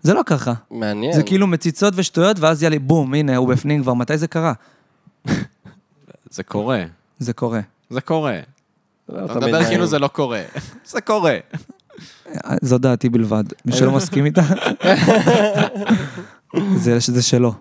זה לא ככה. מעניין. זה כאילו מציצות ושטויות, ואז יאללה, בום, הנה, הוא בפנים כבר, מתי זה קרה? זה קורה. זה קורה. זה קורה. לא, אתה תמיד מדבר מעניין. כאילו זה לא קורה. זה קורה. זו דעתי בלבד. מי שלא מסכים איתה, זה זה שלו.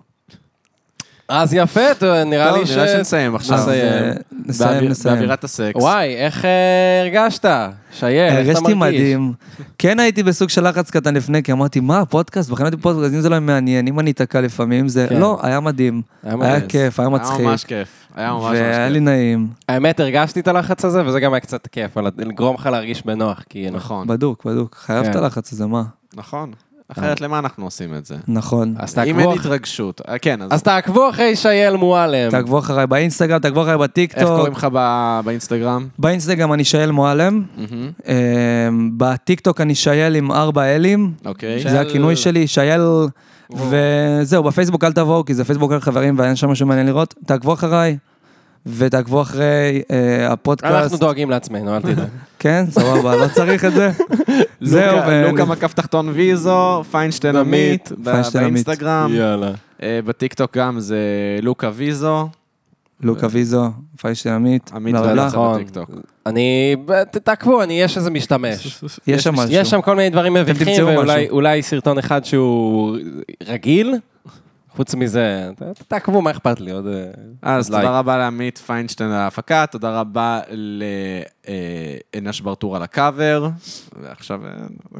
אז יפה, אתה- נראה טוב, לי ש... נראה שנסיים עכשיו. אז אה, נסיים, באוויר- נסיים. באווירת הסקס. וואי, איך אה, הרגשת? שייל, אה, איך אתה הרגשתי מרגיש? מדהים. כן הייתי בסוג של לחץ קטן לפני, כי אמרתי, מה, פודקאסט? בחיים הייתי פודקאסט, אם זה לא היה מעניין, אם אני אתקע לפעמים, זה... כן. לא, היה מדהים. היה היה מדהים. כיף, היה היה ממש לא מצחיק. כיף. היה ממש ממש והיה כיף. לי נעים. האמת, הרגשתי את הלחץ הזה, וזה גם היה קצת כיף, אבל לגרום לך להרגיש בנוח, כאילו. נכון, בדוק, בדוק. חייב כן. את הלחץ הזה, מה? נכון. נכון. אחרת למה אנחנו עושים את זה? נכון. אז אם אין תעקבו, אח- התרגשות. אה, כן, אז אז תעקבו אחרי שייל מועלם. תעקבו אחריי באינסטגרם, תעקבו אחריי איך בטיקטוק. קוראים לך ב- באינסטגרם? באינסטגרם אני שייל מועלם. אה, בטיקטוק אני שייל עם ארבע אלים. אוקיי. זה הכינוי שלי, שייל... וזהו, בפייסבוק אל תבואו, כי זה פייסבוק על חברים ואין שם משהו מעניין לראות. תעקבו אחריי, ותעקבו אחרי אה, אנחנו הפודקאסט. דואגים לעצמנו, אל תדאג. כן, סבבה, לא צריך את זה. זהו, לוקה- ו- לוקה מקף תחתון ויזו, פיינשטיין עמית, עמית, ב- פיינשטיין עמית. באינסטגרם. יאללה. אה, בטיקטוק גם זה לוקה ויזו. לוקה ויזו, פיישטיין עמית, עמית בלה בלה בלה. ואלכס נכון. בטיקטוק. אני... ב- ת- תעקבו, אני... יש איזה משתמש. יש שם משהו. יש שם כל מיני דברים מביכים, תמצאו ואולי משהו. אולי סרטון אחד שהוא רגיל. חוץ מזה, ת- ת- תעקבו, מה אכפת לי עוד... אה, אז לייק. תודה רבה לעמית פיינשטיין על ההפקה, תודה רבה לאנש ברטור על הקאבר. ועכשיו אה,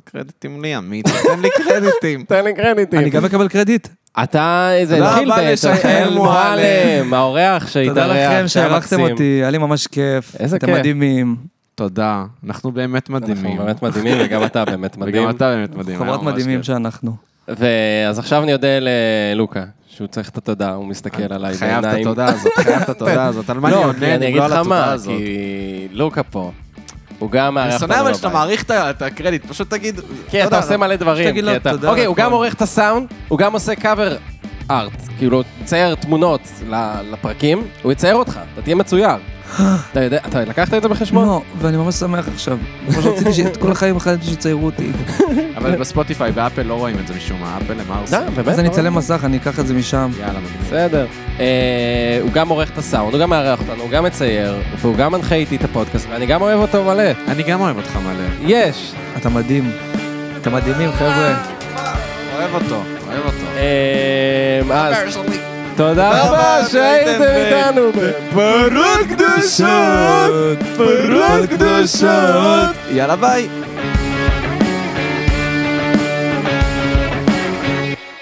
קרדיטים לי, עמית, תן לי קרדיטים. תן לי קרדיטים. אני גם אקבל קרדיט. אתה, זה תודה התחיל רבה בעצם, לשייחל מועלם, האורח תודה שהתארח, לכם שהיה שאירחתם מקסים. אותי, היה לי ממש כיף. איזה אתם כיף. מדהימים. תודה. אנחנו באמת אנחנו מדהימים. באמת מדהימים, וגם אתה באמת מדהים. וגם אתה באמת מדהים. היה חברת ממש כן. מדהימים כיף. שאנחנו. ואז עכשיו אני אודה ללוקה, שהוא צריך את התודה, הוא כן, מסתכל עליי חייב את בעיניים. התודה הזאת, חייב את התודה הזאת. על מה אני לא, עונה? כי אני אם אגיד לא על לך התודה מה, הזאת? אה, כי לוקה פה, הוא גם מארח אני אותנו שונא אבל שאתה בבית. מעריך את ה- את הקרדיט, פשוט תגיד... כן, אתה תודה. עושה מלא דברים. שתגיד כי לו אתה- תודה אוקיי, על הוא גם הכל. עורך את הסאונד, הוא גם עושה קאבר ארט. כאילו, הוא מצייר תמונות ל- לפרקים, הוא יצייר אותך, אתה תהיה מצויר. אתה יודע, אתה לקחת את זה בחשבון? לא, ואני ממש שמח עכשיו. ממש רציתי שאת כל החיים החלטתי שיציירו אותי. אבל בספוטיפיי, באפל לא רואים את זה משום מה, אפל הם ארסים. לא, באמת? אז אני לא? אצלם מסך, אני אקח את זה משם. יאללה, מגניב. בסדר. אה, הוא גם עורך את הסאונד, הוא גם מארח אותנו, הוא גם מצייר, והוא גם מנחה איתי את הפודקאסט, ואני גם אוהב אותו מלא. אני גם אוהב אותך מלא. יש. אתה מדהים. אתם מדהימים, חבר'ה. אוהב אותו, אוהב אותו. אה, אז, תודה רבה שהייתם איתנו. פרות קדושות, פרות קדושות. יאללה ביי.